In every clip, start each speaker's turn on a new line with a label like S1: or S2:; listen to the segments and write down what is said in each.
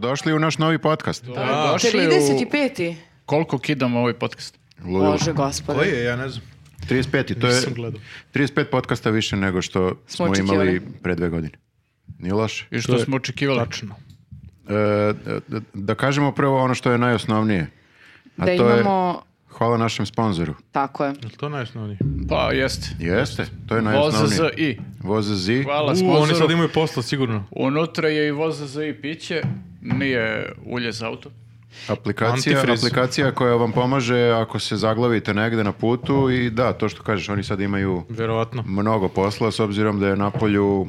S1: došli u naš novi podcast.
S2: Da, došli u...
S3: 35.
S2: Koliko kidamo ovaj podcast?
S1: Ludilo.
S3: Bože, gospode.
S4: Koji je, ja ne znam.
S1: 35. To je
S4: Nisam gledao.
S1: 35 podcasta više nego što smo,
S3: očekivali.
S1: imali pre dve godine. Nije loše.
S2: I
S4: To
S2: što
S4: je
S2: smo očekivali.
S4: Tačno.
S1: E, da- da kažemo prvo ono što je najosnovnije. A
S3: Da
S1: to
S3: imamo...
S1: je hvala našem sponzoru.
S3: Tako je.
S4: Je li to najosnovnije?
S2: Pa, jeste.
S1: Jeste, to je najosnovnije.
S2: Voza i.
S1: Voza zi.
S2: Hvala
S4: U, oni sad
S2: sponzoru.
S4: imaju posla, sigurno.
S2: Unutra je i voza za i piće. Nije ulje za auto.
S1: Aplikacija,
S4: Antifriz.
S1: aplikacija koja vam pomaže ako se zaglavite negde na putu i da, to što kažeš, oni sad imaju
S4: Verovatno.
S1: mnogo posla s obzirom da je na polju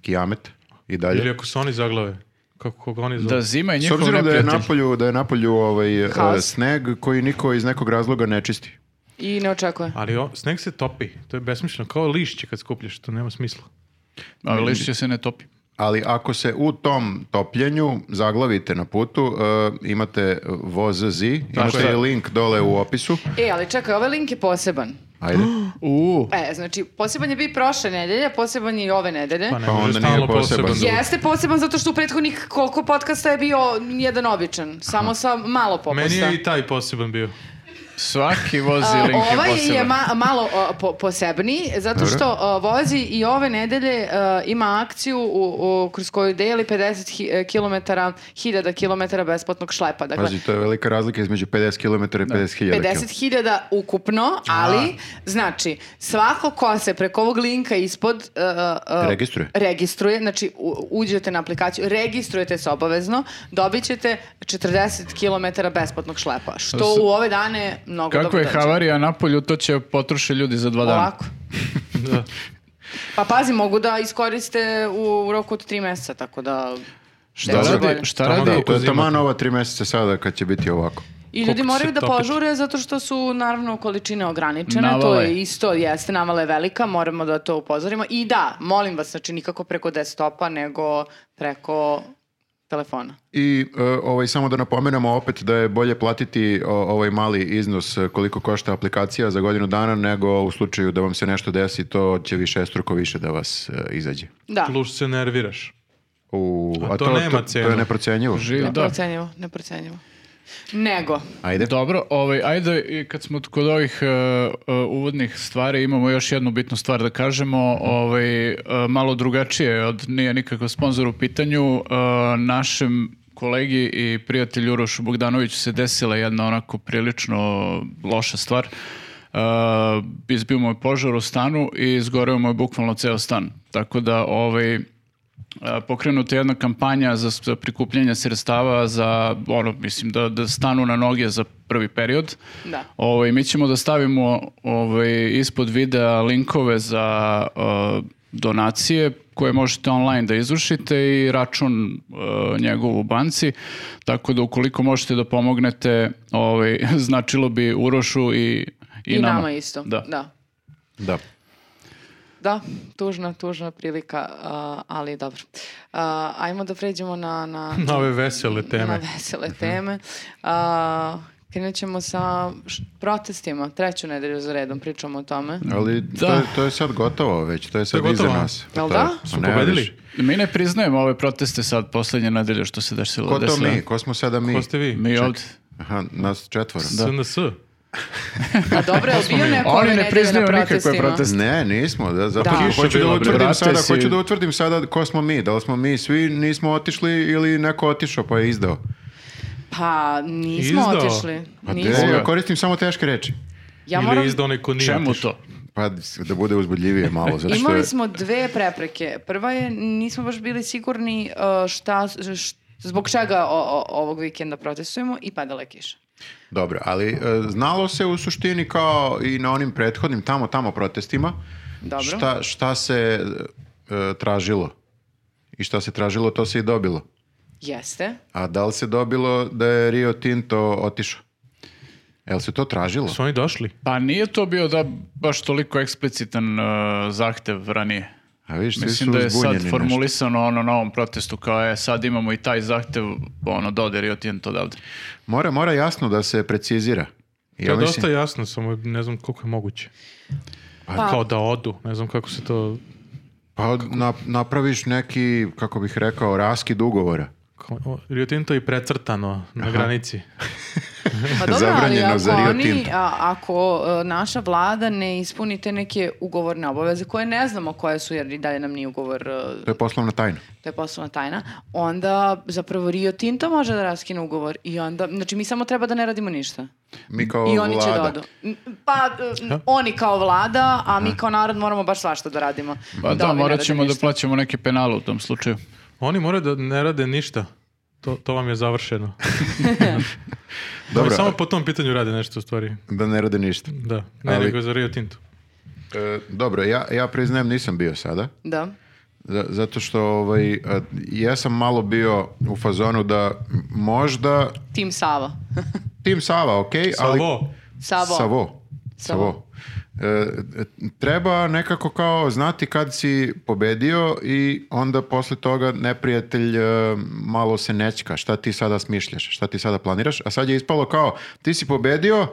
S1: kijamet i
S4: Ili
S1: dalje.
S4: ako se oni zaglave. Kako koga oni
S2: Da
S4: zaglave.
S2: zima je
S1: S
S2: njihov
S1: obzirom da je
S2: neprijatelj.
S1: na polju, da je na polju ovaj, e,
S3: Haos.
S1: sneg koji niko iz nekog razloga ne čisti.
S3: I ne očekuje.
S4: Ali o, sneg se topi. To je besmišljeno. Kao lišće kad skupljaš. To nema smisla.
S2: Ali lišće se ne topi.
S1: Ali ako se u tom topljenju zaglavite na putu, e, imate voz zi, imate
S2: je.
S1: i link dole u opisu.
S3: E, ali čekaj, ovaj link je poseban.
S1: Ajde.
S2: U,
S3: E, znači, poseban je bio i prošle nedelje, a poseban je i ove nedelje.
S4: Pa ne
S1: Pa
S4: može
S1: onda nije
S4: stalno poseban.
S1: poseban.
S3: Jeste poseban zato što u prethodnih koliko podcasta je bio jedan običan. Samo sa malo popusta.
S4: Meni je i taj poseban bio.
S2: svaki vozi
S3: A,
S2: link je
S3: ovaj
S2: poseban.
S3: je ma- malo a, po- posebniji, zato što a, vozi i ove nedelje a, ima akciju u, u- kroz koju deli 50 hi- e, kilometara, 1000 kilometara besplatnog šlepa. Dakle,
S1: Pazi, to je velika razlika između 50 km i 50.000 km.
S3: 50.000 ukupno, ali znači svako ko se preko ovog linka ispod uh, uh,
S1: Registruje.
S3: registruje, znači u- uđete na aplikaciju, registrujete se obavezno, dobit ćete 40 km besplatnog šlepa, što
S2: s-
S3: u ove dane mnogo
S2: Kako
S3: dobro
S2: je
S3: dođe.
S2: havarija na polju, to će potroši ljudi za dva dana.
S3: Ovako.
S4: Da.
S3: Pa pazi, mogu da iskoriste u roku od 3 mjeseca, tako da...
S1: Šta
S3: Dobro.
S1: radi?
S2: šta
S4: Tamo
S2: radi?
S1: Da,
S4: Koliko
S1: to je
S4: zima?
S1: taman ova tri mjeseca sada kad će biti ovako.
S3: I
S4: Koliko
S3: ljudi
S4: će
S3: moraju
S4: se
S3: da
S4: topiti?
S3: požure zato što su naravno količine ograničene, to
S2: Navala je.
S3: je isto, jeste, navala je velika, moramo da to upozorimo. I da, molim vas, znači nikako preko desktopa, nego preko telefona.
S1: I e, ovaj, samo da napomenemo opet da je bolje platiti o- ovaj mali iznos e, koliko košta aplikacija za godinu dana nego u slučaju da vam se nešto desi to će više struko više da vas e, izađe.
S3: Da,
S4: Plus se nerviraš.
S1: U,
S4: A to nema
S1: To
S4: cenu.
S1: je neprocenjivo.
S2: Živi, da.
S3: neprocenjivo, neprocenjivo. Nego,
S1: Ajde.
S2: Dobro, ovaj, ajde i kad smo kod ovih e, e, uvodnih stvari imamo još jednu bitnu stvar da kažemo, ovaj, e, malo drugačije od nije nikakav sponzor u pitanju, e, našem kolegi i prijatelju Urošu Bogdanoviću se desila jedna onako prilično loša stvar. E, izbio mu je požar u stanu i izgoreo mu je bukvalno ceo stan. Tako da ovaj, a, pokrenuta je jedna kampanja za, za prikupljanje sredstava za ono mislim da da stanu na noge za prvi period.
S3: Da.
S2: Ovaj mi ćemo da stavimo ovaj ispod videa linkove za e, donacije koje možete online da izvršite i račun e, njegov u banci, tako da ukoliko možete da pomognete, ovaj, značilo bi Urošu i, i,
S3: i, nama. isto.
S2: Da.
S3: da.
S1: Da.
S3: Da, tužna, tužna prilika, a, ali dobro. A, ajmo da pređemo na... na
S4: Na ove vesele
S3: na
S4: teme.
S3: vesele teme. A, krenut ćemo sa š- protestima. Treću nedelju za redom pričamo o tome.
S1: Ali
S2: Da.
S1: To, je, to je sad gotovo već, to je sad
S4: To je
S1: iza
S4: gotovo.
S1: nas.
S3: Jel
S1: To je- pa
S3: da?
S4: Su
S1: Ne,
S4: pobedili?
S1: vidiš.
S2: Mi ne priznajemo ove proteste sad, poslednje nedelje što se desilo.
S1: Ko to
S2: desilo.
S1: mi? Ko smo sada mi?
S4: Ko ste vi?
S2: Mi ovde.
S1: Aha, nas četvora.
S4: SNS.
S3: A dobro, je li bio neko ove
S2: Oni ne
S3: nedelje
S2: priznaju
S3: na
S2: nikakve
S3: protestima?
S2: proteste.
S1: Ne, nismo. Da, zapravo
S3: Da.
S1: Hoću, da
S4: Kiša bila, bre.
S1: utvrdim
S2: Brate,
S1: sada,
S2: si-
S1: hoću da utvrdim sada ko smo mi. Da li smo mi svi nismo otišli ili neko otišao pa je izdao.
S3: Pa nismo
S4: Izdao.
S3: otišli.
S1: Pa
S3: Nismo.
S1: de, ja koristim samo teške reči.
S3: Ja
S4: Ili
S3: moram...
S4: je izdao neko nije.
S2: Čemu
S4: otišao.
S2: to?
S1: Pa da bude uzbudljivije malo. Zato što je,
S3: Imali smo dve prepreke. Prva je, nismo baš bili sigurni uh, šta, š- zbog čega o- o- ovog vikenda protestujemo i padala je kiša.
S1: Dobro, ali e, znalo se u suštini kao i na onim prethodnim tamo tamo protestima
S3: Dobro.
S1: šta, šta se e, tražilo. I šta se tražilo, to se i dobilo.
S3: Jeste.
S1: A da li se dobilo da je Rio Tinto otišao? Jel se to tražilo?
S4: Su oni došli?
S2: Pa nije to bio da baš toliko eksplicitan e, zahtev ranije.
S1: A vidiš, svi
S2: Mislim
S1: su
S2: da je sad
S1: uzbunjeni nešto.
S2: formulisano ono na ovom protestu kao je sad imamo i taj zahtev ono dodir i otijem to odavde.
S1: Mora, mora jasno da se precizira.
S4: To je dosta jasno, samo ne znam koliko je moguće.
S3: Pa-
S4: Kao da odu, ne znam kako se to...
S1: Pa na- napraviš neki, kako bih rekao, raskid ugovora.
S4: Ko- o, Rio Tinto i precrtano na granici.
S3: Pa dobro, ali
S1: Zabranjeno
S3: ako,
S1: za Rio
S3: oni,
S1: Tinto.
S3: a- ako e, naša vlada ne ispuni te neke ugovorne obaveze koje ne znamo koje su jer i dalje nam nije ugovor, e,
S1: To je poslovna tajna.
S3: to je poslovna tajna, onda zapravo Rio Tinto može da raskine ugovor i onda, znači mi samo treba da ne radimo ništa.
S1: Mi kao
S3: I oni će da
S1: vlada.
S3: odu. N- Pa, e, n- oni kao vlada, a mi kao narod moramo baš svašta da radimo.
S2: Pa da,
S3: ovi ne
S2: morat
S3: rade
S2: ćemo da
S3: ništa.
S2: plaćamo neke penale u tom slučaju.
S4: Oni moraju da ne rade ništa. To, to vam je završeno.
S1: Dobro,
S4: Oni samo po tom pitanju rade nešto u stvari.
S1: da ne rade ništa.
S4: Da, ne
S1: Ali-
S4: nego za Rio Tinto.
S1: E, dobro, ja, ja priznajem nisam bio sada.
S3: Da.
S1: za- zato što ovaj, e, ja sam malo bio u fazonu da možda
S3: Tim Sava.
S1: Tim Sava, ok, ali...
S4: Savo.
S3: Savo.
S1: Savo. Savo. E, treba nekako kao znati kad si pobedio i onda posle toga neprijatelj e, malo se nećka. Šta ti sada smišljaš? Šta ti sada planiraš? A sad je ispalo kao ti si pobedio,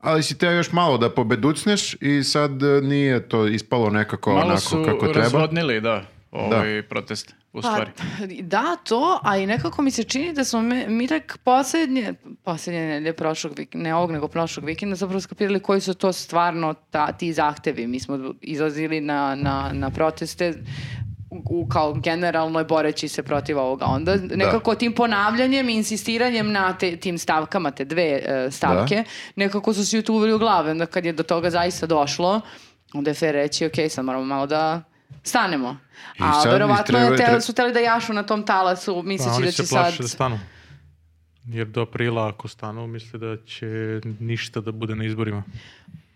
S1: ali si teo još malo da pobeducneš i sad e, nije to ispalo nekako
S2: Malo
S1: Pa onako
S2: su
S1: kako treba.
S2: razvodnili, da, ovaj protest, u stvari.
S3: Pa, da, to, a i nekako mi se čini da smo mi, mi tak posljednje, posljednje nedelje prošlog vikenda, ne ovog nego prošlog vikenda, zapravo skapirali koji su to stvarno ta, ti zahtevi. Mi smo izlazili na, na, na proteste u, kao generalno boreći se protiv ovoga. Onda nekako tim ponavljanjem i insistiranjem na te, tim stavkama, te dve e, stavke, nekako su svi tu uveli u glave. Onda kad je do toga zaista došlo, onda je fair reći, ok, sad moramo malo da stanemo.
S1: I
S3: A
S1: sad mi
S3: verovatno
S1: treba-
S3: je tele-
S1: treba-
S3: su teli da jašu na tom talasu,
S4: Pa,
S3: misleći
S4: oni
S3: da
S4: se
S3: će
S4: plaše
S3: sad...
S4: da stanu. Jer do aprila ako stanu misle da će ništa da bude na izborima.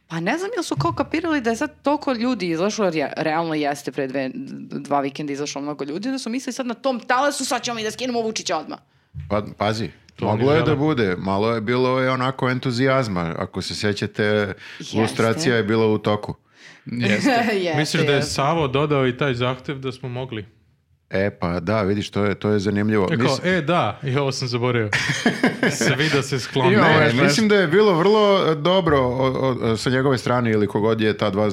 S3: Pa ne znam jel su kao kapirali da je sad toliko ljudi izašlo, jer je- realno jeste pre dve, dva vikenda izašlo mnogo ljudi, da su mislili sad na tom talasu, sad ćemo mi da skinemo Vučića odmah.
S1: Pa, pazi,
S4: To
S1: moglo
S4: oni
S1: je da
S4: žele.
S1: bude, malo je bilo je onako entuzijazma. Ako se sjećate, lustracija je bila u toku.
S2: Jeste.
S3: Jeste,
S4: Misliš da je
S3: jeste.
S4: Savo dodao i taj zahtev da smo mogli?
S1: E, pa da, vidiš, to je, to je zanimljivo.
S2: Pa
S4: E, kao,
S1: Mislim-
S4: e da, i ovo sam zaboravio. Svi da se sklone.
S2: Ima ovaj
S1: Ne,
S2: Ovo je baš-
S1: mislim da je bilo vrlo e, dobro o- o- o- sa njegove strane ili kogod je ta dva e,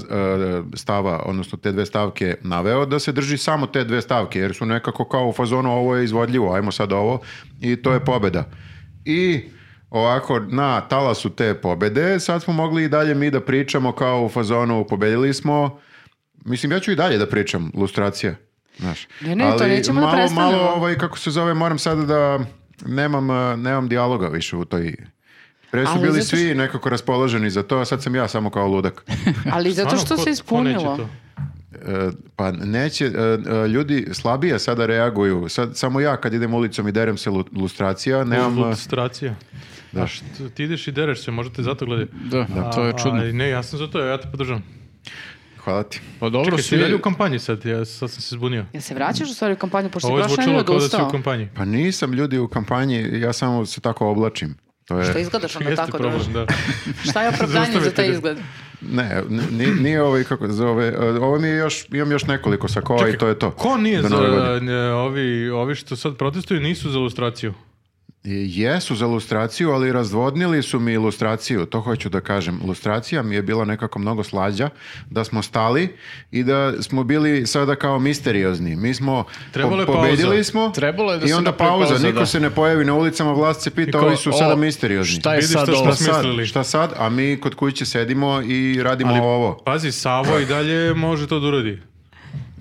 S1: stava, odnosno te dve stavke naveo, da se drži samo te dve stavke, jer su nekako kao u fazonu ovo je izvodljivo, ajmo sad ovo i to je pobeda. I ovako, na talasu te pobede, sad smo mogli i dalje mi da pričamo kao u fazonu pobedili smo, mislim ja ću i dalje da pričam, lustracija. Znaš.
S3: Ne, ne, to nećemo da
S1: malo,
S3: prestanemo.
S1: Malo, ovaj, kako se zove, moram sada da nemam, eh, nemam dijaloga više u toj... Pre su
S3: Ali
S1: bili
S3: zato što-
S1: svi nekako raspoloženi za to, a sad sam ja samo kao ludak.
S3: Ali zato
S4: Stvarno,
S3: što
S4: ko-
S3: se
S4: ono, ko neće
S3: ispunilo.
S4: to?
S1: E, pa neće, e, e, ljudi slabije sada reaguju. Sad, samo ja kad idem ulicom i derem se lu- lustracija, nemam... eh,
S4: Lustracija. A što, ti ideš i dereš se, možda te zato gledaju.
S2: Da, to je
S4: A-
S2: čudno.
S4: ali ne, ja sam za to, ja te podržam.
S1: Hvala ti.
S2: Pa dobro,
S4: Čekaj, si
S2: svi...
S4: dalje u kampanji sad, ja sad sam se zbunio.
S3: Jel se vraćaš u stvari u kampanju, pošto
S4: Ovo
S3: je
S4: je
S3: prošla nedelja
S4: zvučalo kao da si
S3: odustao?
S4: u kampanji.
S1: Pa nisam ljudi u kampanji, ja samo se tako oblačim. To je...
S3: Što izgledaš onda
S4: Jeste
S3: tako,
S4: problem, da.
S3: druže? Šta je opravdanje za
S4: Zaustavite
S3: taj
S4: ga.
S3: izgled?
S1: Ne, n- ni- nije ovaj kako se zove, e, ovo mi je još, imam još nekoliko sakova i to je to.
S4: Ko nije
S1: Do
S4: za eh,
S1: Nove godine.
S4: ne, ovi, ovi što sad protestuju nisu za ilustraciju?
S1: I Jesu za lustraciju, ali razvodnili su mi ilustraciju, to hoću da kažem. Lustracija mi je bila nekako mnogo slađa, da smo stali i da smo bili sada kao misteriozni. Mi smo
S4: Trebalo je
S1: pobedili
S4: pauza.
S1: smo
S2: Trebalo je da
S1: i
S2: se
S1: onda
S2: napravi
S1: pauza,
S2: pauza,
S1: niko
S2: da.
S1: se ne pojavi na ulicama, vlast se pita,
S2: I kao,
S1: ovi su
S2: o,
S1: sada misteriozni.
S2: Šta je
S4: Vidiš
S2: sad
S4: to što
S2: ovo?
S1: Šta sad?
S4: Smislili.
S1: Šta sad? A mi kod kuće sedimo i radimo ovo.
S4: Pazi, Savo i dalje može to da uradi.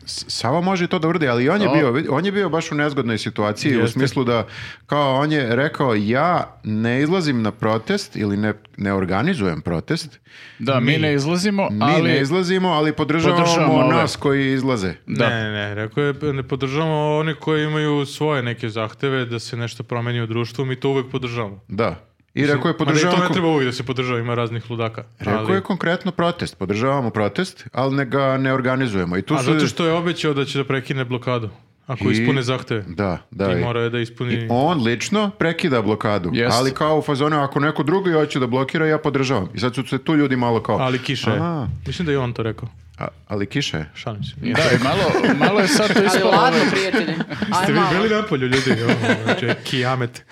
S1: S- Sava može i to da uradi, ali i on je,
S2: O.
S1: bio, vidi- on je bio baš u nezgodnoj situaciji u
S4: Jeste.
S1: smislu da kao on je rekao ja ne izlazim na protest ili ne, ne organizujem protest,
S2: Da, mi, ne izlazimo,
S1: mi
S2: ali...
S1: ne izlazimo, ali podržavamo,
S2: podržavamo ove.
S1: nas koji izlaze.
S2: Da.
S4: Ne, ne, ne, rekao je, ne podržavamo one koji imaju svoje neke zahteve da se nešto promeni u društvu, mi to uvek podržavamo.
S1: Da. I rekao je
S4: Mada i
S1: podržavamo...
S4: to ne
S1: kon-
S4: treba uvijek da se podržava, ima raznih ludaka.
S1: Rekao
S4: ali-
S1: je konkretno protest, podržavamo protest, ali ne ga ne organizujemo. I tu
S4: A
S1: su...
S4: zato što je obećao da će da prekine blokadu, ako
S1: I-
S4: ispune zahteve.
S1: Da, da.
S4: I
S1: i-
S4: mora je da ispuni...
S1: i on lično prekida blokadu,
S2: Jeste.
S1: ali kao u fazonu ako neko drugi hoće da blokira, ja podržavam. I sad su se tu ljudi malo kao...
S4: Ali kiša je.
S1: Aha.
S4: Mislim da je on to rekao.
S1: A- ali kiše je.
S4: Šalim se.
S2: Da, i malo, malo je sad to
S3: Ali
S2: ispalo...
S3: ladno,
S2: ovaj,
S3: prijatelji. Aj
S4: Ste vi
S3: malo.
S4: bili napolju, ljudi? Ovo, znači, kijamet.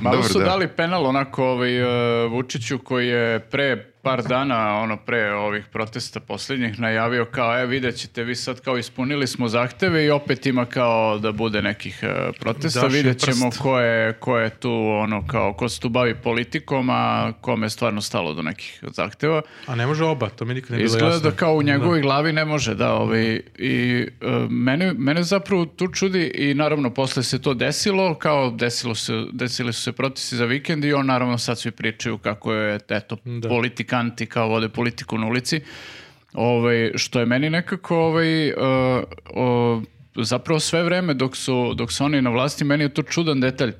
S2: Malo
S1: Dobro,
S2: su
S1: da.
S2: dali penal onako ovaj, e, Vučiću koji je pre par dana ono pre ovih protesta posljednjih najavio kao e vidjet ćete vi sad kao ispunili smo zahteve i opet ima kao da bude nekih e, protesta
S4: Daš im
S2: vidjet ćemo
S4: prst.
S2: ko je, ko je tu ono kao ko se tu bavi politikom a kome je stvarno stalo do nekih zahteva
S4: A ne može oba, to mi nikad ne bilo jasno.
S2: Izgleda da kao u njegovoj glavi ne može da ovaj i e, mene mene zapravo tu čudi i naravno posle se to desilo, kao desilo se desili su se protesti za vikend i on naravno sad svi pričaju kako je eto
S4: Da.
S2: politikanti kao vode politiku na ulici. Ovaj što je meni nekako ovaj e, o, zapravo sve vreme dok su dok su oni na vlasti meni je to čudan detalj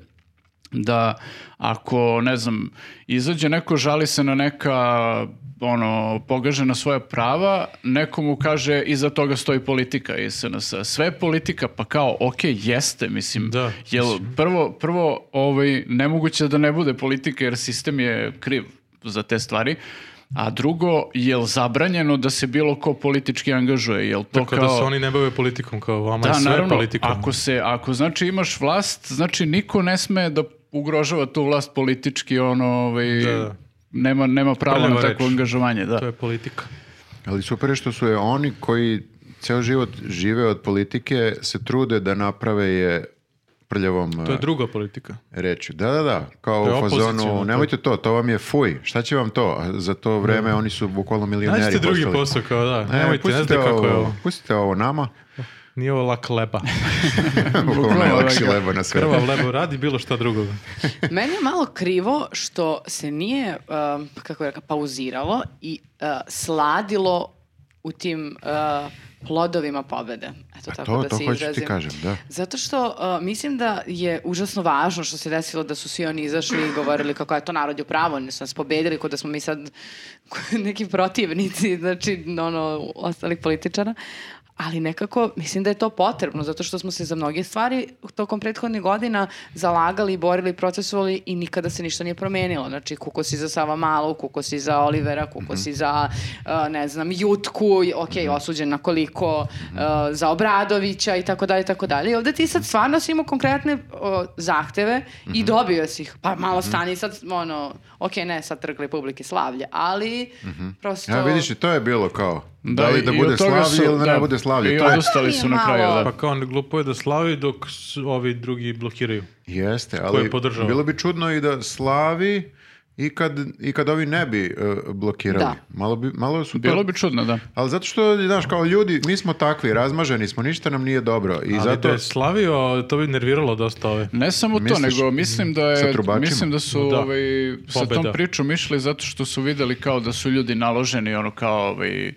S2: da ako, ne znam, izađe neko, žali se na neka ono, pogažena svoja prava, nekomu kaže iza toga stoji politika i SNS. Sve je politika, pa kao, ok, jeste, mislim.
S4: Da,
S2: jel, prvo, prvo ovaj, nemoguće da ne bude politike jer sistem je kriv za te stvari. A drugo, jel zabranjeno da se bilo ko politički angažuje? Jel to
S4: Tako
S2: kao...
S4: da se oni ne bave politikom, kao vama je
S2: Da,
S4: sve
S2: naravno,
S4: politikom.
S2: ako se, ako znači imaš vlast, znači niko ne sme da ugrožava tu vlast politički, ono, ovaj,
S4: Da, da.
S2: nema, nema pravo na
S4: Prljava
S2: takvo
S4: reč.
S2: angažovanje, da.
S4: To je politika.
S1: Ali super je što su je oni koji ceo život žive od politike se trude da naprave je prljavom
S4: To je druga politika.
S1: e, rečju. Da, da, da. Kao
S4: To je
S1: u
S4: opoziciono,
S1: fazonu,
S4: to.
S1: nemojte to, to vam je fuj. Šta će vam to? A Za to vreme oni su bukvalno milioneri
S4: Nađite drugi
S1: postali.
S4: posao, kao da.
S1: E,
S4: Nemojte, ne
S1: pustite
S4: znate kako je
S1: ovo-
S4: ovo.
S1: Pustite ovo nama.
S4: Nije ovo lak leba.
S1: Bukvalno je lakši
S2: da.
S1: leba na svetu.
S4: Krvav lebo radi bilo šta drugo.
S3: Meni je malo krivo što se nije, um, kako je rekao, pauziralo i uh, sladilo u tim uh, plodovima pobede. Eto, tako
S1: Pa To,
S3: da
S1: to
S3: se
S1: hoću ti
S3: izrazim.
S1: kažem, da.
S3: Zato što uh, mislim da je užasno važno što se desilo da su svi oni izašli i govorili kako je to narod je u pravu, oni su nas pobedili kod da smo mi sad neki protivnici, znači ono, ostalih političara. Ali nekako mislim da je to potrebno zato što smo se za mnoge stvari tokom prethodnih godina zalagali, borili, procesovali i nikada se ništa nije promenilo. Znači kuko si za Sava Malo, kuko si za Olivera,
S1: Mhm.
S3: kuko si za uh, ne znam Jutku, i- ok, osuđen na koliko, uh,
S1: Mhm.
S3: za Obradovića i tako dalje i tako dalje. I ovde ti sad stvarno si imao konkretne o, zahteve
S1: Mhm.
S3: i dobio si ih. Pa malo stani sad, ono, ok, ne sad trg Republike Slavlje, ali prosto...
S1: Ja Mhm. vidiš i to je bilo kao. Da,
S2: Da,
S1: li
S2: i-
S1: da
S2: i
S1: bude
S2: od toga
S1: slavlje
S2: su-
S1: ili da ne
S2: da,
S1: bude
S2: i
S1: slavlje. To je,
S2: odustali su na kraju,
S3: Malo.
S2: da.
S4: Pa kao on glupo je da slavi dok s- ovi drugi blokiraju.
S1: jeste,
S4: Ko
S1: ali
S4: je podržao?
S1: bilo bi čudno i da slavi i kad, i kad ovi ne bi e, blokirali.
S3: Da.
S1: Malo, bi, malo su to...
S2: Bilo bi čudno, da.
S1: Ali zato što, znaš, kao ljudi, mi smo takvi, razmaženi smo, ništa nam nije dobro. I
S4: Ali
S1: zato...
S4: da je slavio, to bi nerviralo dosta ove.
S2: Ne samo to,
S1: Misliš,
S2: nego mislim da
S1: sa
S2: je
S1: trubačima?
S2: mislim da su
S4: Da.
S2: ovaj sa tom
S4: Pobeda.
S2: pričom išli zato što su videli kao da su ljudi naloženi ono kao ovaj e,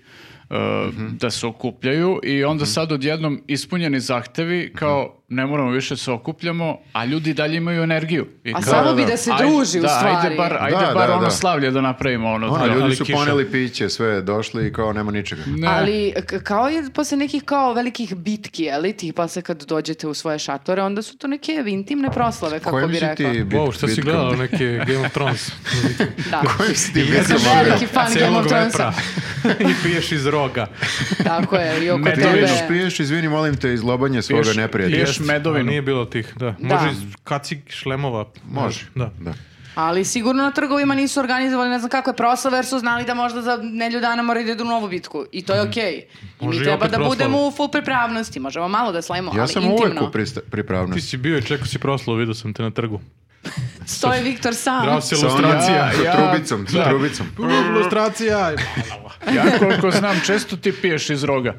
S1: Mhm.
S2: da se okupljaju i onda sad odjednom ispunjeni zahtevi kao
S1: Mhm.
S2: ne moramo više se okupljamo, a ljudi dalje imaju energiju. I
S3: A
S2: kao,
S3: samo bi
S1: da.
S3: da se
S2: ajde-
S3: druži u
S2: da,
S3: stvari.
S2: Ajde bar, ajde
S1: Da,
S2: bar
S1: da,
S2: ono
S1: da.
S2: slavlje da napravimo ono.
S1: Ono,
S2: da.
S1: ljudi
S4: ali
S1: su
S4: kiša.
S1: poneli piće, sve došli i kao nema ničega.
S2: Ne.
S3: Ali k- kao je posle nekih kao velikih bitki, ali ti pa se kad dođete u svoje šatore, onda su to neke intimne proslave, kako
S1: Kojim
S3: bi
S1: si
S3: rekao.
S1: ti bit,
S4: Wow, šta si
S1: bitka-
S4: gledao neke Game of Thrones?
S3: Da.
S1: Kojim si ti
S3: sam
S1: bitkama
S3: veliki
S1: bio?
S3: fan Game
S4: Cijelog
S3: of Thronesa.
S4: vepra. I piješ iz roga.
S3: Tako je, i oko
S4: E,
S2: Meni
S1: Ti
S3: tebe.
S1: vidiš, piješ, izvini, molim te, iz lobanje svoga
S2: Piješ-
S1: neprijatelja.
S2: piješ- Ješ
S4: Jeste,
S2: medovinu.
S4: ali Nije bilo tih, da.
S3: Da.
S4: Može iz kacig šlemova.
S1: Može.
S4: Da.
S1: Da.
S3: Ali sigurno na trgovima nisu organizovali ne znam kako je proslave, jer su znali da možda za nedlju dana moraju da idu u novu bitku. I to je okej. I
S4: Mhm. Može i
S3: mi treba
S4: opet
S3: da
S4: proslava.
S3: budemo u full pripravnosti. Možemo malo da slavimo,
S1: Ja
S3: ali
S1: sam
S3: intimno.
S1: uvek u prista-
S4: Ti
S1: pripravnosti.
S4: si bio i čekao si proslavu, vidio sam te na trgu.
S3: Stoji Viktor sam.
S4: Drao si
S1: Sa onom-
S4: ilustracija.
S2: Ja-
S1: sa
S2: ja-
S1: trubicom, sa
S4: da.
S1: trubicom.
S4: Ilustracija!
S2: Ja koliko znam, često ti piješ iz roga.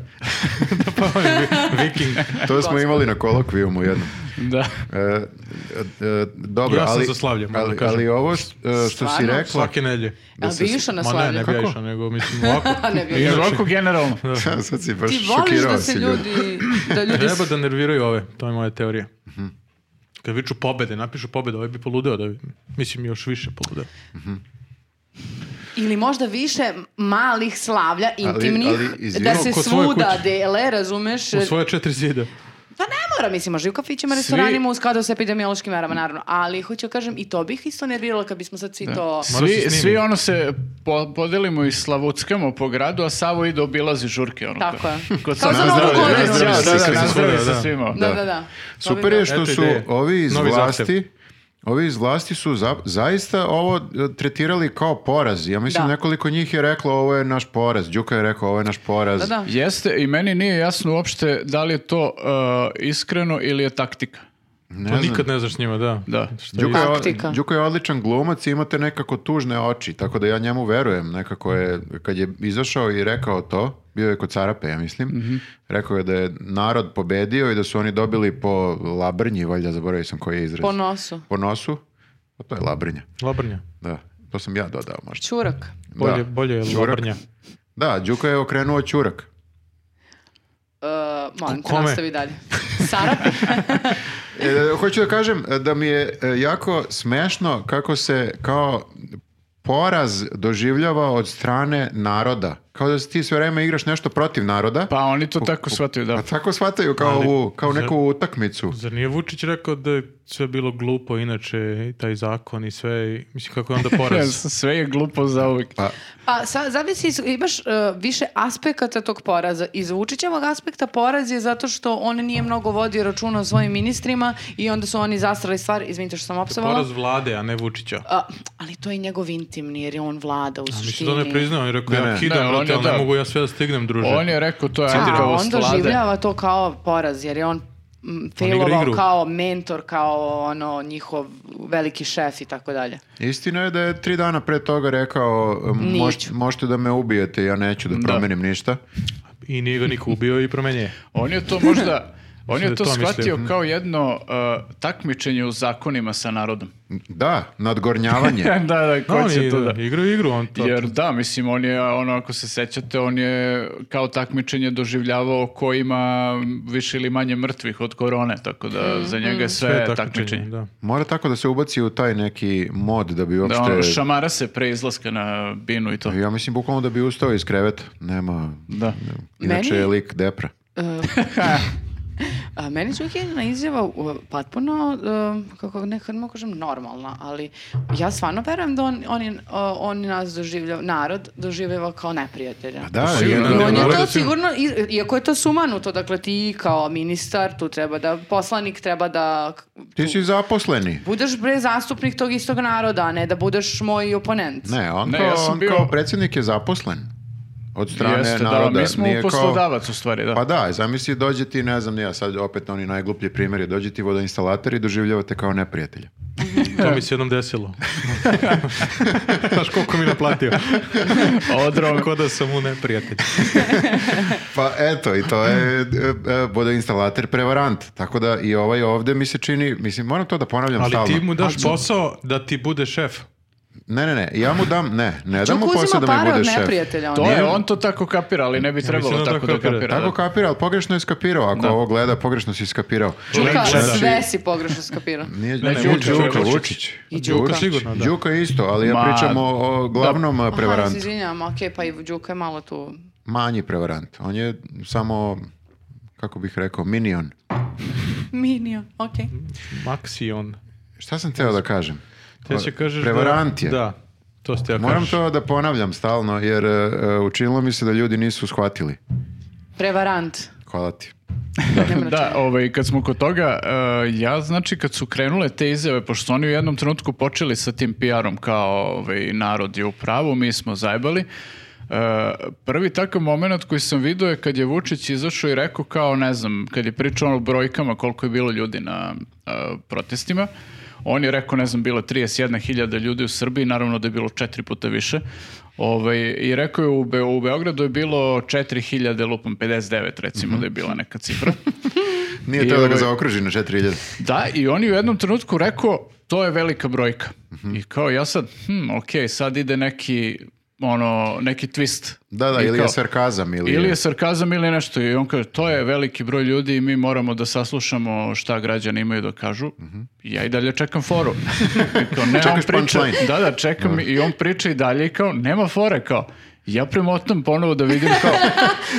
S4: Viking.
S1: To smo imali na kolokvijumu jednom.
S2: Da.
S1: E, e, e, dobro,
S4: Ja sam
S1: ali,
S4: za slavlje, moram da
S1: ali,
S4: kažem.
S1: ali ovo š- e, što si
S3: Stvarno?
S1: rekla,
S4: Svake nedlje.
S3: Jel bi išao na
S4: Ma ne, ne
S3: slavlje?
S4: bi ja
S2: Kako?
S4: išao, nego mislim ovako.
S3: ne
S1: Znači-
S3: bi
S2: Iz
S3: išao.
S2: rogu generalno.
S1: sad si baš
S3: Ti voliš
S1: šokirao
S3: da
S1: si
S3: se ljudi, da ljudi
S4: Treba da nerviraju ove, to je moja teorija. Kad viču pobede, napišu pobede, ovaj bi poludeo da bi, mislim još više poludeo.
S3: Ili možda više malih slavlja, intimnih,
S1: ali, izvini,
S3: da se
S4: kod svoje
S3: svuda
S4: kuće.
S3: dele, razumeš?
S4: U svoje četiri zida.
S3: Pa ne mora, mislim, može i u kafićima, restoranima, u skladu sa epidemiološkim merama, naravno. Ali, hoću da kažem, i to bih isto nervirala kad bismo sad svi to...
S4: Mora se
S2: Svi,
S4: snimi.
S2: svi ono se po- podelimo i slavuckamo po gradu, a Savo ide obilazi žurke. Ono,
S3: Tako je.
S2: Kod
S3: Kao
S2: Save.
S3: za
S1: Na
S3: novu
S1: zdravlje,
S3: godinu.
S1: na zdravlje,
S2: Da, da,
S1: slikali
S2: da,
S1: se
S2: nazdravlja
S4: svuda,
S2: sa
S4: da.
S2: svima.
S3: Da, da, da. To bi
S1: Super je
S3: bilo.
S1: što
S4: Eto
S1: su
S4: ideje.
S1: ovi iz
S4: Novi zahtev.
S1: vlasti Ovi iz vlasti su za- zaista ovo e, tretirali kao poraz. Ja mislim
S3: Da.
S1: nekoliko njih je reklo ovo je naš poraz. Đuka je rekao ovo je naš poraz.
S3: Da, da.
S2: Jeste, i meni nije jasno uopšte da li je to e, iskreno ili je taktika.
S1: Ne
S4: To
S1: znam.
S4: Pa nikad ne znaš s njima, da.
S2: Da.
S4: Šta
S1: Đuka je, o-
S3: Taktika.
S1: Đuka je odličan glumac i imate nekako tužne oči, tako da ja njemu verujem. Nekako je, kad je izašao i rekao to, bio je kod Carape, ja mislim,
S3: Mhm.
S1: rekao je da je narod pobedio i da su oni dobili po labrnji, valjda zaboravio sam koji je izraz.
S3: Po nosu.
S1: Po nosu. Pa to je labrnja,
S4: Labrnja.
S1: da. To sam ja dodao možda.
S3: Čurak. E,
S4: Bolje,
S1: Da.
S4: bolje je
S1: Ćurak.
S4: labrnja.
S1: Da, Đuka je okrenuo čurak.
S3: Uh, molim te,
S4: Kome?
S3: nastavi dalje. Sarape.
S1: E, hoću da kažem e, da mi je e, jako smešno kako se kao poraz doživljava od strane naroda. Kao da se ti sve vreme igraš nešto protiv naroda.
S2: Pa oni to tako shvataju, da.
S1: Pa tako shvataju kao,
S4: Ali-
S1: ovu- kao
S4: zar-
S1: neku utakmicu.
S4: Zar nije Vučić rekao da je sve bilo glupo inače, i taj zakon i sve, i, mislim kako je onda poraz?
S2: Sve je glupo za uvijek.
S1: Pa,
S3: Pa, sa, zavisi, iz- imaš uh, više aspekata tog poraza. Iz Vučićevog aspekta poraz je zato što on nije mnogo vodio računa o svojim ministrima i onda su oni zastrali stvar, izvinite što sam opsovala.
S4: poraz vlade, a ne Vučića.
S3: A, ali to je njegov intimni, jer je on vlada u
S4: Mislim
S3: suštini.
S4: da on ne priznao, on je rekao,
S1: Ne, ne.
S4: ja kidam,
S2: Ne, on
S4: brate,
S2: je
S4: ali ne
S2: da.
S4: mogu ja sve da stignem, druže.
S2: On je rekao to je
S3: A,
S2: aljkavost
S3: Pa on
S2: vlade.
S3: doživljava to kao poraz, jer je on mm, failovao
S4: igru.
S3: kao mentor, kao ono njihov veliki šef i tako dalje.
S1: istina je da je tri dana pre toga rekao "Mož-
S3: Neću."
S1: možete da me ubijete, ja neću da promenim ništa.
S4: I nije ga niko ubio i promenio je.
S2: On je to možda... On
S4: Mislim da
S2: je to
S4: to mislio.
S2: shvatio kao jedno uh, takmičenje u zakonima sa narodom.
S1: Da, nadgornjavanje.
S2: da, da, ko
S4: on
S2: će to da...
S4: Igra igru, on to.
S2: Jer da, mislim, on je, ono, ako se sećate, on je kao takmičenje doživljavao ko ima više ili manje mrtvih od korone, tako da za njega je sve,
S4: sve je
S2: takmičenje.
S4: takmičenje. Da.
S1: Mora tako da se ubaci u taj neki mod da bi
S2: Da, ono,
S1: uopšte...
S2: šamara se pre izlaska na binu i to.
S1: ja mislim bukvalno da bi ustao iz kreveta. Nema...
S2: Da.
S1: Inače
S3: Meni-
S1: je lik depra.
S3: A meni Đukina izjava uh, potpuno, um, kako nekad mogu kažem, normalna, ali ja stvarno verujem da on, on, je, uh, on nas doživljava, narod doživljava kao neprijatelja.
S2: Pa
S1: A Pa da,
S4: Pa
S1: jer-
S4: sigurno, da,
S3: I
S4: ne
S3: on je
S4: mora
S3: to
S4: da si-
S3: sigurno, i- iako je to sumanuto, dakle ti kao ministar, tu treba da, poslanik treba da
S1: Ti si zaposleni.
S3: budeš bre zastupnik tog istog naroda, a ne da budeš moj oponent.
S1: Ne, on,
S2: Ne,
S1: kao,
S2: ja sam
S1: on
S2: bio-
S1: kao predsjednik je zaposlen. Od strane
S2: Jeste,
S1: naroda.
S2: da, mi smo
S1: Nije kao-
S2: poslodavac u stvari, da.
S1: Pa da, zamisli dođe ti, ne znam, ja sad opet oni najgluplji primjer je dođe ti vodoinstalater i doživljavate kao neprijatelja.
S4: To mi se jednom desilo. Znaš koliko mi je naplatio?
S2: Odrom.
S4: Ko da sam mu neprijatelj.
S1: Pa eto, i to je e, e, vodoinstalater prevarant. Tako da i ovaj ovde mi se čini, mislim, moram to da ponavljam
S4: Ali
S1: stalno.
S4: ti mu daš posao da ti bude šef.
S1: Ne, ne, ne, ja mu dam, ne, ne dam mu
S3: Čuk
S1: posao
S3: uzima
S1: da mi
S3: pare
S1: bude
S3: od
S1: šef.
S3: neprijatelja.
S2: To
S3: on
S2: je, on to tako kapira, ali ne bi trebalo
S4: mislim da
S2: tako da
S4: tako
S2: kapira.
S4: kapira.
S2: da.
S1: Tako kapira, ali pogrešno je skapirao. Ako ovo gleda, pogrešno si skapirao.
S3: Čuka,
S4: Znači-
S3: sve si pogrešno skapirao.
S1: Nije
S2: Ne,
S1: ne,
S2: Đuka,
S1: Đuka,
S2: Vučić.
S1: Vučić.
S3: I Đuka.
S4: sigurno, da.
S1: Đuka isto, ali ja
S2: Ma-
S1: pričam o, o glavnom e,
S3: Aha, ja se
S1: prevarantu.
S3: izvinjam, okej, pa i Đuka je malo tu...
S1: Manji prevarant. On je samo, kako bih rekao, minion.
S3: Minion, okej.
S4: Maxion.
S1: Šta sam teo da kažem?
S4: Te se kažeš
S1: Prevarant
S4: da...
S1: je.
S4: Da, to ste ja
S1: Moram
S4: kažeš.
S1: to da ponavljam stalno, jer e, e, učinilo mi se da ljudi nisu shvatili.
S3: Prevarant.
S1: Hvala ti.
S2: Da, ovaj, kad smo kod toga, eh, ja znači kad su krenule te izjave, pošto su oni u jednom trenutku počeli sa tim PR-om kao ovaj, narod je u pravu, mi smo zajbali, eh, prvi takav moment koji sam vidio je kad je Vučić izašao i rekao kao, ne znam, kad je pričao ono o brojkama koliko je bilo ljudi na eh, protestima, on je rekao, ne znam, bilo je 31.000 ljudi u Srbiji, naravno da je bilo četiri puta više. Ovaj, I rekao je, u, Be- u Beogradu je bilo 4000, lupom 59 recimo da je bila neka cifra.
S1: Nije
S2: I
S1: teo da ga
S2: ovaj-
S1: zaokruži na 4000.
S2: Da, i on je u jednom trenutku rekao, to je velika brojka.
S1: Mhm.
S2: I kao ja sad, hm, ok, sad ide neki, ono, neki twist.
S1: Da, da,
S2: I
S1: ili
S2: kao,
S1: je sarkazam, ili,
S2: Ili
S1: je...
S2: je sarkazam ili nešto. I on kaže, to je veliki broj ljudi i mi moramo da saslušamo šta građani imaju da kažu. Ja i dalje čekam foru. I kao, ne, on
S1: Mhm. Čekaš
S2: priča-
S1: punchline.
S2: Da, da, čekam i on priča i dalje i kao, nema fore, kao. Ja premotam ponovo da vidim kao,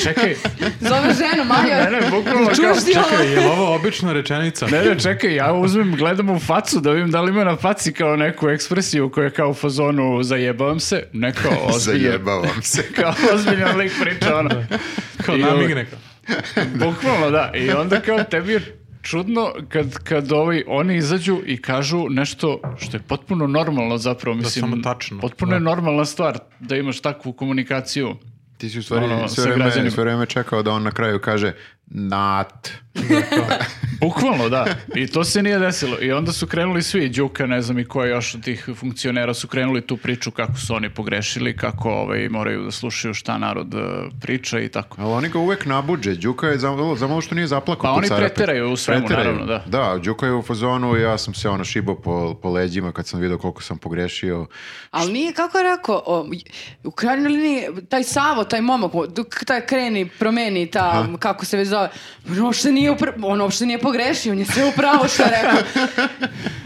S2: čekaj,
S3: Zove
S2: ne,
S3: ženu, Majo.
S2: ne, bukvalno kao,
S3: Čuš ti ovo?
S4: Čekaj, je li ovo obična rečenica?
S2: Ne, ne, čekaj, ja uzmem, gledam u facu da vidim da li ima na faci kao neku ekspresiju koja je kao u fazonu zajebavam se, ne kao ozbiljan,
S1: Zajebavam se.
S2: kao ozbiljan lik priča, ono.
S4: Kao
S2: I, ovaj,
S4: namigne. kao.
S2: Bukvalno, da. I onda kao tebi je čudno kad, kad ovaj, oni izađu i kažu nešto što je potpuno normalno zapravo. Mislim,
S4: samo tačno.
S2: Potpuno je normalna stvar da imaš takvu komunikaciju.
S1: Ti si u stvari
S2: Ono, sa
S1: sve, vreme,
S2: građanima.
S1: sve vreme čekao da on na kraju kaže nat.
S2: Bukvalno, da. I to se nije desilo. I onda su krenuli svi, Đuka, ne znam i ko je još od tih funkcionera, su krenuli tu priču kako su oni pogrešili, kako ovaj, moraju da slušaju šta narod eh, priča i tako.
S1: Ali oni ga uvek nabuđe. Đuka je zamalo, zamalo što nije zaplakao.
S2: Pa
S1: kod
S2: oni
S1: Sarape.
S2: preteraju u svemu,
S1: Preteraju.
S2: naravno, da.
S1: Da, Đuka je u fazonu, ja sam se ono šibo po, po leđima kad sam vidio koliko sam pogrešio.
S3: Ali nije, kako je rekao, o, u krajnjoj liniji, taj Savo, taj momak, dok taj kreni, promeni, ta, kako se već zove, on uopšte nije, upra- on uopšte nije pogrešio, on je sve upravo što je rekao.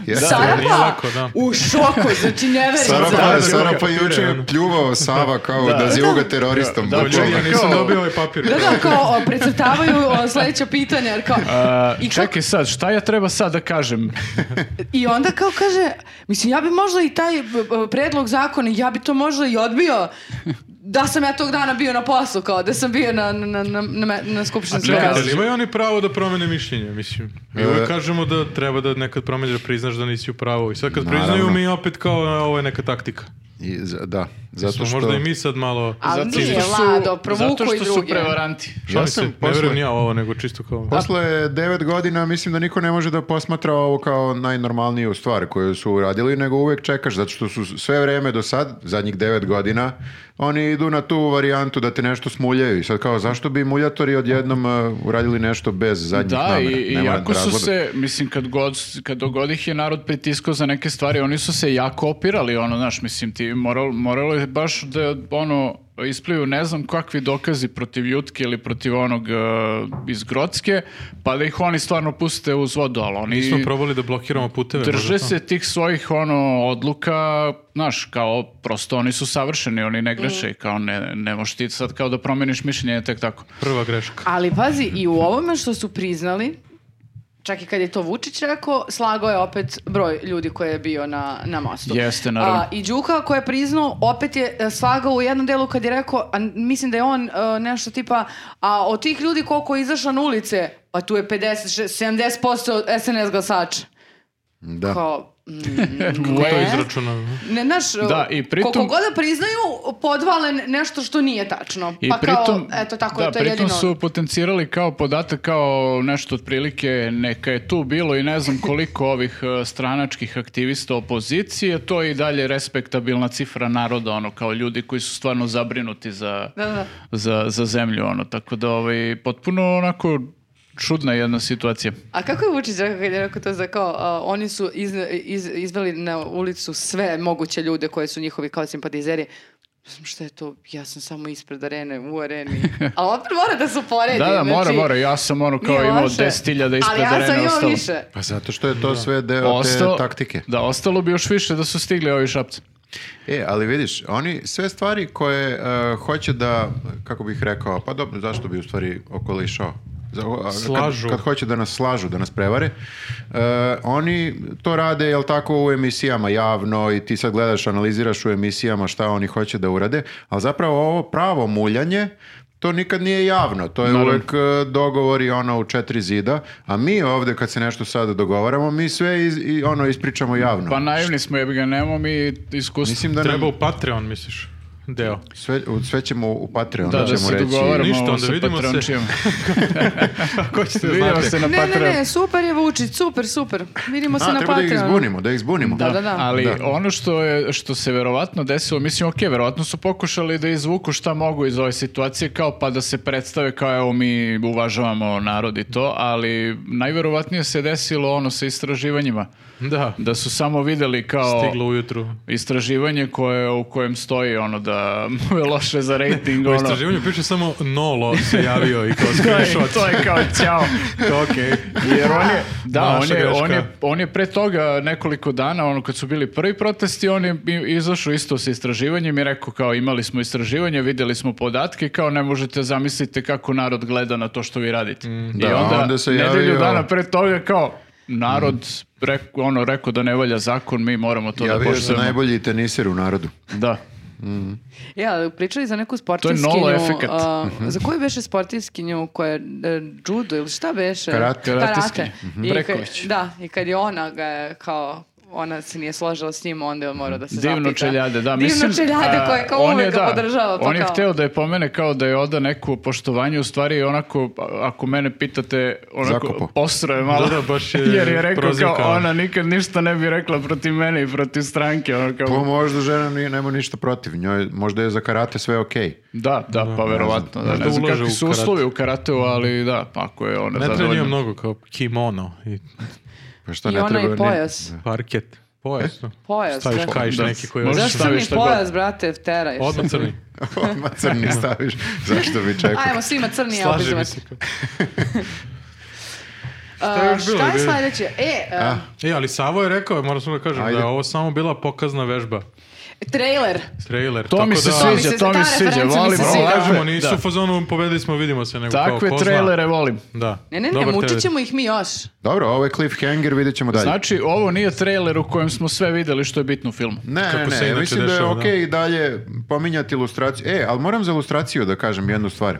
S1: Jeste.
S4: Sara-
S3: Sarapa
S4: nije lako, da.
S3: u šoku, znači neverica.
S1: Sarapa,
S4: Da,
S1: Sarapa
S4: da,
S1: juče
S4: da.
S1: je pljuvao Sava kao da, zove ga teroristom.
S2: Da, da,
S1: bukvalno.
S4: Ljudi, ja nisam dobio ovaj papir.
S3: Da, da, kao o, precrtavaju o, sledeća pitanja, jer kao,
S2: A,
S3: i, kako-
S2: Eh, čekaj sad, šta ja treba sad da kažem?
S3: i onda kao kaže, mislim, ja bi možda i taj b- b- predlog zakona, ja bi to možda i odbio, da sam ja tog dana bio na poslu, kao da sam bio na, na, na, na, me- na
S2: čekajte,
S3: skupštinskom
S4: Čekajte,
S3: rastu.
S4: ali imaju oni pravo da promene mišljenje, mislim. Mi
S1: E.
S4: uvek kažemo da treba da nekad promene, da priznaš da nisi u pravu. I sad kad
S1: Naravno.
S4: priznaju mi opet kao a, ovo je neka taktika.
S1: I za- da, zato
S4: Smo
S1: što...
S4: možda i mi sad malo...
S3: Ali
S2: Zato
S3: nije,
S2: što su-
S3: Lado, provuku
S2: Zato
S3: Pa, i
S2: što su
S3: druge.
S2: prevaranti.
S1: Ja
S4: Šalim se,
S1: sam
S4: ne
S1: posle,
S4: verujem ja u ovo, nego čisto kao...
S1: posle devet godina mislim da niko ne može da posmatra ovo kao najnormalniju stvar koju su uradili, nego uvek čekaš, zato što su sve vreme do sad, zadnjih devet godina, oni idu na tu varijantu da te nešto smuljaju. I sad kao, zašto bi muljatori odjednom uh, uradili nešto bez zadnjih
S2: Da,
S1: namera?
S2: i, i
S1: Nema
S2: jako su
S1: razloga.
S2: se, mislim, kad god, kad god ih je narod pritiskao za neke stvari, oni su se jako opirali, ono, znaš, mislim, ti moral, moralo je baš da, ono, isplivaju ne znam kakvi dokazi protiv Jutke ili protiv onog e, iz Grocke, pa da ih oni stvarno puste uz vodu, ali oni...
S4: Mi smo probali da blokiramo puteve. možda
S2: Drže
S4: to.
S2: se tih svojih ono odluka, znaš, kao prosto oni su savršeni, oni ne greše, kao ne, ne možeš ti sad kao da promeniš mišljenje tek tako.
S4: Prva greška.
S3: Ali pazi, i u ovome što su priznali, čak i kad je to Vučić rekao, slago je opet broj ljudi koji je bio na, na mostu.
S2: Jeste, naravno.
S3: A, I Đuka koji je priznao, opet je e, slagao u jednom delu kad je rekao, a n- mislim da je on e, nešto tipa, a od tih ljudi koliko je izašlo na ulice, pa tu je 50, še- 70% SNS glasača.
S1: Da.
S3: Kao, mm,
S2: Kako
S4: To
S3: ne.
S4: je izračunano.
S3: Ne, znaš, e,
S2: Da, i pritom-
S3: koliko god da priznaju, podvale nešto što nije tačno.
S2: I
S3: pa
S2: pritom,
S3: kao, eto, tako
S2: da,
S3: je to
S2: pritom
S3: jedino.
S2: su potencirali kao podatak, kao nešto otprilike, neka je tu bilo i ne znam koliko ovih e, stranačkih aktivista opozicije, to je i dalje respektabilna cifra naroda, ono, kao ljudi koji su stvarno zabrinuti za,
S3: Da, da.
S2: za, za zemlju, ono, tako da, ovaj, potpuno onako čudna jedna situacija.
S3: A kako je Vučić rekao kad je rekao to za kao, a, oni su iz, iz- izveli na ulicu sve moguće ljude koje su njihovi kao simpatizeri. Mislim, šta je to? Ja sam samo ispred arene, u areni. Ali opet mora da se poredi.
S2: Da, da,
S3: znači,
S2: mora, mora, ja sam ono kao
S3: nije
S2: imao
S3: loše.
S2: 10.000 ispred
S3: Ali ja sam
S2: arene
S3: imao
S2: ostalo.
S3: više.
S1: Pa zato što je to sve deo
S2: Ostalo-
S1: te taktike.
S2: Da, ostalo bi još više da su stigli ovi šapci.
S1: E, ali vidiš, oni sve stvari koje e, hoće da, kako bih rekao, pa dobro, zašto bi u stvari okolišao? Za- o- a kad-
S4: Slažu.
S1: Kad, hoće da nas slažu, da nas prevare, e, oni to rade, jel tako, u emisijama javno i ti sad gledaš, analiziraš u emisijama šta oni hoće da urade, ali zapravo ovo pravo muljanje, to nikad nije javno, to je
S2: Naravno.
S1: uvek e, dogovor i ono u četiri zida, a mi ovde kad se nešto sada dogovaramo, mi sve iz- i ono ispričamo javno.
S2: Pa naivni smo, jebi ga, nemamo mi iskustva.
S1: Mislim da nam-
S4: Treba u Patreon, misliš? Deo.
S1: Sve, u- sve ćemo u Patreon,
S2: Da,
S1: da,
S2: da
S1: ćemo
S2: se
S1: reći.
S2: dogovaramo
S4: ništa,
S2: ovo
S4: onda
S2: sa
S4: vidimo se.
S2: Patrončijom.
S4: Ko ćete
S2: vidimo se na
S3: Ne, ne,
S2: Patreon.
S3: ne, super je Vučić, super, super. Vidimo se
S1: A,
S3: na
S1: treba da ih
S3: Patreonu.
S1: izbunimo, da ih izbunimo.
S3: Da, da, da.
S2: Ali
S1: Da.
S2: ono što, je, što se verovatno desilo, mislim, ok, verovatno su pokušali da izvuku šta mogu iz ove situacije, kao pa da se predstave kao evo mi uvažavamo narod i to, ali najverovatnije se desilo ono sa istraživanjima,
S4: Da.
S2: da su samo videli kao...
S4: Stiglo ujutru.
S2: istraživanje koje, u kojem stoji ono da mu je loše za rating.
S4: U
S2: ono.
S4: istraživanju piše samo Nolo se javio i kao
S2: To je,
S4: screenshot.
S2: to je kao ćao.
S4: Okej.
S2: Jer on je, da, on
S4: Naša
S2: je,
S4: greška.
S2: on, je, on je pre toga nekoliko dana, ono kad su bili prvi protesti, on je i- izašao isto sa istraživanjem i rekao kao imali smo istraživanje, vidjeli smo podatke, kao ne možete zamisliti kako narod gleda na to što vi radite. I
S1: Mm, da,
S2: onda,
S1: onda se
S2: nedelju
S1: javio- Mm.
S2: dana pre toga kao narod rek- ono rekao da ne valja zakon, mi moramo to da
S1: Javio se
S2: poštujemo.
S1: najbolji tenisir u narodu.
S2: Da.
S3: Ja, ali pričali za neku sportiskinju.
S2: nolo efekat.
S3: a, za koju beše sportiskinju koja je e, judo ili šta beše?
S1: Karate.
S2: Karateskinja. Mhm.
S3: I kad-
S2: Breković.
S3: Da, i kad je ona ga je kao ona se nije složila s njim, onda je on morao da se
S2: Divno
S3: zapita.
S2: čeljade, da.
S3: Divno
S2: mislim,
S3: čeljade
S2: a,
S3: koje kao
S2: on
S3: uvek
S2: je,
S3: ga
S2: da,
S3: podržava. Pa
S2: on je
S3: kao,
S2: hteo da je pomene kao da je oda neko poštovanje, u stvari onako, a- ako mene pitate,
S1: Zakopo.
S2: onako, posro je malo.
S4: Da, da, baš je ono.
S2: Jer je rekao
S4: prozivka.
S2: kao ona nikad ništa ne bi rekla protiv mene i protiv stranke. Ono kao,
S1: Pa možda žena nije, nema ništa protiv. Njoj, možda je za karate sve okej.
S2: da, da, pa verovatno. Da,
S4: Možda
S2: ne znam
S4: ulaže
S2: kakvi
S4: u
S2: su
S4: karate.
S2: uslovi u karateu, ali da, pa ako je ona
S4: Ne treba njima
S2: zadovoljna.
S4: mnogo, kao kimono i
S1: Pa šta
S3: I
S1: ne
S3: ona
S1: treba...
S3: i
S1: ni-
S3: pojas.
S4: parket. Pojas. no.
S3: Pojas,
S4: Staviš
S3: da.
S4: kajiš
S2: Da.
S4: neki koji je
S2: Možda-
S3: Zašto mi
S2: staviš šta god.
S3: pojas, brate, teraješ?
S4: odmah crni.
S1: Odmah crni staviš. Zašto bi čekao?
S3: Ajmo, svima crni
S4: Slaže mi
S3: obizovac.
S4: se. kao.
S3: Šta
S4: je
S3: je,
S4: još bilo,
S3: je
S4: ljudi?
S3: sledeće? E, a,
S4: E, ali Savo je rekao, moram samo da kažem,
S1: Ajde.
S4: da je ovo samo bila pokazna vežba.
S3: trailer.
S4: Trailer.
S2: To mi se
S4: da,
S3: To mi
S2: sviđa,
S3: se-
S2: to
S3: ta
S2: mi se sviđa,
S3: referenca mi
S2: volim.
S3: se sviđa.
S4: Pravo
S2: ovakve-
S4: kažemo, nisu
S2: da.
S4: u fazonu pobedili smo, vidimo se, nego
S2: Takve
S4: kao ko zna.
S2: trailere volim.
S4: Da.
S3: Ne, ne, ne,
S4: Dobar
S3: mučit
S4: trailer.
S3: ćemo ih mi još.
S1: Dobro, ovo je cliffhanger, vidjet ćemo dalje.
S2: Znači, ovo nije trailer u kojem smo sve videli što je bitno u filmu.
S1: Ne,
S4: Kako se
S1: ne,
S4: inače
S1: mislim da je
S4: dešava,
S1: okej i dalje pominjati ilustraciju. E, ali moram za ilustraciju da kažem jednu stvar.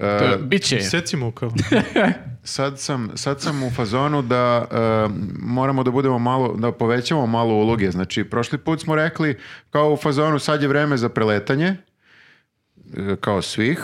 S1: E,
S2: To je- Biće je.
S4: Seci mu kao.
S1: sad, sam, sad sam u fazonu da e, moramo da budemo malo, da povećamo malo uloge. Znači, prošli put smo rekli kao u fazonu sad je vreme za preletanje, e, kao svih,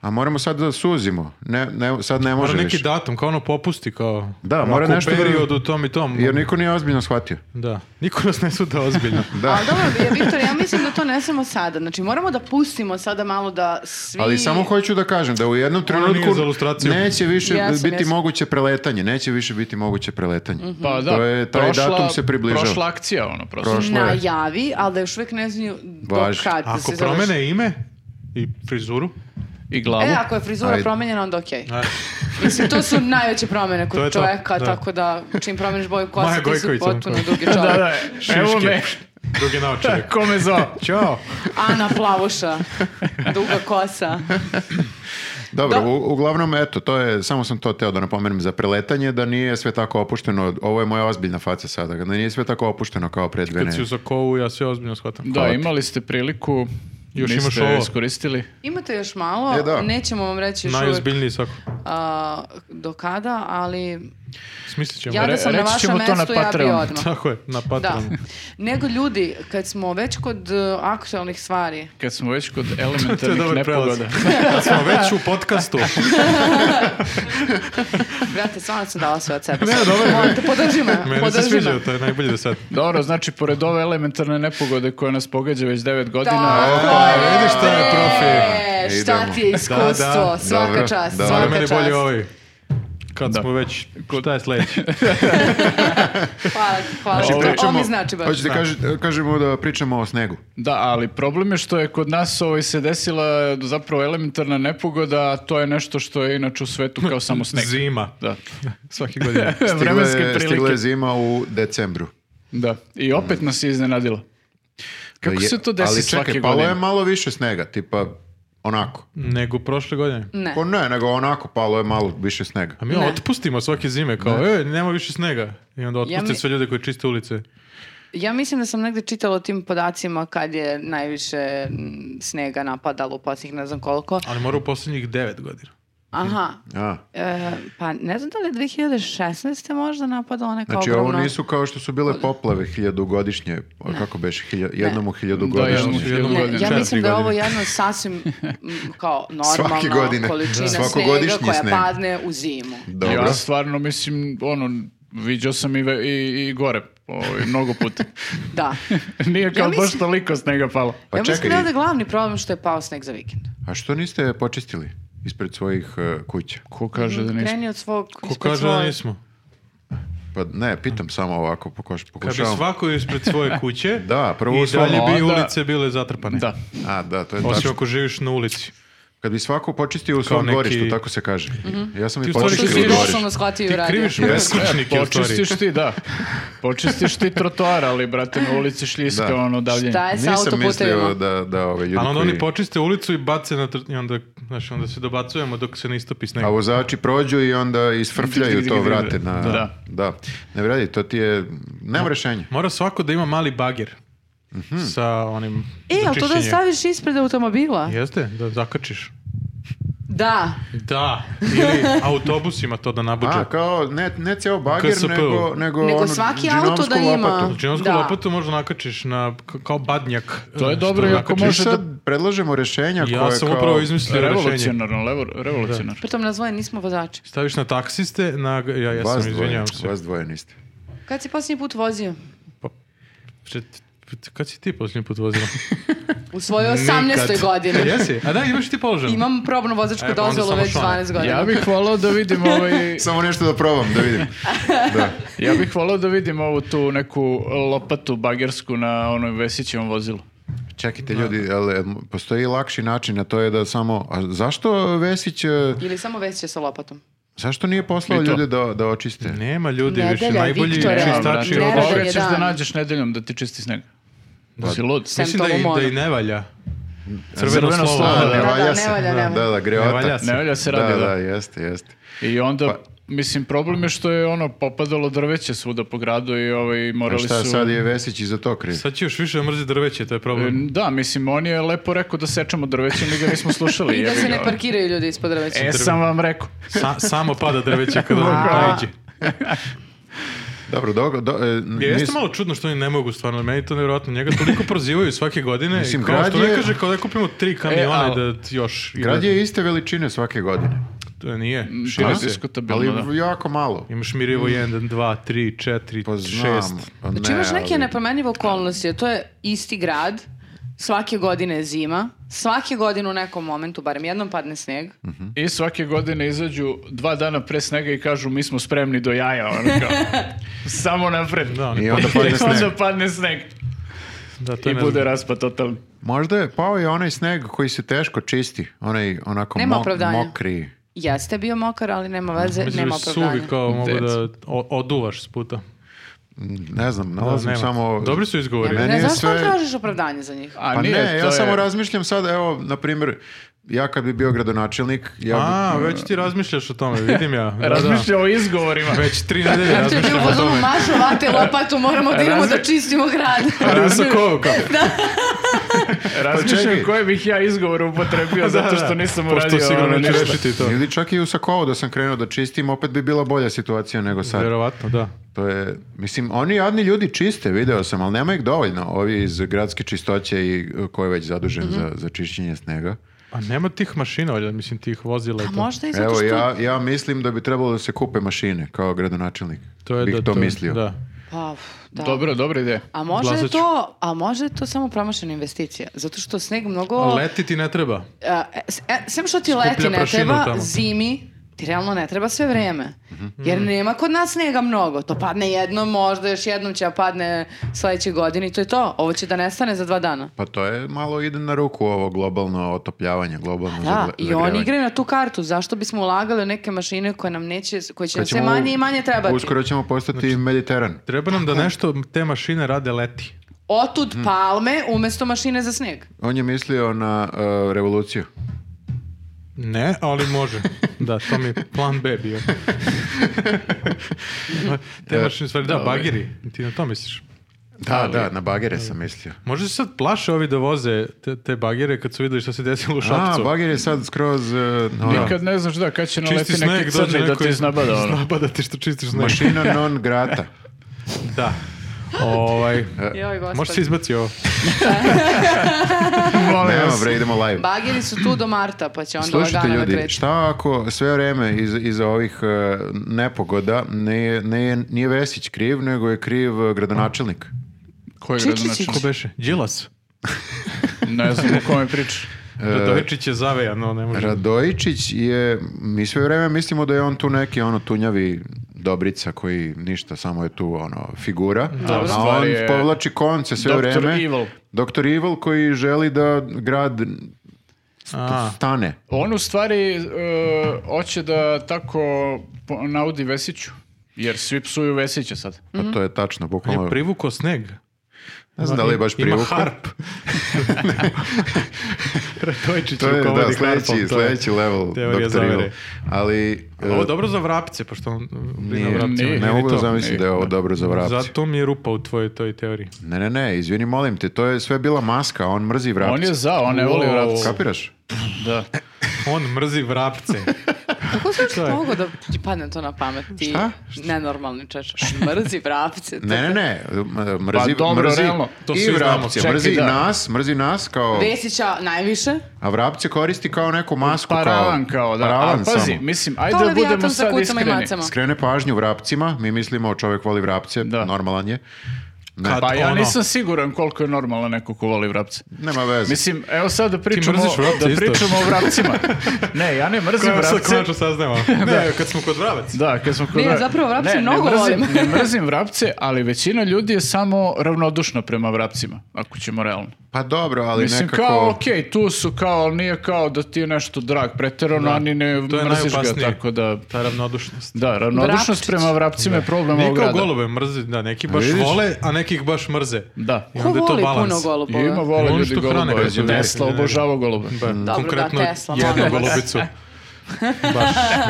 S1: a moramo sad da suzimo. Ne, ne, sad ne može
S4: Mora neki
S1: više.
S4: datum, kao ono popusti, kao...
S1: Da, mora
S4: Ako u
S1: nešto da-
S4: periodu tom i tom.
S1: Jer niko nije ozbiljno shvatio.
S4: Da. Niko nas ne suda ozbiljno.
S1: Da.
S3: Ali dobro, ja, Viktor, ja mislim da to ne samo sada. Znači, moramo da pustimo sada malo da svi...
S1: Ali samo hoću da kažem da u jednom
S4: Ono nije
S1: trenutku
S4: za ilustraciju.
S1: neće više
S3: Jesam,
S1: biti
S3: jesam.
S1: moguće preletanje, neće više biti moguće preletanje.
S3: Mhm.
S2: Pa da,
S1: To je- taj datum se približava.
S2: Prošla akcija, ono, prosto.
S1: Prošlo je.
S3: najavi, ali da još uvijek ne znaju do
S1: Važi.
S3: kad da
S4: Ako
S3: se završi.
S4: promene ime i frizuru,
S2: I glavu.
S3: E, ako je frizura
S1: Ajde.
S3: promenjena, onda okej.
S4: Ajde.
S3: Mislim, to su najveće promene
S4: To
S3: kod
S4: je to,
S3: čoveka,
S4: da.
S3: tako da čim promeniš boju
S4: Maja
S3: kosa, ti si
S4: Gojković, ono
S3: potpuno
S4: kao.
S3: drugi
S2: da,
S3: čovjek.
S2: da, evo me,
S4: druge naočare.
S2: ko me zvao.
S4: Ćao.
S3: Ana Plavuša, duga kosa.
S1: Dobro,
S3: Da.
S1: u- uglavnom, eto, to je, samo sam to teo da napomenem za preletanje, da nije sve tako opušteno, ovo je moja ozbiljna faca sada, da nije sve tako opušteno kao pre dve
S4: Kad si u
S1: nedelje.
S4: Sokovu, ja sve ozbiljno shvatam.
S2: Da, imali ste priliku,
S4: Još
S2: niste
S4: imaš ovo.
S2: iskoristili.
S3: Imate još malo,
S1: E, da.
S3: nećemo vam reći još uvijek
S4: Najozbiljniji svako.
S3: a, do kada, ali
S4: Smislit ćemo.
S3: ja da
S2: Re-
S3: sam na
S2: reći
S3: vašem
S2: ćemo to na
S3: mestu, ja bi
S2: Patreon.
S3: odmah.
S4: Tako je, na
S3: Da.
S4: Patreonu.
S3: Nego ljudi, kad smo već kod e, aktualnih stvari,
S2: Kad smo već kod
S4: To je
S2: elementarnih
S4: dobar prelaz.
S2: nepogoda.
S4: Kad smo već u podcastu.
S3: brate, stvarno sam dala sve od sebe.
S4: Ne, dobro je.
S3: Molim te, podrži me,
S4: Meni se
S3: podrži
S4: sviđa,
S3: me.
S4: to je najbolje do sad.
S2: Dobro, znači, pored ove elementarne nepogode koja nas pogađa već 9 godina,
S3: Tako
S1: Opa,
S3: je,
S4: vidiš šta je
S3: bre,
S1: profi.
S3: e, Šta
S1: Idemo.
S3: ti je iskustvo,
S4: Da, da,
S3: svaka
S1: dobro,
S3: čast,
S1: dobro.
S4: Za
S3: svaka
S4: mene
S3: čast.
S4: bolje ovaj. Kad
S2: Da.
S4: smo već, šta je sledeće?
S3: Hvala, hvala.
S4: Ovaj,
S2: Znači,
S3: To- Ovo
S1: Pričamo-
S3: mi znači baš.
S1: Hoćete kaži- kažemo da pričamo o snegu.
S2: Da, ali problem je što je kod nas ovaj, se desila zapravo elementarna nepogoda, a to je nešto što je inače u svetu kao samo sneg.
S4: Zima.
S2: Da.
S4: Svaki godine.
S1: Stigla
S2: E, Vremenske
S1: je,
S2: prilike.
S1: stigla je zima u decembru.
S2: Da. I opet nas je iznenadilo. Kako
S1: Je-
S2: se to desi
S1: Ali čekaj,
S2: svake
S1: palo
S2: godine?
S1: je malo više snega, tipa onako.
S4: Nego prošle godine.
S3: Ne.
S1: Pa ne, nego onako palo je malo više snega.
S4: A mi
S3: Ne.
S4: otpustimo svake zime, kao, e, nema više snega. I onda otpusti
S3: mi-
S4: sve ljude koji čiste ulice.
S3: Ja mislim da sam negde čitala o tim podacima kad je najviše mm, snega napadalo u posljednjih ne znam koliko.
S4: Ali mora u posljednjih devet godina.
S3: Aha,
S1: A,
S3: e, pa ne znam da li je 2016. možda napadalo neka
S1: znači
S3: ogromna...
S1: ovo nisu kao što su bile poplave hiljadugodišnje, kako beše, hilja- jednom u
S2: Da,
S1: hiljadugodišnje.
S2: jednom u
S4: Jednom
S2: hiljadu
S3: Ne,
S4: godinu,
S2: godina.
S3: ja
S4: četiri
S3: mislim da je ovo
S4: godine.
S3: jedno sasvim m, kao
S1: Svake
S3: normalna
S1: godine.
S3: količina snega
S1: Svakogodišnji
S3: koja
S1: sneg.
S3: padne u zimu.
S1: Dobro.
S2: Ja stvarno mislim, ono, viđao sam i, ve- i, i gore, ovaj, mnogo puta.
S3: Da.
S2: Nije kao baš
S3: mislim-
S2: toliko snega palo.
S1: Pa
S3: ja mislim
S1: čekaj.
S3: da je ovde glavni problem što je pao sneg za vikend.
S1: A što niste počistili ispred svojih e, kuća?
S2: Ko kaže da nismo?
S3: Kreni od svog...
S4: Ko
S3: ispred
S4: kaže da
S3: svoje.
S4: nismo?
S1: Pa ne, pitam samo ovako, pokoš,
S4: Kad bi
S1: pokušavam.
S4: svako ispred svoje kuće
S1: Da, prvo u
S4: i
S1: svom-
S4: dalje bi
S2: Onda-
S4: ulice bile zatrpane.
S2: Da.
S1: A, da, to je
S4: Osim
S1: tačno.
S4: ako živiš na ulici.
S1: Kad bi svako počistio u svom
S4: neki-
S1: dvorištu, tako se kaže.
S3: Mhm.
S1: Ja sam
S4: Ti
S1: i
S4: u stvari
S3: Što
S1: počistio
S3: si
S1: u dvorištu.
S3: doslovno shvatio i
S4: Ti
S3: uradio.
S4: kriviš beskućnike u stvari.
S2: Počistiš ti, da. Počistiš ti trotoar, ali, brate, na ulici šljiska,
S1: Da.
S2: ono, davljenje.
S3: Šta je sa
S1: Nisam mislio
S3: autoputevima?
S1: da, da ove ljudi
S4: Ali onda
S1: koji...
S4: ono oni počiste ulicu i bace na tr- i onda, znaš, onda se dobacujemo dok se ne istopi sneg.
S1: A vozači prođu i onda isfrfljaju
S2: Dig, dig,
S1: to
S2: dig,
S1: vrate
S2: dig.
S1: na...
S2: Da.
S1: Da. Ne vredi, to ti je... Nema rešenja.
S4: Mora svako da ima mali bager.
S1: Mhm.
S4: sa onim
S3: E,
S4: za
S3: ali to da
S4: čišćenje.
S3: staviš ispred automobila?
S4: Jeste, da zakačiš.
S3: Da.
S4: Da, ili autobusima to da nabuđe.
S1: A, kao, ne, ne ceo bager,
S4: KSP.
S1: nego, nego,
S3: Nego
S1: onu
S3: svaki
S1: džinovsku
S3: auto da ima.
S1: lopatu.
S4: Džinovsku
S3: Da.
S4: Znači, lopatu možda nakačiš na, k- kao badnjak.
S2: To je
S4: Što
S2: dobro i ako
S4: nakačiš.
S1: Mi
S2: Može
S1: sad
S2: da-
S1: predlažemo rešenja
S4: Ja
S1: koje
S4: sam
S1: kao...
S4: upravo izmislio rešenje.
S2: Revolucionarno, levo- revolucionarno.
S3: Pritom nas dvoje nismo vozači.
S4: Staviš na taksiste, na... Ja, ja
S1: Vas
S4: sam,
S1: dvoje,
S4: izvinjavam se. Pa,
S1: vas dvoje niste.
S3: Kad si posljednji put vozio?
S4: Pred, pred- kad si ti posljednji put vozila?
S3: U svojoj 18.
S4: Kad
S3: godini.
S4: Jesi? A da, imaš i ti položen.
S3: Imam probnu vozačku
S4: E, pa onda
S3: dozvolu
S4: samo
S3: već
S4: šone.
S3: 12 godina.
S2: Ja bih volao da vidim ovaj,
S1: Samo nešto da probam, da vidim. Da.
S2: ja bih volao da vidim ovu tu neku lopatu bagersku na onoj Vesićevom vozilu.
S1: Čekajte ljudi, ali em, postoji lakši način, a to je da samo... A zašto Vesić, e,
S3: Ili samo veće sa lopatom.
S1: zašto nije poslao
S2: I to.
S1: ljude da, da očiste?
S4: Nema ljudi više,
S3: Nedelja,
S4: najbolji
S3: Viktore.
S2: Ja, brate,
S4: čistači
S3: Neradom
S4: od
S3: je
S2: ovoga znači, ćeš da
S3: dan.
S2: nađeš nedeljom da ti čisti sneg. Da si lud.
S3: Sem
S4: Mislim da i,
S3: Tolomona.
S4: da i ne valja.
S2: Crveno
S4: Crveno slovo.
S2: slovo,
S1: A,
S2: da.
S1: ne
S3: Da,
S1: valja
S3: da,
S1: se.
S3: ne valja, ne valja.
S1: Da, da, greota.
S4: Ne valja
S2: Ne valja se
S1: da,
S2: radi,
S1: da,
S2: da.
S1: jeste, jeste.
S2: I onda,
S1: Pa-
S2: mislim, problem je što je ono popadalo drveće svuda po gradu i ovaj,
S1: A
S2: morali
S1: šta
S2: su...
S1: sad je Vesić i za to kriv?
S4: Sad će još više da mrzi drveće, to je
S1: E,
S4: problem.
S2: Da, mislim, on je lepo rekao da sečemo drveće, mi ga nismo slušali.
S3: I da
S2: jebi
S3: se
S2: ga.
S3: ne parkiraju ljudi ispod drveća.
S2: E, sam vam rekao.
S4: Sa- samo pada drveće ono pa kada on
S3: A.
S4: najđe.
S1: Dobro, do, do, e, n-
S4: Ja, Jeste
S1: nis-
S4: malo čudno što oni ne mogu stvarno, meni je to nevjerojatno. Njega toliko prozivaju svake godine.
S1: Mislim,
S4: Mislim, kao što
S1: grad je-
S4: ne kaže, kao da kupimo tri kamiona
S2: al-
S4: da ti još...
S1: Grad je Mm, iste veličine svake godine,
S4: To nije,
S2: To je
S4: šire se.
S1: ali
S2: diskutabilno, da.
S1: jako malo.
S4: Imaš Mirivo 1, 2, 3, 4,
S1: Pa znam.
S4: 6.
S1: pa
S3: Znači
S1: ne,
S3: imaš neke
S1: ali-
S3: nepromenljive okolnosti, a to je isti grad, svake godine je zima, svake godine u nekom momentu, barem jednom padne sneg.
S2: I svake godine izađu dva dana pre snega i kažu mi smo spremni do jaja. Ono kao, samo napred.
S4: Da,
S1: I
S4: oni pa-
S1: onda padne
S2: I
S1: sneg.
S2: onda padne sneg.
S4: Da, to
S2: I
S4: je
S2: bude
S4: nezgodno.
S2: raspad totalni.
S1: Možda je pao i onaj sneg koji se teško čisti, onaj onako
S3: Nema
S1: mo-
S3: opravdanja.
S1: mokri.
S3: Jeste bio mokar, ali nema veze,
S4: Mislim,
S3: nema
S4: da
S3: opravdanja.
S4: suvi kao mogu
S2: Deca.
S4: da o- oduvaš s puta.
S1: Ne znam,
S4: Da,
S1: nalazim
S4: nema.
S1: samo...
S4: Dobri su izgovori.
S1: Nema-
S3: Ne,
S1: Meni je
S3: znaš što
S1: sve-
S3: tražiš opravdanje za njih?
S2: A
S1: Pa
S2: nije,
S1: ne,
S2: to
S1: ja
S2: je-
S1: samo razmišljam sad, evo, na primjer, ja kad bi bio gradonačelnik, ja bi...
S4: A, već ti razmišljaš o tome, vidim ja. Da,
S2: Razmišlja o izgovorima.
S4: da. Već tri nedelje
S3: Znači, ti u
S4: razmišljam o
S3: fazonu
S4: tome.
S3: mašu, vate, lopatu, moramo da idemo da
S2: Razmi-
S3: čistimo grad.
S2: Ali u Sokovu
S4: kao.
S1: Pa
S2: Razmišljam
S1: čekaj.
S2: koje bih ja izgovor upotrebio zato što nisam uradio
S4: Pošto sigurno
S2: ono
S4: neće
S2: ništa.
S4: rešiti to.
S1: Ili čak i u Sakovu da sam krenuo da čistim, opet bi bila bolja situacija nego sad.
S4: Verovatno, da.
S1: To je, mislim, oni jadni ljudi čiste, video sam, ali nema ih dovoljno, ovi iz gradske čistoće i e, ko je već zadužen za,
S3: Mhm.
S1: za čišćenje snega.
S4: A nema tih mašina, valjda, mislim, tih vozila. i
S3: A
S4: to.
S3: Pa možda i zato
S1: Evo,
S3: što...
S1: ja, ja mislim da bi trebalo da se kupe mašine kao gradonačelnik. Bih to, mislio.
S4: Da.
S3: Pa, da.
S2: Dobro, dobra ideja.
S3: A možda je
S4: Glasaću.
S3: to, a možda je to samo promašena investicija, zato što sneg mnogo...
S4: A leti ti ne treba.
S3: a, e, s- e, sem što ti
S4: Skuplja
S3: leti ne
S4: prašinu
S3: treba,
S4: tamo.
S3: zimi ti realno ne treba sve vreme. Jer nema kod nas snega mnogo. To padne jednom, možda još jednom će da padne sledeće godine i to je to. Ovo će da nestane za dva dana.
S1: Pa to je malo ide na ruku ovo globalno otopljavanje, globalno
S3: Da,
S1: zagle-
S3: i oni
S1: zagrevanje.
S3: igraju na tu kartu. Zašto bismo ulagali u neke mašine koje nam neće, koje će
S1: Kad
S3: nam sve
S1: ćemo-
S3: manje i manje trebati?
S1: Uskoro ćemo postati Mediteran.
S4: Treba nam da nešto te mašine rade leti.
S3: Otud palme umesto mašine za sneg.
S1: On je mislio na e, revoluciju.
S4: Ne, ali može. Da, to mi je plan B bio. Te mašine, u stvari, da, bagiri. Ti na to misliš.
S1: Da, da, na bagere sam mislio.
S4: Možda se sad plaše ovi da voze te, te bagire kad su videli što se desilo u
S1: A,
S4: Šapcu.
S1: bager je sad skroz... e, ono,
S2: Nikad ne znaš da, kad će naleti
S4: Čisti
S2: neki
S4: sneg, dođe
S2: crni da
S4: neko
S2: ti iznabada ono.
S4: Iznabada ti što čistiš sneg.
S1: Mašina non grata.
S4: Da. Ovaj,
S3: Joj, gospod.
S4: možeš se izbaci ovo.
S2: Molim
S1: Nema
S2: vas.
S1: bre, idemo live.
S3: Bageri su tu do marta, pa će onda
S1: Slušajte
S3: lagano da
S1: ljudi,
S3: kreće.
S1: šta ako sve vreme iz, iza ovih e, nepogoda nije, nije, nije Vesić kriv, nego je kriv e, gradonačelnik?
S2: Koji
S3: Čičići.
S2: gradonačelnik?
S4: Ko beše? Đilas.
S2: Ne znam o kome pričaš.
S1: E,
S4: Radovičić je zavejan, no ne može.
S1: Radojičić je, mi sve vreme mislimo da je on tu neki ono tunjavi dobrica koji ništa, samo je tu ono figura,
S2: u
S1: a on
S2: stvari je
S1: povlači konce sve
S2: Dr.
S1: vreme.
S2: Evil.
S1: Doktor Evil koji želi da grad
S4: A,
S1: stane.
S2: On u stvari e, hoće da tako po- naudi Vesiću. Jer svi psuju Vesića sad.
S1: Pa to je tačno,
S4: on je
S1: bukvalno.
S4: privukao sneg.
S1: Ne znam da li je baš
S4: Ima
S1: privuklo.
S4: harp.
S2: Radojčić
S1: To je, da,
S2: rukovodi
S1: sledeći,
S2: harpom, to je-
S1: sledeći level
S4: teorija
S1: Dr. Evil.
S4: zavere.
S1: Ali,
S4: Ali Ovo
S1: e,
S4: je dobro za vrapce, pošto on brine o
S1: nije,
S4: vrapcima.
S2: nije.
S4: Ili
S1: ne mogu da
S4: to?
S1: zamislim da je ovo dobro za vrapce.
S4: Zato mi je rupa u tvojoj toj teoriji.
S1: Ne, ne, ne, izvini, molim te, to je sve bila maska, on mrzi vrapce.
S2: On je za, on ne voli
S4: Wow.
S2: vrapce.
S1: Kapiraš?
S2: Da.
S4: On mrzi vrapce.
S3: Kako sam
S4: je?
S3: mogu da ti padne to na pamet? Ti
S1: Šta?
S3: nenormalni čeč. Mrzi vrapce.
S1: Ne, ne, ne, m- mrzi,
S2: Pa dobro,
S1: mrzi
S2: realno,
S4: to
S1: i
S4: svi znamo.
S1: vrapce,
S2: Čekaj,
S1: mrzi
S2: da.
S1: nas, mrzi nas kao,
S3: Vesića najviše.
S1: a vrapce koristi kao neku masku.
S2: Paravan Pa kao, da.
S1: Paravan
S2: A pazi,
S1: samo.
S2: mislim,
S3: To
S2: ajde da
S3: Leviatan
S2: budemo
S3: sa
S2: sad
S3: kucama i
S2: iskreni.
S3: macama.
S1: Skrene pažnju vrapcima, mi mislimo čovjek voli vrapce,
S2: Da.
S1: normalan je. Ne,
S4: Kad-
S2: Pa ja
S4: Ono.
S2: nisam siguran koliko je normalno neko ko voli vrapce.
S1: nema veze.
S2: Mislim, evo sad da pričamo,
S4: mrziš vrapce
S2: da
S4: isto?
S2: pričamo o vrapcima. Ne, ja ne mrzim
S4: Kao sad
S2: vrapce.
S4: konačno saznamo. Ne, kad smo kod vravaca.
S2: Da, kad smo kod...
S3: Ne, ja zapravo vrapce mnogo
S2: ne mrzim,
S3: volim.
S2: ne mrzim vrapce, ali većina ljudi je samo ravnodušna prema vrapcima, ako ćemo realno.
S1: Pa dobro, ali
S2: Mislim,
S1: nekako...
S2: kao, okej, tu su kao, ali nije kao da ti je nešto drag, preterano,
S4: Da.
S2: ani ne
S4: To je
S2: mrziš ga,
S4: najopasnije.
S2: tako da...
S4: Ta ravnodušnost.
S2: Da, ravnodušnost
S3: Vrapčić.
S2: prema vrapcima je problem
S4: Nije
S2: ovog
S4: kao
S2: grada.
S4: golube mrzi, da, neki baš
S1: vidiš?
S4: vole, a neki ih baš mrze.
S2: Da.
S4: I
S3: Ko
S4: onda je to
S3: voli
S4: balans.
S3: puno
S2: I
S3: golubove?
S2: ima vole
S4: Ono
S2: ljudi
S4: što hrane
S2: golubove.
S1: penzioneri.
S2: Tesla obožava golubove.
S4: Ba,
S3: da,
S4: konkretno
S3: Tesla, molim
S4: jednu
S3: vas.
S4: golubicu. baš,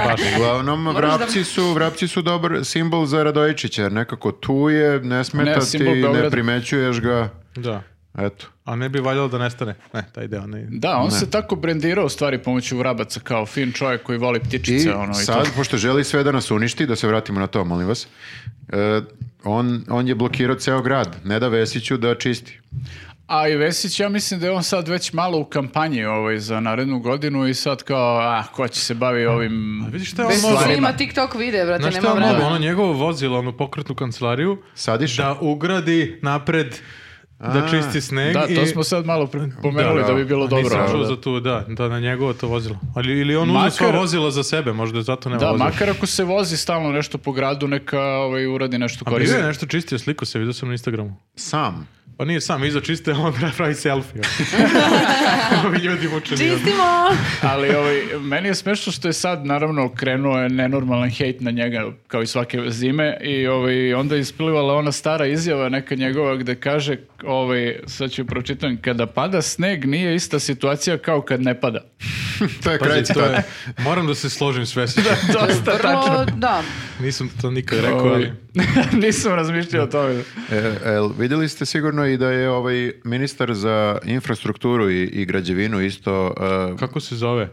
S4: baš.
S1: Uglavnom,
S3: da-
S1: vrapci su, vrapci su dobar simbol za Radojičića, jer nekako tu je, ne smeta
S2: Ne,
S1: ti,
S2: simbol Beograda.
S1: ne primećuješ ga,
S4: Da.
S1: eto.
S4: A ne bi valjalo da nestane. Ne, taj deo ne.
S3: Znači,
S2: Da, on se tako brendirao u stvari pomoću vrabaca kao fin čovjek koji voli
S1: I
S2: ptičice. ono, i
S1: sad,
S2: to.
S1: pošto želi sve da nas uništi, da se vratimo na to, molim vas, e, on, on je blokirao ceo grad, ne da Vesiću da čisti.
S2: A i Vesić, ja mislim da je on sad već malo u kampanji ovaj, za narednu godinu i sad kao, a, ko će se bavi ovim...
S4: Vidiš šta je on
S3: Vesić
S2: Stvarno.
S4: mogao?
S3: snima TikTok videe, brate,
S4: Znaš šta
S3: nema
S4: je on mogao?
S3: vremena.
S4: Ono njegovo vozilo, onu pokretnu kancelariju,
S1: Sadiša?
S4: da ugradi napred da
S1: A,
S4: čisti sneg
S2: Da,
S4: i...
S2: to smo sad malo pre- pomenuli da,
S1: Da, da.
S2: bi bilo dobro.
S4: Nisam
S2: ali
S4: čuo
S2: da.
S4: za tu, da, da na njegovo to vozilo. Ali, ili on uzeo
S2: Makar-
S4: svoje vozilo za sebe, možda je zato nema
S2: Da,
S4: vozilo.
S2: makar ako se vozi stalno nešto po gradu, neka ovaj, uradi nešto
S4: A bio je
S2: korisno.
S4: nešto čistio, sliku se, vidio sam na Instagramu.
S1: Sam.
S4: Pa nije sam, iza čiste, a onda pravi selfie. Ovi ljudi ono. mučeni.
S3: Čistimo!
S2: Ali ovaj, meni je smešno što je sad naravno krenuo je nenormalan hejt na njega kao i svake zime i ovaj, onda je isplivala ona stara izjava neka njegova gde kaže ovaj, sad ću pročitam kada pada sneg nije ista situacija kao kad ne pada.
S1: to je kraj
S4: Pazi, to
S1: citata.
S4: je, moram da se složim s Vesićem.
S2: Dosta tačno.
S3: Vrlo, da.
S4: Nisam to nikad rekao,
S2: Ovaj,
S4: ali...
S2: nisam razmišljao o tome.
S1: E, el, vidjeli ste sigurno i da je ovaj ministar za infrastrukturu i, i građevinu isto e,
S4: Kako se zove?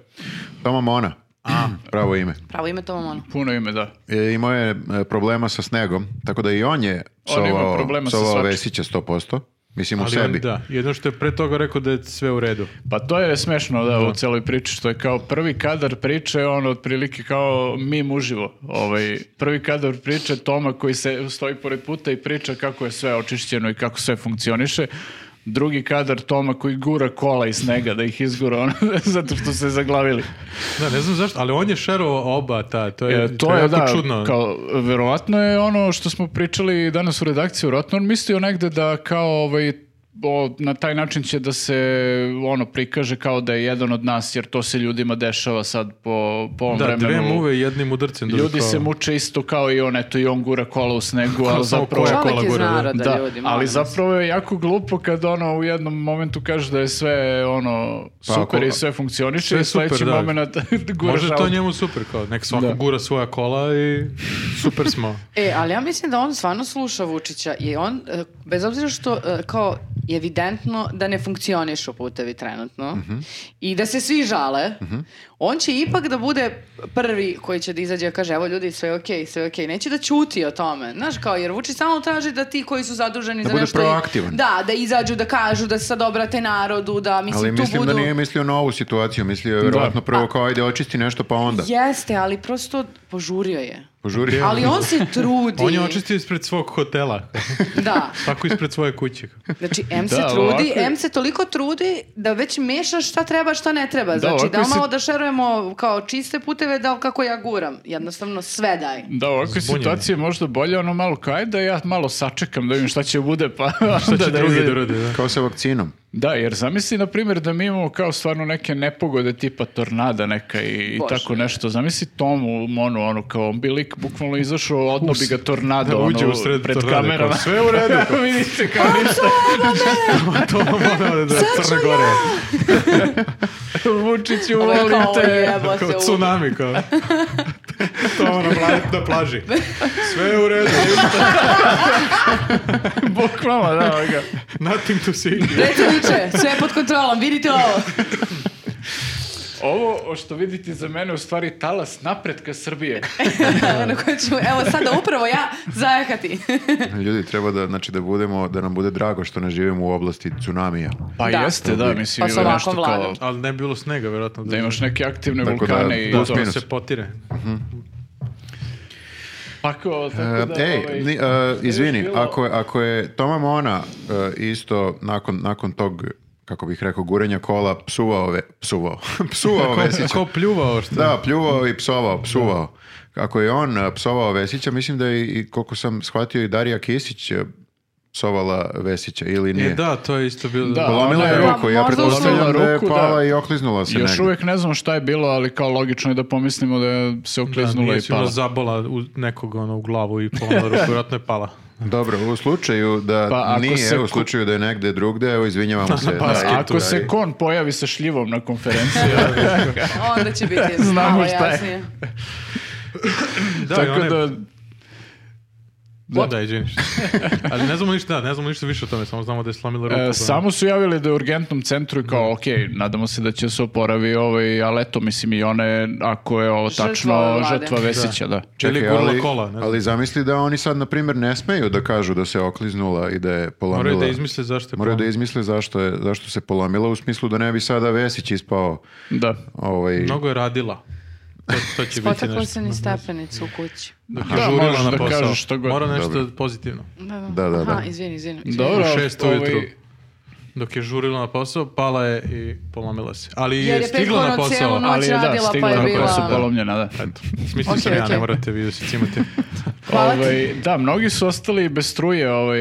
S1: Toma Mona. Pravo ime.
S3: Pravo ime to ono.
S2: Puno ime, da.
S1: E, imao je e, problema sa snegom, tako da i on je
S2: On ima
S1: psovao,
S2: problema sa
S1: psovao
S2: svačim.
S1: Vesića 100%. Mislim u
S4: Ali
S1: sebi.
S4: on, da, jedno što je pre toga rekao da je sve u redu.
S2: Pa to je smešno da, u celoj priči što je kao prvi kadar priče on otprilike kao mim uživo. Ovaj prvi kadar priče Toma koji se stoji pored puta i priča kako je sve očišćeno i kako sve funkcioniše. Drugi kadar Toma koji gura kola iz snega da ih izgura ono, zato što se zaglavili.
S4: Da, ne znam zašto, ali on je šerovao oba ta, to je,
S2: E, to je
S4: jako
S2: da,
S4: čudno.
S2: kao, verovatno je ono što smo pričali danas u redakciji, verovatno on mislio negde da kao ovaj, o, na taj način će da se ono prikaže kao da je jedan od nas, jer to se ljudima dešava sad po, po ovom
S4: Da,
S2: vremenu.
S4: dve muve i jednim udarcem.
S2: Ljudi
S4: dođu kao-
S2: se muče isto kao i on, eto i on gura kola u snegu, ali
S4: samo
S2: zapravo...
S4: koja kola
S3: Čovjek iz
S4: gura, da.
S3: naroda,
S2: Da,
S3: ljudi. molim
S2: ali
S3: vas.
S2: zapravo je jako glupo kad ono u jednom momentu kaže da je sve ono
S1: Pa
S2: super
S1: ako-
S2: i sve funkcioniše
S4: Sve
S2: i sledeći
S4: super, da.
S2: moment gura
S4: Možda je to
S2: šalu.
S4: njemu super, kao nek svako
S2: Da.
S4: gura svoja kola i super smo.
S3: E, ali ja mislim da on stvarno sluša Vučića i on, e, bez obzira što e, kao je evidentno da ne funkcionišu putevi trenutno
S1: Mhm.
S3: i da se svi žale, on će ipak da bude prvi koji će da izađe i kaže evo ljudi sve je okej, sve je okej. Neće da ćuti o tome. Znaš kao, jer Vučić samo traži da ti koji su zaduženi
S1: Da
S3: za
S1: bude
S3: nešto... i-
S1: proaktivan.
S3: Da, da izađu, da kažu, da se sad obrate narodu, da mislim
S1: Ali
S3: tu
S1: mislim
S3: budu...
S1: da nije mislio na ovu situaciju, mislio je verovatno prvo kao ajde očisti nešto pa onda.
S3: Jeste, ali prosto požurio je.
S1: Požuri.
S3: Ali on se trudi.
S4: On je očistio ispred svog hotela,
S3: Da.
S4: tako ispred svoje kuće.
S3: Znači, M se
S2: Da,
S3: trudi,
S2: ovako je.
S3: M se toliko trudi da već meša šta treba, šta ne treba. znači,
S2: ovako
S3: da
S2: se-
S3: malo da šerujemo kao čiste puteve, da kako ja guram. Jednostavno, sve daj.
S2: Da, u ovakvoj
S4: Zbunjeni.
S2: situaciji je možda bolje ono malo kaj da ja malo sačekam da vidim šta će bude, pa
S4: Šta
S2: onda
S4: će
S2: da
S4: drugi
S2: izađem.
S4: da rade, da?
S1: Kao sa vakcinom.
S2: Da, jer zamisli, na primjer, da mi imamo kao stvarno neke nepogode tipa tornada neka i, i
S3: Bože.
S2: tako nešto. Zamisli tomu, onu, ono, kao on bi lik bukvalno izašao, odno bi ga tornado,
S4: Da uđe
S2: ono,
S4: u sred
S2: pred
S4: tornade, kao,
S2: kamerama.
S4: sve u redu,
S2: Vidite kao ništa.
S4: to mora da Crne Gore.
S2: Vučiću,
S3: Ovo je kao,
S2: volite.
S3: jebo se,
S4: Kao
S3: u-
S4: tsunami, kao. to na, pla- na plaži. Sve je u redu,
S2: Bukvalno, da, ovo ga.
S4: nothing to see.
S3: Predsedniče, sve je pod kontrolom, vidite ovo.
S2: Ovo što vidite za mene je u stvari talas napretka Srbije.
S3: Na kojem ću, evo sada upravo ja zajahati.
S1: Ljudi, treba da, znači, da, budemo, da nam bude drago što ne živimo u oblasti tsunamija.
S2: Pa
S3: Da.
S2: jeste, da, mislim,
S3: Pa sa
S2: ima nešto
S3: ovakvom
S2: kao...
S3: vladom.
S4: Ali ne bi bilo snega, vjerojatno.
S2: Da imaš neke aktivne
S1: Tako da,
S2: vulkane i
S1: plus
S2: to.
S4: da
S1: minus.
S4: se potire.
S2: Pa kao, tako da...
S1: E, ej,
S2: ovaj,
S1: ni- e, izvini,
S2: bilo-
S1: ako, je- ako je Toma Mona e, isto nakon, nakon tog, kako bih rekao, gurenja kola, psuvao, ve, psuvao, psuvao
S4: Kao,
S1: Vesića.
S4: kao pljuvao što
S1: Da, pljuvao i psovao, psuvao. Ako je on e, psovao Vesića, mislim da je, i, koliko sam shvatio, i Darija Kisić e, psovala Vesića, ili
S4: E,
S1: nije?
S4: da, to je isto bilo.
S2: Da.
S1: Polomila je
S2: ona je-
S1: ruku, ja
S3: Pa, možda
S1: pretpostavljam da
S2: uslovila
S1: je
S2: ruku, da.
S1: pala i okliznula se
S2: Još
S1: negde.
S2: uvijek ne znamo šta je bilo, ali kao logično je da pomislimo da je se
S4: Da,
S2: okliznula
S4: nije
S2: i
S4: sigurno
S2: pala.
S4: ono, zabola u nekog ono, u glavu i polomila ruku, vjerojatno je pala.
S1: Dobro, u slučaju da
S2: Pa, ako
S1: nije,
S2: se
S1: u
S2: ku-
S1: slučaju da je negde drugde, evo izvinjavamo se.
S2: Pa,
S1: Da, i
S2: ako
S1: tu,
S2: se
S1: ali-
S2: kon pojavi sa šljivom na konferenciji,
S3: Onda će biti
S2: Znamo
S3: malo
S2: šta je.
S3: jasnije.
S4: Da, i
S2: tako
S4: ona je-
S2: da... e,
S4: Da, da, izvini. Ali ne znamo ništa, da, ne znamo ništa više o tome, samo znamo da je slomila ruku.
S2: e,
S4: pa-
S2: samo su javili da je u urgentnom centru i kao, ok, nadamo se da će se oporavi ovaj, ali eto, mislim i one, ako je ovo
S3: Žrtva
S2: tačno,
S3: ove vlade.
S2: žrtva Vesića, da.
S1: Čekaj,
S4: Ili gurla
S1: ali,
S4: kola, ne znam.
S1: ali zamisli da oni sad, na primjer, ne smeju da kažu da se okliznula i da je polomila.
S4: Moraju da izmisle zašto je
S1: Moraju da
S4: polomila.
S1: izmisle zašto, je, zašto se polomila, u smislu da ne bi sada Vesić ispao
S2: Da.
S1: ovaj,
S4: Mnogo je radila. To, to će biti
S3: Potakla
S4: nešto.
S3: se ni stepenicu u kući.
S4: Dok je
S2: Da,
S4: žurila
S2: možeš
S4: na
S2: da
S4: posao.
S2: kažeš što god.
S4: Mora nešto
S1: Dobro.
S4: pozitivno.
S3: Da,
S1: Da, da,
S3: Aha,
S1: da.
S3: izvini, izvini. izvini.
S2: Dobro,
S4: U šest ujutru.
S2: ovaj,
S4: Dok je žurila na posao, pala je i polomila se. Ali
S3: Jer
S4: je
S3: je
S4: stigla na
S3: prethodno
S4: posao.
S3: cijelu noć-
S2: ali je, da,
S3: radila, pa
S2: stigla
S3: je
S2: na
S4: bila-
S2: posao polomljena, da.
S4: Eto, smislio sam
S3: Okej,
S4: ja, ne
S3: okej.
S4: morate vi da se cimate.
S3: Hvala ti.
S2: Ovaj, da, mnogi su ostali bez struje ovaj,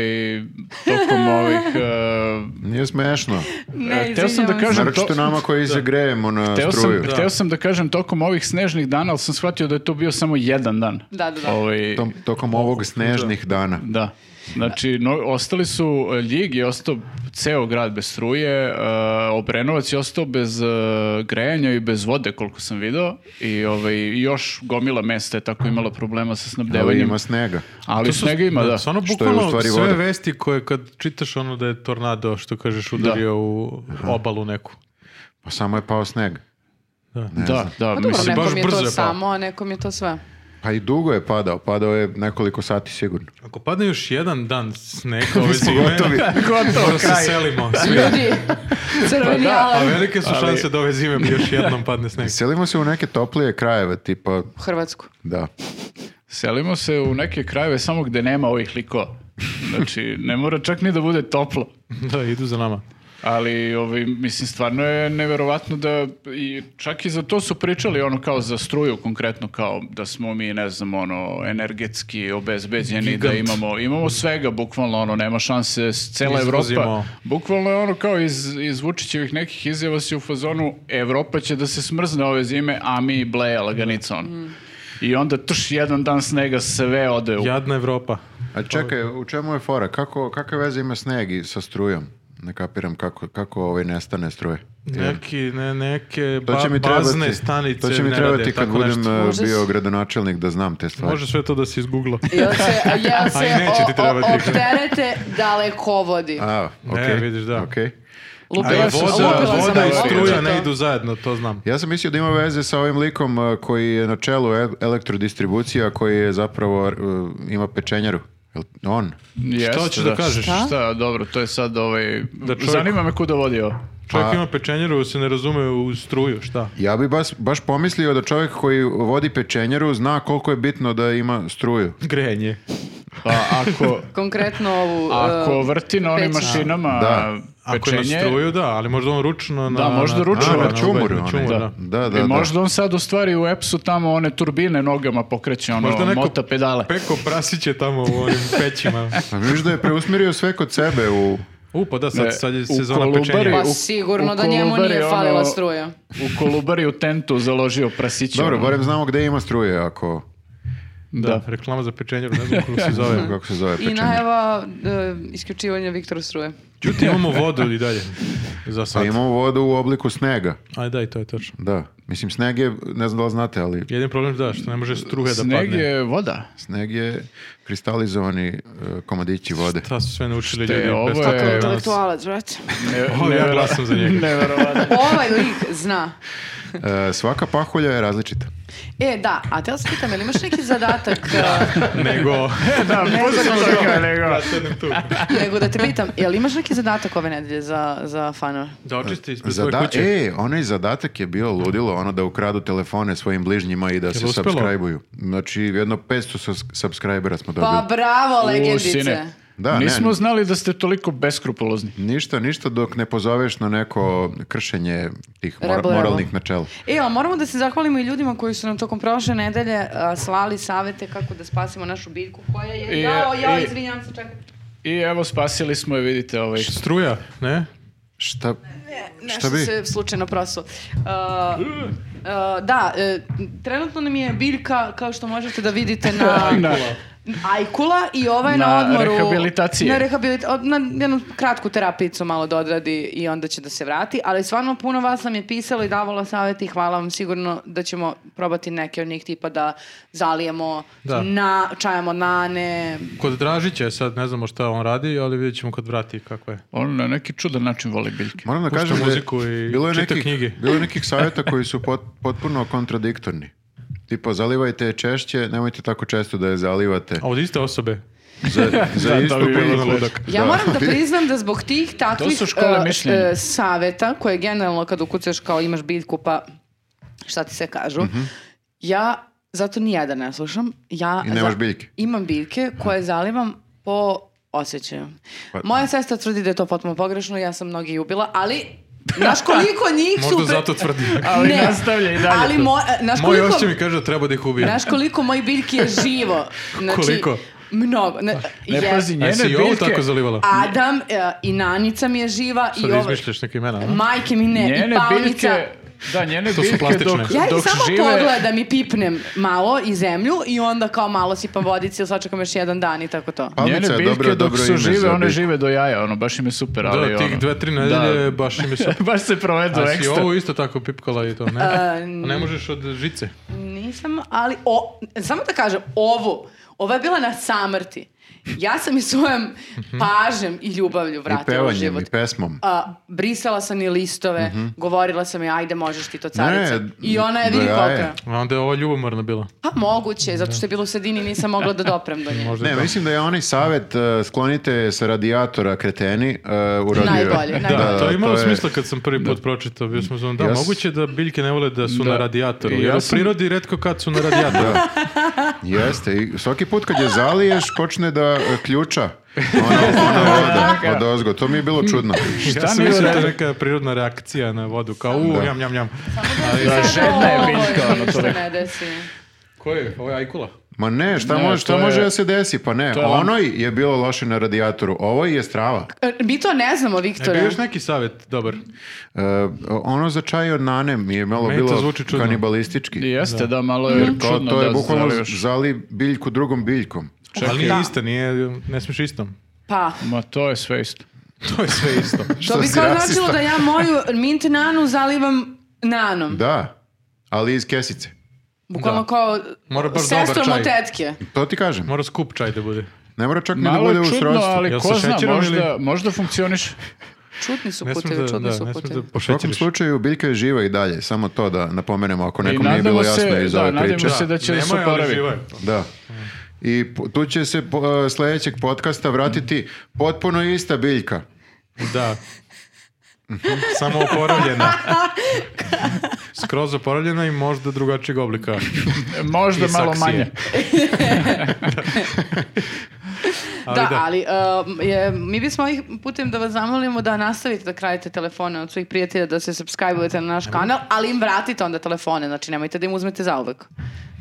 S2: tokom ovih... e,
S1: Nije smešno.
S3: Ne,
S2: Hteo sam da
S3: izvinjavam se.
S2: kažem-
S1: Naročito
S2: to-
S1: nama koji se grejemo na
S2: Hteo sam,
S1: struju.
S2: hteo sam da kažem tokom ovih snežnih dana, ali sam shvatio da je to bio samo jedan dan.
S3: Da, da, da.
S2: Ovaj,
S1: Tom- tokom ovog snežnih dana.
S2: da. Znači, no, ostali su, e, Ljig je ostao ceo grad bez struje, e, Obrenovac je ostao bez e, grejanja i bez vode, koliko sam video, i ovaj, i još gomila mesta je tako imala problema sa
S1: Ali
S2: snabdevanjem.
S1: ima snega.
S2: Ali snega ima, da.
S4: Stvarno,
S1: Što je u
S4: bukvalno
S1: stvari
S4: sve
S1: voda.
S4: vesti koje kad čitaš ono da je tornado, što kažeš, udario u obalu neku.
S1: Pa samo je pao sneg.
S2: Da, da,
S3: Pa dobro,
S2: mislim,
S4: baš
S3: nekom je
S4: brzo je
S3: to
S4: pao.
S3: samo, a nekom je to sve.
S1: Pa i dugo je padao. Padao je nekoliko sati sigurno.
S4: Ako padne još jedan dan sneg ove zime,
S1: Gotovi.
S4: možda se selimo. svi.
S3: Ljudi, crveni
S2: Pa da,
S4: A
S3: alarm.
S4: velike su šanse da ove zime još jednom padne sneg.
S1: Selimo se u neke toplije krajeve, tipa,
S3: U Hrvatsku.
S1: da.
S2: selimo se u neke krajeve samo gde nema ovih likova. Znači, ne mora čak ni da bude toplo.
S4: Da, idu za nama.
S2: Ali, ovaj, mislim, stvarno je neverovatno da, i čak i za to su pričali, ono, kao za struju konkretno, kao da smo mi, ne znam, ono, energetski obezbeđeni, da
S4: Gigant.
S2: imamo, imamo svega, bukvalno, ono, nema šanse, s- cela
S4: Izvozimo.
S2: Evropa, bukvalno je ono, kao iz, iz Vučićevih nekih izjava si u fazonu, Evropa će da se smrzne ove zime, a mi bleja laganica, ono. I onda trš jedan dan snega, sve ode u...
S4: Jadna Evropa.
S1: A čekaj, u čemu je fora? Kako, kakve veze ima sneg i sa strujom? Ne kapiram kako, kako ovaj nestane struje.
S4: Neki, ne, neke
S1: To će
S4: ba-
S1: mi
S4: bazne
S1: trebati,
S4: stanice
S1: to će mi
S4: ne
S1: trebati
S4: rade
S1: kad
S4: tako
S1: budem pa-
S4: nešto.
S1: eh,
S3: Može
S1: bio
S3: se-
S1: gradonačelnik da znam te stvari.
S4: Može sve to da se izgoogla.
S3: Jel se, jel
S4: A i
S3: se
S4: neće ti
S3: o, o,
S4: trebati.
S3: opterete dalekovodi?
S1: A,
S4: Ne,
S1: okej.
S4: vidiš, da.
S1: okej.
S4: Ali
S3: Lupila sam,
S4: voda,
S3: lupila sam,
S4: voda i
S3: lupila sam
S4: struja
S3: to.
S4: ne idu zajedno, to znam.
S1: Ja sam mislio da ima veze sa ovim likom eh, koji je na čelu e- elektrodistribucija, koji je zapravo eh, ima pečenjaru. Jel On.
S2: Jeste,
S4: hoćeš da kažeš?
S2: Šta?
S4: Šta?
S2: dobro, to je sad, ovaj...
S4: čovjek-
S2: Zanima me kuda vodi ovo.
S4: Čovjek
S1: A-
S4: ima pečenjeru, se ne razume u struju, šta?
S1: Ja bi baš, baš pomislio da čovjek koji vodi pečenjaru zna koliko je bitno da ima struju.
S4: Grejanje.
S2: Pa ako,
S3: Konkretno ovu...
S2: ako
S3: e,
S2: vrti na onim
S3: peć.
S2: mašinama
S1: Da.
S4: Ako je na
S2: pečenje,
S4: struju, da, ali možda on ručno na...
S2: Da, možda
S4: na-
S2: ručno,
S4: A,
S1: na
S4: na
S1: čumoru
S4: na
S1: onaj,
S4: čumoru,
S1: da.
S4: da.
S1: Da, da,
S2: i
S1: da.
S2: možda on sad u stvari u EPS-u tamo one turbine nogama pokreće, ono,
S4: Možda neko
S2: mota pedale.
S4: peko prasiće tamo u onim pećima.
S1: A vidiš da je preusmjerio sve kod sebe u
S4: U, pa da, sad,
S2: Ne,
S4: sad je
S2: u
S4: sezona
S2: Kolubari-
S4: pečenja.
S3: Pa
S2: u-
S3: sigurno
S2: u
S3: da njemu
S2: Kolubari
S3: nije
S2: ono-
S3: falila struja.
S2: U Kolubari u tentu založio prasiće.
S1: Dobro,
S2: ono.
S1: barem znamo gde ima struje, ako...
S4: Da,
S2: Da.
S4: reklama za pečenje, ne znam kako se zove.
S1: Kako se zove
S3: I
S1: pečenje.
S3: najava e, isključivanja Viktora Struje.
S4: Ćuti, imamo vodu i dalje. Za
S1: Pa
S4: sad.
S1: imamo vodu u obliku snega.
S4: Aj da, i to je točno.
S1: Da. Mislim, sneg je, ne znam da li znate, ali
S4: Jedin problem je da, što ne može struga da padne.
S2: Sneg je voda.
S1: sneg je kristalizovani e, komadići vode.
S4: Ta su sve naučili
S2: Šta je,
S4: ljudi.
S2: ovo
S4: bez
S2: je-
S4: toga danas.
S3: Intelektualac, brate.
S2: Ne,
S4: Ovo ja glasam za njega.
S2: Neverovatno.
S3: Ovaj lik zna.
S1: E, svaka pahulja je različita.
S3: E, da, a te vas pitam, jel imaš neki zadatak,
S4: Nego,
S2: da, pustimo toga, nego.
S4: ja sedem tu.
S3: e, nego da te pitam, jel imaš neki zadatak ove nedelje za, za fanove?
S4: Da očisti ispred svoje
S1: Zada
S4: kuće.
S1: e, onaj zadatak je bio ludilo, ono da ukradu telefone svojim bližnjima i da se
S4: uspelo?
S1: subscribe-uju. Znači, jedno 500 sus- subscribera smo dobili.
S3: Pa bravo,
S2: U,
S3: legendice.
S2: sine.
S1: Da, ne.
S2: Nismo znali da ste toliko beskrupulozni.
S1: Ništa, ništa dok ne pozoveš na neko kršenje tih mora-
S3: Rebel, rebel.
S1: moralnih načela.
S3: E, a moramo da se zahvalimo i ljudima koji su nam tokom prošle nedelje a, slali savete kako da spasimo našu biljku koja je...
S2: I-
S3: Jao, jao,
S2: i-
S3: izvinjam se, čekaj.
S2: I evo, spasili smo je, vidite, ovaj.
S4: Struja, ne?
S1: Šta?
S3: Nešto
S1: bi?
S3: se slučajno prosuo. Uh, uh, da, e, trenutno nam je biljka, kao što možete da vidite na...
S2: Na-
S3: Ajkula i ova je na,
S2: Na
S3: odmoru.
S2: rehabilitaciji.
S3: Na rehabilita- od- na jednu kratku terapijicu malo da odradi i onda će da se vrati. Ali stvarno puno vas nam je pisalo i davalo savjeti. Hvala vam sigurno da ćemo probati neke od njih tipa da zalijemo,
S4: Da.
S3: na, čajamo nane.
S4: Kod Dražića je sad, ne znamo šta on radi, ali vidjet ćemo kad vrati kako je.
S2: On na neki čudan način voli biljke.
S1: Moram da
S4: Pušta
S1: kažem da je-
S4: muziku i
S1: bilo je
S4: čita
S1: nekih,
S4: knjige.
S1: bilo je nekih savjeta koji su pot- potpuno kontradiktorni. Tipo, zalivajte je češće, nemojte tako često da je zalivate.
S4: A od iste osobe.
S1: Za, za
S2: Da,
S1: istu
S2: to bi bilo
S1: biljku.
S4: ludak.
S3: Ja
S1: Da.
S3: moram da priznam da zbog tih takvih
S2: To su škole
S3: e,
S2: mišljenja.
S3: e, saveta, koje generalno kad ukucaš kao imaš biljku pa šta ti se kažu, ja zato nijedan ne slušam. Ja
S1: I nemaš
S3: za-
S1: biljke.
S3: Imam biljke koje zalivam po osjećaju.
S1: Pa-
S3: Moja sestra tvrdi da je to potpuno pogrešno, ja sam mnogi i ubila, ali znaš koliko njih su...
S4: Možda
S3: pre-
S4: zato tvrdi.
S2: Ali
S3: Ne,
S2: nastavlja i dalje.
S3: Ali mo, e, znaš
S4: Moj
S3: koliko-
S4: ošće mi kaže da treba da ih ubijem.
S3: Znaš koliko moji biljki je živo. Znači,
S4: Koliko?
S3: Mnogo. Ne,
S2: Ne
S3: je-
S2: pazi,
S4: A
S2: njene
S4: si i ovo
S2: biljke...
S4: tako zalivala?
S3: Adam e, i Nanica mi je živa i
S4: Sad
S3: ovo.
S4: izmišljaš neke imena, a?
S3: Majke mi ne,
S2: Njene
S3: i palmica.
S2: biljke... Da, njene
S4: To su
S2: biljke
S4: plastične.
S2: dok,
S3: Ja ih
S2: dok
S3: samo
S2: žive...
S3: pogledam i pipnem malo i zemlju i onda kao malo sipam vodice ili sačekam još jedan dan i tako to.
S1: Palmica
S2: Njene
S1: je
S2: biljke
S1: dobro,
S2: dok
S1: dobro
S2: su
S1: ime
S2: žive,
S1: za
S2: one
S1: biljku.
S2: žive do jaja, ono, baš im je super, ali
S4: Da,
S2: ono...
S4: tih dve, tri nedelje baš im je super.
S2: Baš se provedu
S4: A si
S2: ekstra.
S4: ovo isto tako pipkala i to, ne? A
S3: E, n-
S4: ne možeš od žice.
S3: Nisam, ali o, samo da kažem, ovu, ova je bila na samrti. Ja sam i svojom pažnjem i ljubavlju
S1: I
S3: vratila u
S1: pevanjem, i
S3: život.
S1: pesmom.
S3: A, brisala sam i listove, govorila sam i ajde možeš ti to carice.
S1: Ne,
S3: I ona je vidi
S1: do jaja.
S3: koliko.
S4: A onda je ova ljubomorna bila.
S3: Pa moguće, zato što je bilo u sredini i nisam mogla da doprem do nje.
S4: Možda je
S1: Ne,
S4: to.
S1: mislim da je onaj savjet uh, sklonite sa radijatora kreteni uh, uradio. je.
S3: Najbolje,
S1: Da,
S4: Da,
S3: najbolje.
S1: da,
S4: to je imalo
S1: je-
S4: smisla kad sam prvi put pročitao, bio sam zvon, da,
S1: Ja s-
S4: moguće da biljke ne vole da su
S2: Da.
S4: na radijatoru,
S2: I
S4: jer
S2: ja
S4: u
S2: sam-
S4: prirodi redko kad su na radijatoru.
S1: Jeste, i svaki put kad je zaliješ, počne da e, ključa. Ona, ona voda od ozgo. To mi je bilo čudno.
S4: ja sam
S2: nije u
S4: mislio da je
S2: redu?
S4: neka prirodna reakcija na vodu, kao u,
S1: Da.
S4: njam, njam, njam.
S2: Da, žedna je
S3: Ovoj,
S2: biljka, ono,
S3: ništa
S2: to je.
S3: ne desi.
S4: Ko je? Ovo je ajkula?
S1: Ma ne, šta,
S2: Ne,
S1: može, šta
S2: to je-
S1: može da se desi? Pa ne,
S2: to je
S4: ono-
S2: vam-
S1: onoj je bilo loše na radijatoru, ovoj je strava.
S3: E, Mi to ne znamo,
S4: E, bio
S3: Viktore.
S4: još neki savjet, dobar.
S1: E, ono za čaj od nane mi je malo
S4: Meni to
S1: bilo
S4: zvuči čudno.
S1: kanibalistički.
S2: Jeste, da, malo je
S1: Kao
S2: čudno
S1: to je
S2: da
S1: bukvalno
S2: zalivaš.
S1: zali biljku drugom biljkom.
S4: Ali nije ista, nije, ne smiješ istom.
S3: Pa,
S2: Ma to je sve isto.
S4: To je sve isto.
S3: to bi
S1: si
S3: kao
S1: rasista?
S3: značilo da ja moju mint nanu zalivam nanom.
S1: Da, ali iz kesice.
S3: Bukvalno
S4: Da.
S3: kao
S4: Mora baš dobar
S3: sestrom
S4: čaj.
S3: od tetke.
S1: To ti kažem.
S4: Mora skup čaj da bude.
S1: Ne mora čak ni da
S2: Malo
S1: bude
S2: je
S1: u
S2: čudno,
S1: srodstvu.
S2: ali
S4: Jel
S2: ko
S4: sa
S2: zna,
S4: šećerom ili-
S2: možda, možda funkcioniš.
S3: Čudni su
S4: Ne smiješ
S3: putevi,
S4: da,
S3: čudni
S4: da,
S3: su
S4: ne smiješ da
S3: putevi.
S1: U svakom
S4: pošećeriš.
S1: slučaju, biljka je živa i dalje. Samo to da napomenemo ako
S2: I
S1: nekom nije bilo
S2: nadamo
S1: jasno
S2: se,
S1: iz
S2: da,
S1: ove priče.
S2: nadamo se da će da se
S4: Nema je, ali
S2: oporavi.
S4: živa je.
S1: Da. I po- tu će se po, e, sledećeg podcasta vratiti potpuno ista biljka.
S4: Da. Samo oporavljena. Skroz oporavljena i možda drugačijeg oblika.
S2: Možda
S4: I
S2: malo
S4: saksije.
S2: manje.
S4: Ali
S3: da,
S4: da.
S3: ali um, je, mi bismo ovih putem da vas zamolimo da nastavite da kradete telefone od svojih prijatelja, da se subscribe-ujete na naš kanal, ali im vratite onda telefone, znači nemojte da im uzmete zauvek.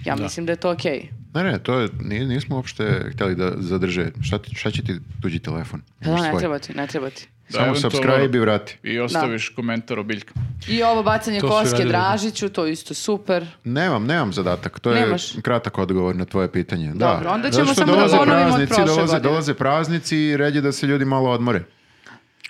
S3: Ja mislim da je to okej.
S1: Ne, ne, to je, ni- nismo uopšte htjeli da zadrže. Šta, ti- šta će ti tuđi telefon?
S3: Pa da,
S1: Imaš
S3: ne
S1: svoj.
S3: treba ti, ne treba ti.
S1: Samo subscribe i vrati.
S2: I ostaviš komentar o biljkama.
S3: I ovo bacanje
S4: To su
S3: koske
S4: radili.
S3: Dražiću, to je isto super.
S1: Nemam, nemam zadatak. To je
S3: Nemaš?
S1: kratak odgovor na tvoje pitanje. Da.
S3: Dobro, onda ćemo
S1: Zato što
S3: samo da
S1: dolaze
S3: ponovimo od
S1: praznici,
S3: prošle
S1: dolaze,
S3: godine.
S1: dolaze praznici i red je da se ljudi malo odmore.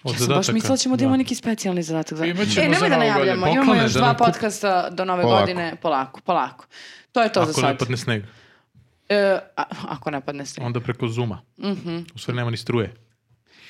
S4: Od
S3: ja sam baš
S4: zadataka.
S3: mislila da ćemo da imamo neki specijalni zadatak. Za... E,
S2: Imat ćemo za
S3: nemoj da
S2: Novu
S3: najavljamo,
S4: godinu.
S3: imamo
S4: Poklone
S3: još
S4: za
S3: dva
S4: neku-
S3: podcasta do nove
S1: Polako.
S3: godine. Polako, polako. To je to za
S4: Ako
S3: sad.
S4: ne padne sneg,
S3: E, a- ako ne padne sneg.
S4: onda preko Zuma. U stvari nema ni struje.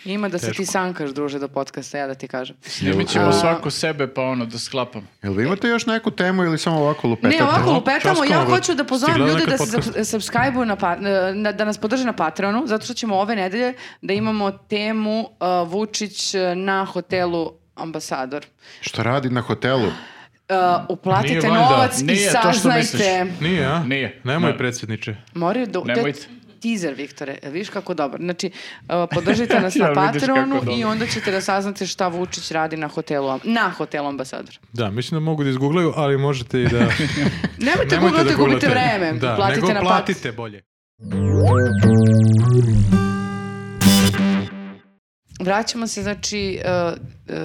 S3: Ima da se ti
S4: Teško. Pa
S3: sankaš, druže, do podcasta, ja da ti kažem.
S2: Snimit ćemo
S3: A-
S2: svako sebe pa ono da sklapam.
S1: Jel vi imate još neku temu ili samo ovako lupetate?
S3: Ne, ovako
S4: no,
S3: lupetamo, ja
S4: časkamo, bre.
S3: hoću da pozovem
S4: Stigla je
S3: ljude da
S4: nekad
S3: se sub- subscribe-uju na, pa- na- da nas podrže na Patreonu, zato što ćemo ove nedelje da imamo temu uh, Vučić uh, na hotelu ambasador.
S1: Što radi na hotelu?
S3: Uh, uplatite
S4: Nije valjda.
S3: novac i
S2: Nije to što
S3: saznajte.
S2: misliš.
S4: Nije, a?
S2: Nije.
S4: Nemoj,
S2: Ne.
S4: predsjedniče.
S3: Moraju da... to je
S2: Nemojte.
S3: Teaser, Viktore, E, viš kako dobar. Znači, uh, podržite nas
S2: Ja,
S3: na
S2: vidiš kako
S3: Patreonu
S2: dobro.
S3: i onda ćete da saznate šta Vučić radi na hotelu, am- na hotelu ambasador.
S4: Da, mislim da mogu da izgooglaju, ali možete i da...
S3: Nemojte,
S4: Nemojte
S3: googlate,
S4: da
S3: gubite
S4: googlate.
S3: vreme.
S4: Da,
S3: platite
S4: nego
S3: na Pat-
S4: platite bolje.
S3: Vraćamo se, znači, uh, uh,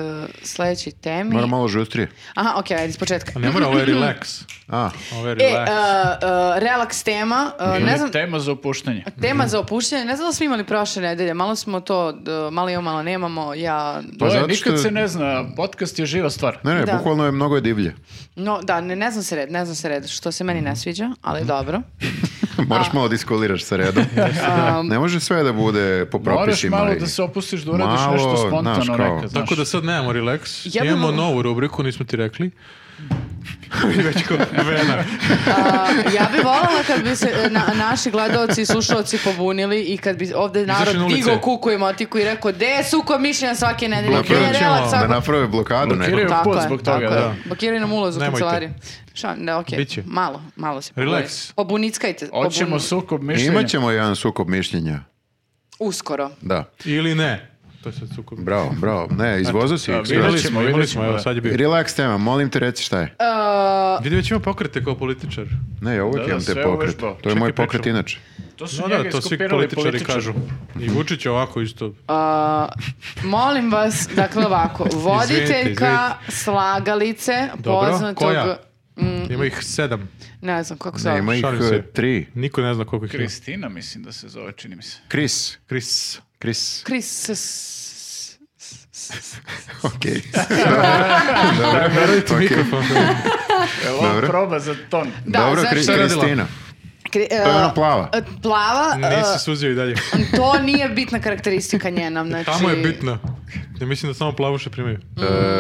S3: sledećoj temi.
S1: Moram malo žustrije.
S3: Aha, okej, ajde, iz početka.
S4: A ne mora, ovo je relax.
S1: A,
S4: Ovo je
S3: E,
S4: relax.
S3: uh, uh, relaks tema, uh, ne znam,
S2: Tema za opuštanje.
S3: tema za opuštanje, ne znam da smo imali prošle nedelje, malo smo to, d- malo imamo, malo nemamo, ja...
S1: Pa
S2: To je,
S1: zato
S2: nikad
S1: što-
S2: se ne zna, podcast je živa stvar.
S1: ne, ne,
S3: Da.
S1: bukvalno je mnogo je divlje.
S3: No, da, ne, ne znam se red, ne znam se red, što se meni ne sviđa,
S4: Mhm.
S3: ali dobro.
S1: Moraš malo da iskoliraš sa redom.
S3: Um,
S1: ne može sve da bude po
S2: Moraš
S1: propisima.
S2: malo
S1: i-
S2: da se opustiš da uradiš
S1: Malo,
S2: nešto
S1: znaš,
S2: spontano
S1: kao-
S2: nekad, znaš.
S4: Tako da sad nemamo relax.
S3: Ja bi
S4: Imamo
S3: mogla-
S4: novu rubriku, nismo ti rekli. I Već kao vena.
S3: a, ja bi voljela kad bi se e, na- naši gledalci i slušalci pobunili i kad bi ovde narod
S4: Izašli na ulice.
S3: digao kuku i motiku i rekao, de je suko mišljenja svake nedelje, gde
S1: Napravit
S3: je
S4: ćemo-
S3: relaks
S1: Da
S3: svakog
S1: naprave blokadu neku.
S2: Blokiraju.
S3: Tako
S2: put
S3: je,
S2: zbog
S3: tako
S2: toga,
S3: je.
S4: da.
S3: Blokiraju nam ulaz u
S4: Nemojte.
S3: kancelariju. Šta, ne, okej.
S4: Biće.
S3: Malo, malo se
S4: Relax.
S3: pobunite. Pobunickajte.
S2: Hoćemo
S3: pobun-
S2: sukob mišljenja.
S1: Imaćemo jedan sukob mišljenja.
S3: Uskoro.
S1: Da.
S4: Ili ne. To je sad sukob.
S1: Bravo, bravo. Ne, izvozo si.
S2: Da,
S1: ekstra.
S2: vidjet
S4: Imali
S2: ćemo,
S4: smo, imali
S2: vidjet
S4: smo,
S2: ćemo,
S4: evo
S2: da.
S4: sad je bio.
S1: Relax tema, molim te reci šta je.
S3: Uh,
S4: Vidim već ima pokrete kao političar.
S1: Ne, ja uvijek
S2: da,
S1: imam te
S2: sve
S1: pokret.
S2: uvežbao.
S1: To je moj
S4: Čekaj,
S1: pokret
S4: pričamo.
S1: inače.
S2: To su
S4: No
S2: njega
S4: da, to svi
S2: iskopirali
S4: političari
S2: političari.
S4: kažu. I Vučić je ovako isto.
S3: uh, molim vas, dakle ovako, voditeljka
S4: Izvinite, izvinite.
S3: slagalice
S4: Dobro,
S3: poznatog...
S4: koja? Ima ih sedam.
S3: Ne znam kako se
S1: Ne,
S3: zove.
S1: ima ih
S4: Šalim se.
S1: eh, tri.
S4: Niko ne zna koliko ih ima.
S2: Kristina mislim da se zove, čini mi se.
S1: Kris.
S4: Kris.
S1: Kris.
S3: Chris... s- s- s- s-
S1: Ok.
S4: Verujte mikrofon.
S2: Evo, ovo
S1: Dobro.
S2: proba za ton.
S3: Da,
S1: Dobro,
S3: znači-
S1: Kri-
S3: Šta je
S4: radila?
S1: Kristina.
S3: Kri-
S1: To je
S3: uh,
S1: ona plava.
S3: uh, Plava,
S4: Nisi suzio i dalje.
S1: Znači-
S3: uh, to nije bitna karakteristika njena. Znači...
S4: Tamo je bitna. Ja mislim da samo plavuše primaju.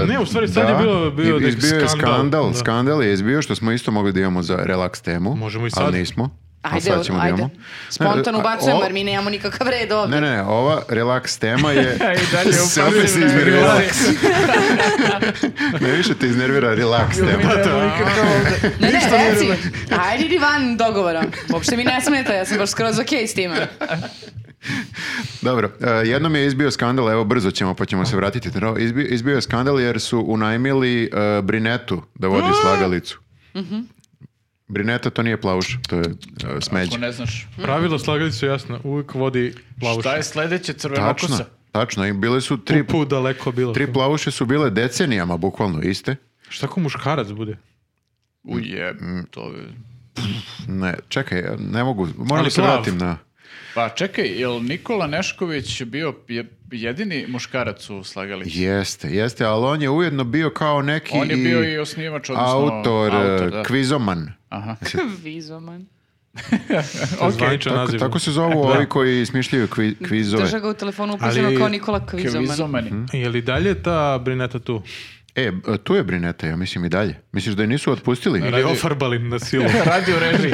S1: E,
S4: Ne, u stvari sad je
S1: da.
S4: bilo, bio
S1: I-
S4: neki
S1: izbio je
S4: skandal.
S1: skandal.
S4: Da.
S1: Skandal je izbio što smo isto mogli da imamo za relaks temu.
S4: Možemo i sad.
S1: Ali nismo. A
S3: Ajde,
S1: sad ćemo da
S3: ajde.
S1: imamo. Ne,
S3: Spontano
S1: a,
S3: ubacujemo,
S1: o-
S3: jer mi nemamo nikakav red
S1: Ne,
S3: ovdje.
S1: ne, ne, ova relaks tema je...
S2: E, I dalje
S1: Se opet si
S2: upamtim,
S1: iznervirala.
S2: relax.
S1: Ne više te iznervira relaks tema.
S3: Ne, ne, reci. Ajde idi van dogovora. Uopšte mi ne smeta, ja sam baš skroz okej s time.
S1: Dobro, e, jednom je izbio skandal, evo brzo ćemo pa ćemo se vratiti. No, izbio, izbio je skandal jer su unajmili e, Brinetu da vodi slagalicu. Brineta to nije plavuš, to je e, smeđe.
S2: Ako ne znaš.
S4: Pravilo slagali su jasno. Uvijek vodi plavuše.
S2: Šta je sledeće crveno
S1: Tačno,
S2: kosa?
S1: tačno. I bile su tri,
S4: Put daleko bilo.
S1: tri plavuše su bile decenijama, bukvalno iste.
S4: Šta ko muškarac bude?
S1: Mm.
S2: Uje, to je...
S1: Ne, čekaj, ja ne mogu, moram
S4: Ali
S1: da se
S4: plav.
S1: vratim na...
S2: Pa čekaj, jel Nikola Nešković bio je- jedini muškarac u slagalici?
S1: Jeste, jeste, ali on je ujedno bio kao neki...
S2: On je bio i osnivač, odnosno...
S1: autor, e,
S2: da.
S1: kvizoman.
S2: Aha.
S3: Vizoman.
S4: To je zvaničan
S1: Tako,
S4: naziv.
S1: tako se
S2: E,
S1: zovu
S4: Da.
S1: ovi koji smišljaju kvi- kvizove.
S3: Drža ga u telefonu upisano
S4: Ali-
S3: kao Nikola Kvizoman.
S2: Kvizomani.
S1: Mhm.
S4: Je li dalje ta brineta tu?
S1: E, b- tu je Brineta, ja mislim i dalje. Misliš da je nisu otpustili?
S4: Ili ofarbali na silu?
S2: Radi u režiji.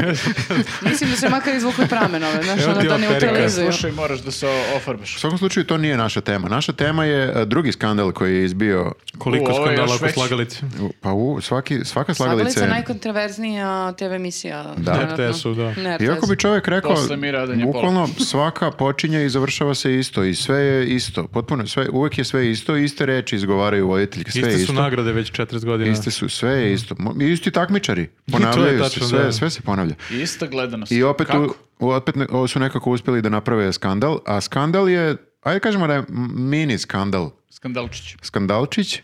S3: Mislim da se makar izvukli pramenove, znaš,
S4: Evo
S3: ono
S4: ti
S3: da
S4: ova
S3: ne
S4: perika.
S3: utilizuju.
S2: Slušaj, moraš da se
S1: U
S2: ofarbaš.
S1: svakom slučaju to nije naša tema. Naša tema je e, drugi skandal koji je izbio
S4: Koliko
S2: U, ovo je
S4: skandala
S2: još
S4: oko
S2: veći.
S4: slagalice?
S1: u- pa u svaki svaka slagalica.
S3: Slagalica je
S1: je-
S3: najkontraverznija TV emisija.
S1: Da.
S4: Na
S3: trenutno.
S4: RTS-u, da.
S3: Na RTS-u.
S1: Iako bi čovjek rekao,
S2: Posle mira da nje
S1: bukvalno svaka počinje i završava se isto i sve je isto. Potpuno sve, uvek je sve isto, iste reči izgovaraju voditeljke, sve
S4: Iste
S1: je
S4: su
S1: isto.
S4: nagrade već 40 godina.
S1: Iste su, sve je isto. Mo- Isti takmičari. Ponavljaju
S4: tačno,
S1: se, sve,
S4: da.
S1: sve se ponavlja.
S2: I Ista gledanost.
S1: I opet,
S2: Kako?
S1: u, u- opet ne- ovo su nekako uspjeli da naprave skandal, a skandal je, ajde kažemo da je m- mini skandal
S2: Skandalčić.
S1: Skandalčić.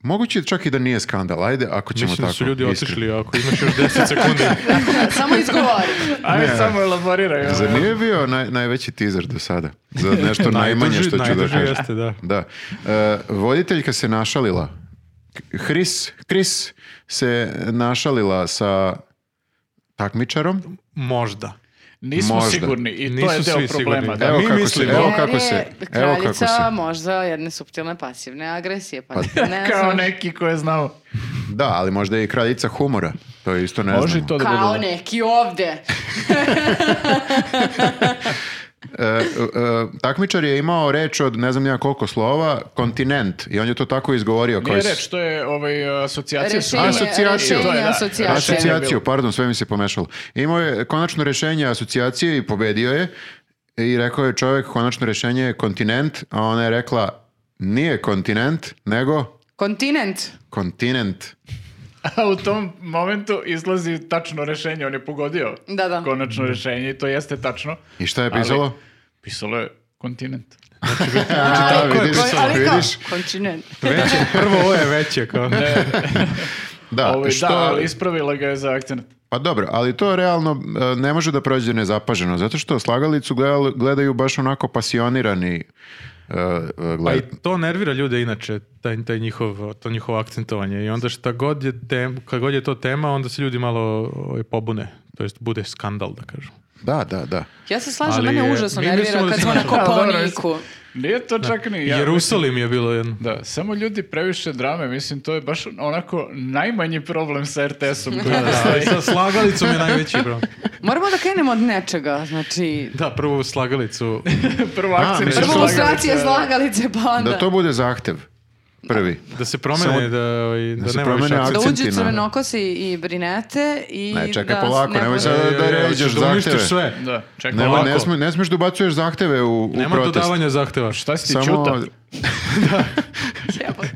S1: Moguće je čak i da nije skandal, ajde, ako ćemo
S4: Mislim
S1: tako.
S4: da su ljudi
S1: iskreno.
S4: otišli ako imaš još 10 sekundi.
S3: Samo izgovori.
S2: Ajde, samo elaboriraj. ovo.
S1: Zar nije bio naj, najveći teaser do sada? Za nešto najmanje što ću da
S4: najduži
S1: kažem.
S4: jeste, da.
S1: Da. E, voditeljka se našalila. Chris, Chris se našalila sa takmičarom.
S4: Možda.
S2: Nismo
S1: Možda.
S2: sigurni i to
S4: Nisu
S2: je deo
S4: svi sigurni.
S2: problema. Da.
S1: Evo
S4: mi
S1: kako se-
S4: mislimo.
S1: evo
S3: Jer
S1: kako
S3: je
S1: se, evo
S3: kraljica
S1: kako se.
S3: možda jedne suptilne pasivne agresije. Pa ne
S2: Kao
S3: znam.
S2: neki ko je znao.
S1: Da, ali možda je i kraljica humora. To je isto ne
S2: Može
S1: znamo.
S2: to da bude.
S3: Kao
S2: da.
S3: neki ovde.
S1: E, e, takmičar je imao reč od ne znam ja koliko slova, kontinent. I on je to tako izgovorio. kao
S2: Nije
S1: iz-
S2: reč, to je ovaj, asocijacija. E, su-
S3: Rešenje,
S1: Asocijaciju.
S3: rešenje,
S1: To je, da.
S3: asocijacija.
S2: Asocijacija.
S1: Asocijaciju, pardon, sve mi se pomešalo. Imao je konačno rešenje asocijacije i pobedio je. I rekao je čovjek, konačno rešenje je kontinent, a ona je rekla, nije kontinent, nego
S3: Kontinent.
S1: kontinent.
S2: A u tom momentu izlazi tačno rešenje, on je pogodio
S3: Da, da.
S2: konačno rešenje i to jeste tačno.
S1: I šta je pisalo?
S2: Pisalo je kontinent.
S1: A,
S3: Ali,
S1: Znači, vidiš,
S3: ko- ali kao,
S1: vidiš.
S3: kontinent.
S4: Veće, prvo ovo je veće. Kao.
S1: Da,
S2: Ovaj,
S1: što,
S2: Da, ali ispravila ga je za akcent.
S1: Pa dobro, ali to realno e, ne može da prođe nezapaženo, zato što slagalicu gledal- gledaju baš onako pasionirani e, e,
S4: Pa i
S1: gled-
S4: to nervira ljude inače, taj, taj njihov, to njihovo akcentovanje. I onda šta god je, tem, kad god je to tema, onda se ljudi malo ovaj, pobune. To jest bude skandal, da kažem.
S1: Da, da, da.
S3: Ja se slažem,
S4: Ali,
S3: mene
S4: e,
S3: užasno
S4: mi
S3: nervira
S4: mislimo da
S3: kad
S4: se
S3: smo na
S4: našao.
S3: Koponiku.
S2: Nije to čak ni... ja mislim-
S4: Jerusalim je bilo jedno.
S2: Da, samo ljudi previše drame, mislim, to je baš onako najmanji problem sa RTS-om koji postoji.
S4: Da, sa slagalicom je najveći problem.
S3: Moramo da krenemo od nečega, znači...
S4: Da, prvo slagalicu.
S2: Prvo
S1: A,
S2: akcent
S1: mislim-
S2: je
S3: Prvo
S1: slagalice.
S3: ilustracije slagalice, pa onda...
S1: Da to bude zahtev prvi.
S4: Da se promene,
S1: Samo-
S4: da, ovaj, da,
S1: se
S4: nema više
S1: promene
S4: akcenta.
S3: Da uđu
S1: akcentina.
S3: crvenokosi i brinete i
S1: Ne, čekaj
S3: da
S1: polako,
S3: ne
S1: nemoj
S3: bude-
S1: sad
S4: E,
S1: da
S4: e,
S1: ređaš
S4: da uništiš
S1: zahteve.
S4: sve.
S2: Da, čekaj.
S1: Ne,
S4: Ovako.
S1: ne, sme, ne smeš da ubacuješ zahteve u, u
S4: Nema
S1: protest.
S4: dodavanja zahteva.
S2: Šta si ti
S1: Samo-
S2: Ćuta?
S3: Jebote,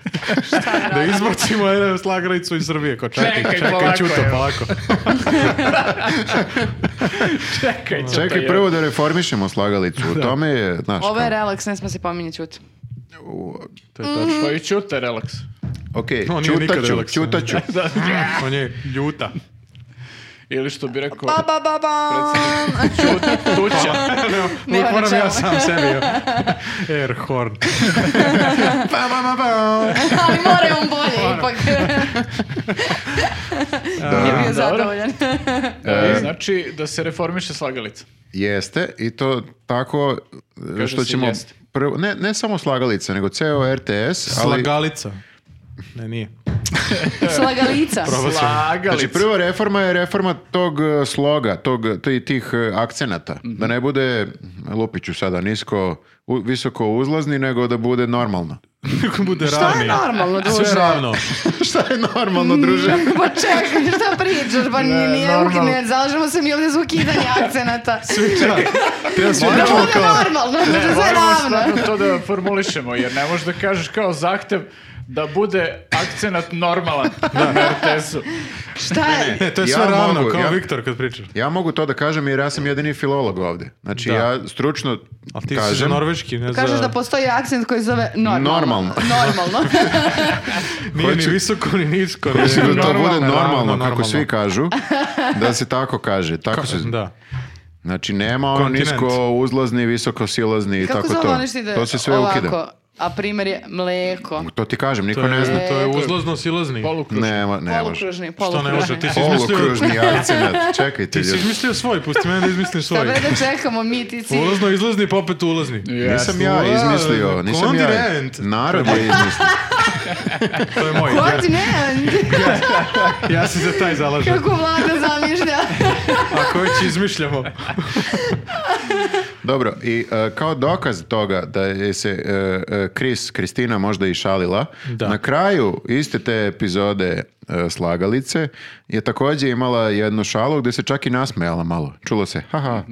S3: šta je
S4: Da
S3: radila?
S4: izbacimo jedan slagalicu iz Srbije. Ko, čekaj,
S2: Čekaj,
S4: čekaj, čekaj,
S2: polako,
S4: Ćuto,
S2: evo.
S4: polako.
S2: Čekaj, Ćuta,
S1: Čekaj
S2: je.
S1: prvo da reformišemo slagalicu. U tome je, znaš,
S3: Ovo je
S1: kao-
S3: relaks, ne smo se pominjati ćut.
S4: To je tačno.
S2: Pa i Ćuta je relaks.
S1: Okej,
S4: On nije nikad
S1: čutaću,
S4: relaksan.
S1: čutaću.
S2: Da.
S4: On je ljuta.
S2: Ili što bi rekao...
S3: Ba, ba, ba, Pa, ba.
S2: Ćuta, tuća.
S3: Nema na
S4: Moram
S3: čemu.
S4: ja sam sebi. ja. Air horn.
S1: Pa, pa, pa, pa.
S3: Ali moraju on bolje ipak. Nije bio
S2: Dobro.
S3: zadovoljan.
S2: E, Znači, da se reformiše slagalica.
S1: Jeste, i to tako e,
S2: Kaže
S1: što
S2: se
S1: ćemo...
S2: jeste.
S1: Prvo, ne, ne samo slagalica, nego ceo RTS, ali...
S4: Slagalica. Ne, nije.
S3: Slagalica.
S4: Probao sam.
S1: Pa,
S2: Slagalica.
S1: Znači, prva reforma je reforma tog e, sloga, tog, ti- tih e, akcenata.
S4: Mhm.
S1: Da ne bude, lupiću sada, nisko, u- visoko uzlazni, nego da bude normalno.
S4: Kako bude
S3: Šta je
S4: ravni.
S3: Pa normalno, druže?
S4: Sve je ravno.
S1: Šta je normalno, druže?
S3: Pa čekaj, šta pričaš? Pa
S2: Ne,
S3: nije,
S2: normalno.
S3: ne, zalažemo se mi ovdje za ukidanje akcenata. Da
S1: Pričamo
S3: bude
S1: kao-
S3: normalno, da bude sve
S2: Moramo
S3: ravno.
S2: stvarno to da formulišemo, jer ne možeš da kažeš kao zahtev da bude akcenat normalan na RTS-u.
S3: Šta je?
S4: Ne, to je
S1: E, Ja
S4: sve ravno,
S1: mogu,
S4: kao
S1: ja-
S4: Viktor kad pričaš.
S1: Ja mogu to da kažem jer ja sam jedini filolog ovde. Znači
S4: Da.
S1: ja stručno
S4: Ali ti si za
S1: kažem,
S4: norveški, ne
S3: Kažeš
S4: za...
S3: da postoji akcent koji se zove normalno.
S1: Normalno.
S3: Normalno.
S4: Nije ni
S1: Hoću-
S4: visoko, ni nisko. ni-
S1: hoću da to
S2: Normalno,
S1: bude normalno,
S4: ravno,
S1: kako svi kažu, da se tako kaže. Tako se,
S4: Da.
S1: Znači nema ono
S4: Kontinent.
S1: nisko uzlazni, visoko silazni i
S3: Kako
S1: tako
S3: zove
S1: to.
S3: ono što ide
S1: To se sve
S3: ovako?
S1: ukida.
S3: A primjer je mleko.
S1: To ti kažem, niko
S4: To
S1: ne zna.
S4: je, to je
S3: E,
S4: uzlozno silazni.
S2: Polukruž.
S1: Nema, ne može.
S3: Polukružni,
S4: Što
S3: polukružni.
S4: ne može, ti si izmislio...
S1: Polukružni akcenat, čekajte
S4: Ti si
S1: ljudi.
S4: izmislio svoj, pusti mene da izmislim
S3: Šta
S4: svoj.
S3: bre da čekamo mi ti si?
S4: Ulazno, izlazni, pa opet ulazni.
S1: Nisam ja
S4: Jasno.
S1: izmislio, nisam ja.
S4: Kontinent.
S1: Narod je izmislio.
S4: To je moj.
S3: Kod ne,
S4: Ja se za taj zalažem.
S3: kako vlada zamišlja.
S4: Ako već izmišljamo.
S1: Dobro, i e, kao dokaz toga da je se e, e, Kris, Kristina možda i šalila,
S4: Da.
S1: na kraju iste te epizode e, Slagalice je takođe imala jednu šalu gdje se čak i nasmejala malo. Čulo se, haha.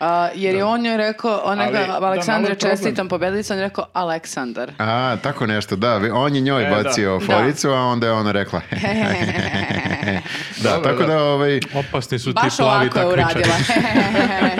S3: A, jer je on njoj rekao, ona
S2: Ali, da,
S3: ga,
S2: malo je
S3: Aleksandre,
S2: problem.
S3: čestitam pobedilica, on je rekao Aleksandar.
S1: A, tako nešto, da. vi- On je njoj
S2: E, da.
S1: bacio
S3: Da.
S1: foricu, a onda je ona rekla. da,
S2: Dobro,
S1: tako da, ovaj,
S4: Opasni su ti
S3: Baš
S4: plavi
S3: ovako je
S4: takmičari.
S3: uradila.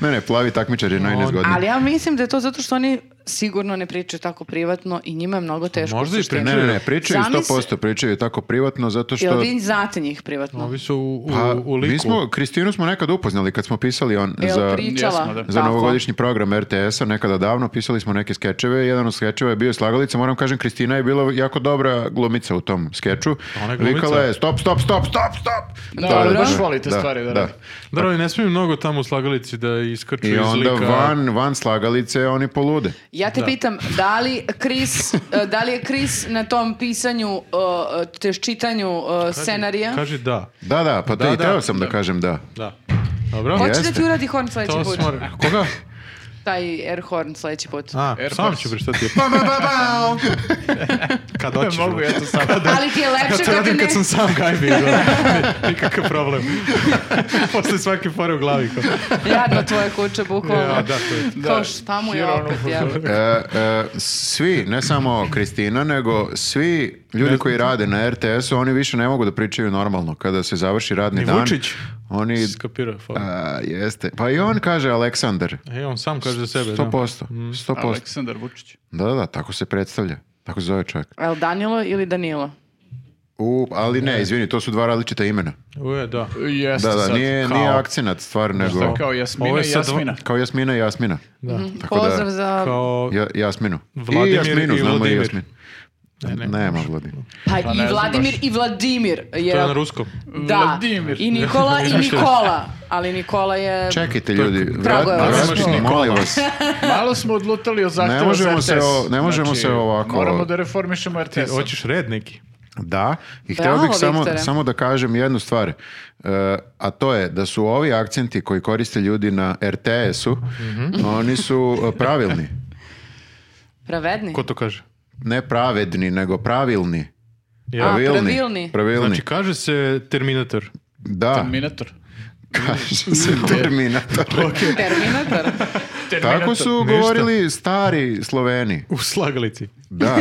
S1: Ne, ne, plavi takmičar je najnezgodniji.
S3: Ali ja mislim da je to zato što oni sigurno ne pričaju tako privatno i njima je mnogo teško.
S4: Možda i
S3: u suštini.
S1: Ne, ne, ne, pričaju
S3: Zamisli-
S1: 100%, pričaju tako privatno, zato što...
S3: Jel vi znate njih privatno?
S4: Ovi su u, u,
S1: Pa,
S4: u liku.
S1: Mi smo, Kristinu smo nekad upoznali kad smo pisali on
S3: Jel
S1: za...
S3: pričala?
S2: Jesmo, da.
S1: Za
S3: tako?
S1: novogodišnji program RTS-a nekada davno pisali smo neke skečeve. Jedan od skečeva je bio slagalica. Moram kažem, Kristina je bila jako dobra glumica u tom skeču.
S4: Ona je glumica?
S1: Vikala je stop, stop, stop, stop, stop.
S2: Da,
S1: To je
S2: ali
S1: baš-
S2: baš voli te stvari da radi.
S4: Da, ali ne smiju mnogo tamo u slagalici da iskrču
S1: I
S4: iz
S1: onda
S4: lika.
S1: van, van slagalice oni polude.
S3: Ja te pitam, da li, Chris, e, da li je Chris na tom pisanju, e, te čitanju e, scenarija?
S4: Kaži da.
S1: Da, da, pa da,
S4: Da,
S1: i
S4: da,
S1: teo sam da, kažem da.
S4: Da. Dobro?
S3: Hoće da
S1: jeste.
S3: ti uradi horn sledeći
S4: To
S3: put?
S4: smo... Koga?
S3: Taj air horn sledeći put.
S4: A,
S2: Air
S4: sam
S2: Force.
S4: ću prištati.
S1: Ba, ba, ba, ba.
S4: Kad hoćeš.
S2: Mogu ja to sam.
S3: Ali ti je
S4: Ja
S3: lepše
S4: to
S3: kad,
S4: radim
S3: ne...
S4: kad sam sam gajbi. da. Nikakav problem. Posle svake fore u glavi. kao-
S3: Jadno tvoje kuće, bukvalno.
S4: Ja, da, to je.
S3: Kao šta mu je
S2: Hero
S3: opet,
S2: ono-
S3: ja.
S1: E, e, svi, ne samo Kristina, nego svi ljudi koji rade na RTS-u, oni više ne mogu da pričaju normalno. Kada se završi radni
S4: Ni
S1: dan,
S4: Vučić.
S1: oni
S4: Skapirao foru.
S1: A, jeste. Pa i on kaže Aleksandar.
S4: E, on sam kaže za sebe. da. Mm.
S1: 100%. 100%.
S2: Aleksandar Vučić.
S1: Da, da, da, tako se predstavlja. Tako se zove čovjek.
S3: El Danilo ili Danilo?
S1: U, ali ne, izvini, to su dva različita imena.
S4: Uje, da.
S2: Jeste
S1: Da, da,
S2: sad
S1: nije,
S2: kao-
S1: nije akcenat stvar, nego
S2: Kao Jasmina
S4: Ovo je
S2: i
S4: sad dva-
S2: Jasmina.
S1: kao Jasmina i Jasmina.
S4: da.
S1: Tako da,
S3: Pozdrav za...
S4: Kao...
S1: Ja, Jasminu.
S4: Vladimir
S1: I Jasminu,
S4: i
S1: znamo i
S4: Vladimir.
S1: Jasmin.
S4: Ne, ne.
S1: Nema Vladimir.
S3: Pa,
S2: Pa ne
S3: i
S2: znam
S3: Vladimir
S2: baš.
S3: i Vladimir. Jer...
S4: To je na ruskom.
S3: Da,
S2: Vladimir.
S3: i Nikola i Nikola. Ali Nikola je...
S1: Čekajte ljudi, vrat,
S3: Kragujevac.
S1: vrat,
S4: Nemaš Nikola.
S1: molim vas.
S2: Malo smo odlutali od zahtjeva
S1: Ne možemo
S2: za
S1: se
S2: RTS. Znači,
S1: o- ne možemo se ovako-
S2: Moramo da reformišemo RTS.
S4: Ti E, hoćeš red neki.
S1: Da, i
S3: Bravo,
S1: htio bih samo,
S3: Viktore.
S1: samo da kažem jednu stvar, E, a to je da su ovi akcenti koji koriste ljudi na RTS-u, oni su e, pravilni.
S3: Pravedni.
S4: Ko to kaže?
S1: Ne pravedni, nego pravilni.
S4: Ja.
S3: A.
S1: Pravilni.
S3: pravilni.
S1: Pravilni.
S4: Znači, kaže se Terminator.
S1: da,
S2: Terminator.
S1: kaže se Terminator.
S3: Terminator.
S2: Terminator.
S1: Tako su
S4: Ništa.
S1: govorili stari Sloveni.
S4: U slagalici.
S1: Da,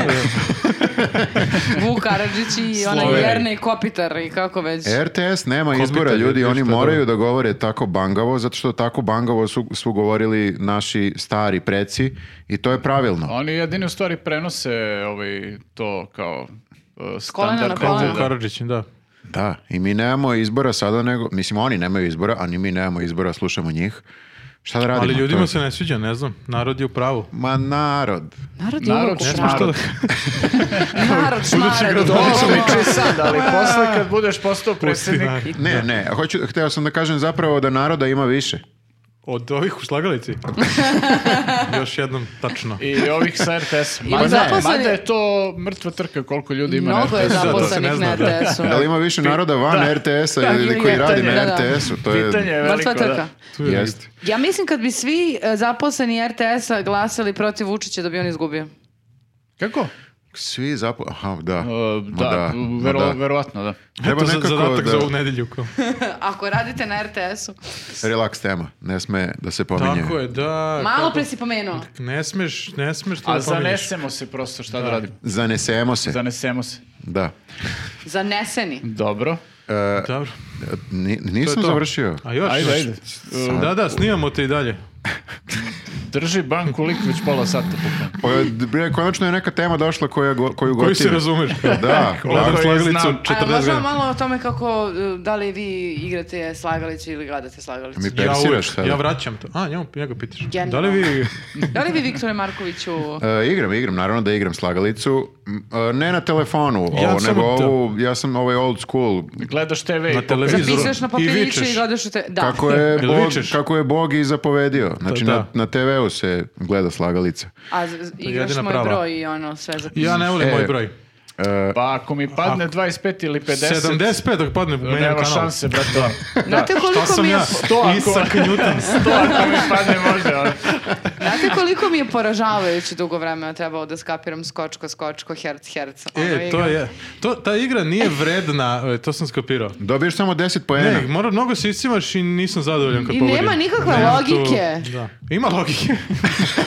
S3: Vuk Karadžić i onaj
S4: Sloveni.
S3: Jernej Kopitar i kako već.
S1: E, RTS nema
S4: Kompitar
S1: izbora,
S4: je
S1: ljudi,
S4: nešto
S1: oni
S4: dobro.
S1: moraju da govore tako bangavo, zato što tako bangavo su, su govorili naši stari preci i to je pravilno.
S2: Oni jedini u stvari prenose ovaj, to kao uh,
S3: kolena na
S2: standard.
S4: Kao
S3: kolena.
S4: Vuk Karadžić, da.
S1: Da, i mi nemamo izbora sada nego, mislim oni nemaju izbora, a ni mi nemamo izbora, slušamo njih. Šta da radimo?
S4: Ali
S1: To
S4: ljudima
S1: je-
S4: se ne sviđa, ne znam. Narod je u pravu.
S1: Ma narod.
S3: Narod je
S2: Narod
S3: uvek
S2: će
S3: u
S4: Znaš što
S2: narod.
S4: da-
S3: pravu. Narod šmarad.
S2: Ovo liči sad, ali posle kad budeš postao
S4: narod.
S2: predsjednik...
S1: Ne, ne, hoću, hteo sam da kažem zapravo da naroda ima više.
S4: Od ovih u slagalici? Još jednom tačno.
S2: I ovih sa RTS.
S3: Ima
S2: Mada,
S3: zaposleni-
S2: mada je to mrtva trka koliko ljudi ima
S3: Mnogo
S2: na
S3: je
S2: RTS-u.
S4: da, to se ne
S3: zaposlenih na
S4: zna, da.
S3: RTS-u.
S1: Da li ima više naroda van
S2: Da.
S1: RTS-a
S3: Da,
S1: ili
S3: ili
S1: koji radi
S2: pitanje,
S1: na
S3: da, da.
S1: RTS-u? To je...
S2: Pitanje je veliko,
S3: Mrtva trka.
S2: da.
S4: Tu je-
S1: Jeste.
S3: Ja mislim kad bi svi e, zaposleni RTS-a glasali protiv Vučića da bi on izgubio.
S2: Kako?
S1: Svi zapo... Aha, da.
S2: Uh,
S1: Ma
S2: da,
S1: da, ma
S2: vero-
S1: da.
S2: verovatno da.
S1: Treba
S4: to je
S1: nekako
S4: zadatak
S1: da-
S4: za ovu nedelju. Kao.
S3: Ako radite na RTS-u.
S1: Relaks tema, ne sme da se pominje.
S4: Tako je, da.
S3: Malo
S4: Pa kako-
S3: pre si pomenuo.
S4: Ne smeš, ne smeš to
S2: A
S4: da pominješ.
S2: zanesemo se prosto, šta da, radimo?
S1: Zanesemo se,
S2: Zanesemo se.
S1: da.
S3: Zaneseni.
S2: Dobro.
S4: Dobro.
S1: E, ni-
S4: To je
S1: nisam
S4: to.
S1: završio.
S4: A još?
S2: Ajde,
S4: još.
S2: ajde. Uh,
S4: Da, da, snimamo te i dalje.
S2: Drži banku lik već pola sata bukvalno.
S1: Pa, bre, konačno je neka tema došla koja, go- koju gotivim.
S4: Koji se razumeš?
S1: Da,
S4: Gledam
S2: Koliko je
S4: slagalicu
S2: znam.
S4: 40
S3: A možemo
S4: godina.
S3: malo o tome kako, e, da li vi igrate slagalicu ili gledate slagalicu?
S1: Mi
S4: Ja, uvek,
S1: persiraš sada.
S4: ja vraćam to. A, njemu, ja ga pitaš.
S3: Genijalno.
S4: Da li vi...
S3: Da li vi, Viktore Markoviću,
S1: E, igram, igram, naravno da igram slagalicu. M, e, ne na telefonu,
S4: Ja
S1: ovo,
S4: samo
S1: nego
S4: to.
S1: ovu, ja sam ovaj old school.
S2: Gledaš TV i
S4: Na
S2: pokre-
S4: televizoru.
S3: zapisuješ na
S4: I
S3: papiriću
S4: vičeš.
S3: i gledaš u te... Da.
S1: Kako je,
S4: Jel
S1: Bog,
S4: vičeš?
S1: kako je Bog i zapovedio. Znači,
S4: Da, da.
S1: na, na TV-u se gleda slagalica.
S3: A z- z- igraš
S4: jedina
S3: moj
S4: prava.
S3: broj i ono sve zapisuješ.
S4: Ja ne volim
S1: E,
S4: moj broj.
S2: Pa ako mi padne 25 ili 50,
S4: 75 dok padne meni na
S2: nema
S4: kanal.
S2: šanse, brate.
S3: Znate
S4: Šta
S3: koliko
S4: sam
S3: mi je...
S4: ja?
S2: To ako-
S4: Isak Newton. E,
S2: ono. To ako mi padne može, ali...
S3: Znate Znate koliko mi je poražavajući dugo vremena trebalo da skapiram skočko, skočko, herc, herc. ono
S4: E, to
S3: igra.
S4: je. To, ta igra nije vredna, e, to sam skapirao.
S1: Dobiješ samo 10 poena.
S4: Ne, mora mnogo se iscimaš i nisam zadovoljan kad
S3: I
S4: pobedim.
S3: nema nikakve
S4: tu-
S3: logike.
S4: da. Ima logike.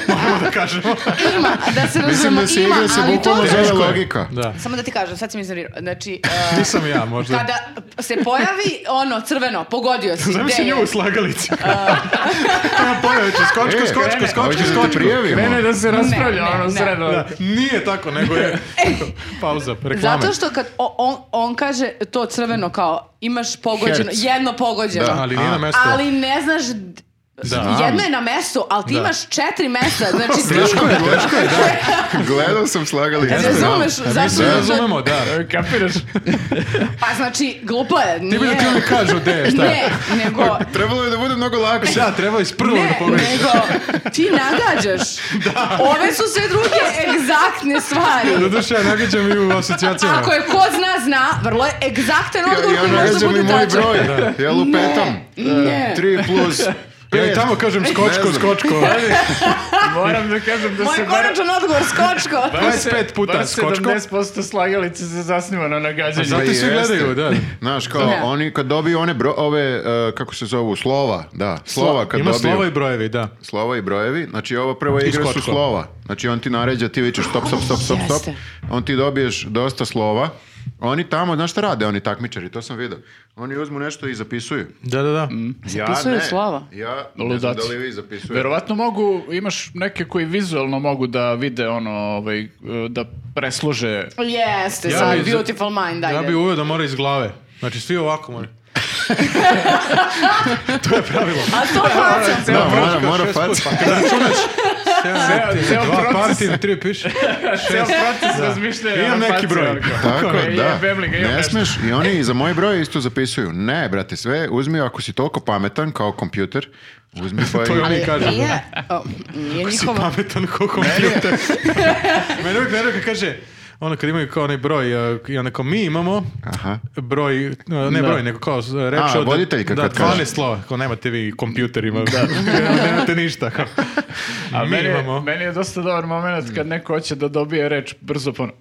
S4: Moramo da kažemo.
S3: Ima, da se
S1: Mislim
S3: razumemo,
S1: da se
S3: ima,
S1: igra se
S3: ali to...
S1: bukvalno zove
S4: Teško je.
S1: logika.
S4: Da.
S3: Samo da ti kažem, sad si mi iznervirao. Znači, e,
S4: Nisam ja, možda.
S3: kada se pojavi ono crveno, pogodio si.
S4: Zamisli
S3: gde je?
S4: nju u slagalici. Evo pojaveće, skočko,
S1: E,
S4: skočko,
S1: krene.
S4: skočko,
S1: Hoćeš da te
S4: skočko.
S1: prijavimo?
S2: Krene da se raspravlja
S3: Ne, ne,
S2: ono
S3: ne.
S2: sredno.
S4: Da, nije tako, nego je... Pauza, reklame.
S3: E. Zato što kad o- on, on kaže to crveno kao imaš pogođeno,
S1: Herc.
S3: jedno pogođeno.
S1: Da.
S4: Ali nije na
S1: A.
S4: mesto.
S3: Ali ne znaš, d-
S4: Da.
S3: jedno je na mestu, ali ti
S4: Da.
S3: imaš četiri mesta, znači
S1: Teško je, teško je, da. Gledao sam slagalicu.
S3: Ne razumeš
S1: znam.
S4: Mi
S3: zašto
S4: se razumemo, da.
S2: E, Kapiraš?
S3: pa znači glupo je, nije.
S4: Ti bi da ti oni kažu gde je, šta je.
S3: ne, nego
S1: Trebalo je da bude mnogo lakše.
S4: Da, treba iz prvog da
S3: ne,
S4: pobediš.
S3: nego ti nagađaš. Ove su sve druge egzaktne stvari.
S4: Doduše, ja nagađam i u asocijacijama.
S3: Ako je ko zna, zna, vrlo je egzaktan
S1: Ja,
S3: odgovor
S1: ja
S3: koji može da
S1: nagađam i
S3: bude
S1: moj
S3: tačan.
S1: broj. Ja lupetam.
S3: Ne, ne.
S1: 3 plus
S4: Ja i tamo kažem skočko,
S1: znam.
S4: skočko.
S2: Moram da kažem da se...
S3: Moj
S2: bar-
S3: konačan odgovor, skočko.
S4: 25 puta
S2: bar
S4: skočko.
S2: 70% slagalice se zasniva na nagađanju.
S1: Pa
S4: Zato svi
S1: jeste.
S4: gledaju, da.
S1: Znaš, kao,
S3: Ne.
S1: oni kad dobiju one bro, ove, e, kako se zovu, slova, da, slova kad
S4: Ima
S1: dobiju.
S4: slova i brojevi, da.
S1: Slova i brojevi, znači ovo prva igra su
S4: skočko.
S1: slova. Znači on ti naređa, ti vičeš stop, stop, stop, stop, stop.
S3: Jeste.
S1: On ti dobiješ dosta slova. Oni tamo, znaš šta rade, oni takmičari, to sam vidio. Oni uzmu nešto i zapisuju.
S4: Da, da, da.
S1: Ja
S3: Zapisuju
S1: ne.
S3: slova?
S1: Ja ne znam da
S2: Ludaci.
S1: li vi zapisujete.
S2: Verovatno mogu, imaš neke koji vizualno mogu da vide ono, ovaj, e, da preslože
S3: Jeste,
S4: Ja
S3: za
S4: bi za-
S3: Beautiful Mind, ajde.
S4: Ja bi uveo da mora iz glave. Znači, svi ovako moraju.
S3: A to plaćam.
S1: Da, mora, mora faca.
S4: Sedam,
S2: ceo
S4: dva
S2: proces.
S4: partin, tri piše.
S2: ceo proces razmišljanja.
S4: Imam
S2: na
S4: neki
S2: faci,
S4: broj.
S2: ono kao,
S1: Tako,
S2: je,
S1: da.
S2: jebem li ga, imam
S1: Ne
S2: nešto.
S1: smeš, i oni za moje broje isto zapisuju. Ne, brate, sve uzmi ako si toliko pametan kao kompjuter, uzmi pa
S4: To
S1: i-
S4: je oni kažu. da.
S3: Nije, o, nije
S4: si pa-
S3: njihova.
S4: pametan ko kompjuter. Mene uvijek nervira kad kaže, ono kad imaju kao onaj broj, uh, i onako mi imamo
S1: Aha.
S4: broj, uh, ne broj, nego kao uh, reč
S1: A,
S4: od...
S1: voditeljka
S4: da,
S1: kad kaže.
S4: 12 slova, kao nemate vi kompjuter ima, nemate ništa. Kao.
S2: A
S4: mi
S2: meni, je-
S4: imamo.
S2: meni je dosta dobar moment kad neko hoće da dobije reč brzo ponovno.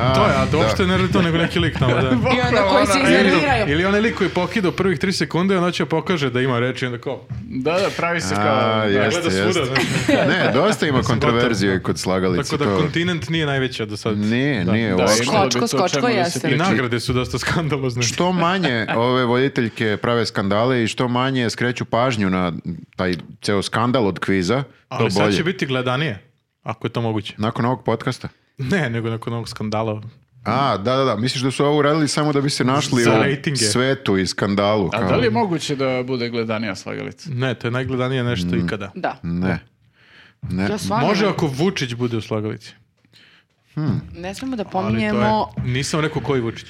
S1: A,
S4: To je, a to
S1: da.
S4: uopšte ne radi to nego neki lik tamo, da.
S3: I onda
S2: ono,
S3: koji
S2: e,
S3: se iznerviraju.
S4: Ili onaj lik koji pokida u prvih 3 sekunde, on hoće da pokaže da ima reč i onda kao,
S2: Da, da, pravi se kao...
S1: A,
S2: da.
S1: jeste,
S4: gleda svuda,
S1: jeste.
S4: znaš.
S1: Ne, dosta ima kontroverzije
S4: gotov.
S1: kod slagalice.
S4: Tako da
S1: to.
S4: kontinent nije najveća do sad.
S1: Nije, nije
S2: Da,
S1: uopšte.
S2: imalo bi
S3: Skočko,
S2: to
S3: skočko
S2: čemu da se
S3: jeste.
S4: I
S2: priča.
S4: nagrade su dosta skandalozne.
S1: Što manje ove voditeljke prave skandale i što manje skreću pažnju na taj ceo skandal od kviza,
S4: Ali
S1: to
S4: sad
S1: bolje.
S4: će biti gledanije, ako je to moguće.
S1: Nakon ovog podcasta.
S4: Ne, nego nakon ovog skandala.
S1: A, da, da, da. Misliš da su ovo uradili samo da bi se našli
S4: Za
S1: u
S4: rejtinge.
S1: svetu i skandalu.
S2: A
S1: kao-
S2: da li je moguće da bude gledanija slagalica?
S4: Ne, to je najgledanije nešto
S1: Mm.
S4: ikada.
S3: Da.
S1: Ne. Ne.
S3: Ja stvarno
S4: Može
S3: ne-
S4: ako Vučić bude u slagalici.
S3: ne smemo da
S4: Ali to je-
S3: pominjemo...
S4: Nisam rekao koji Vučić.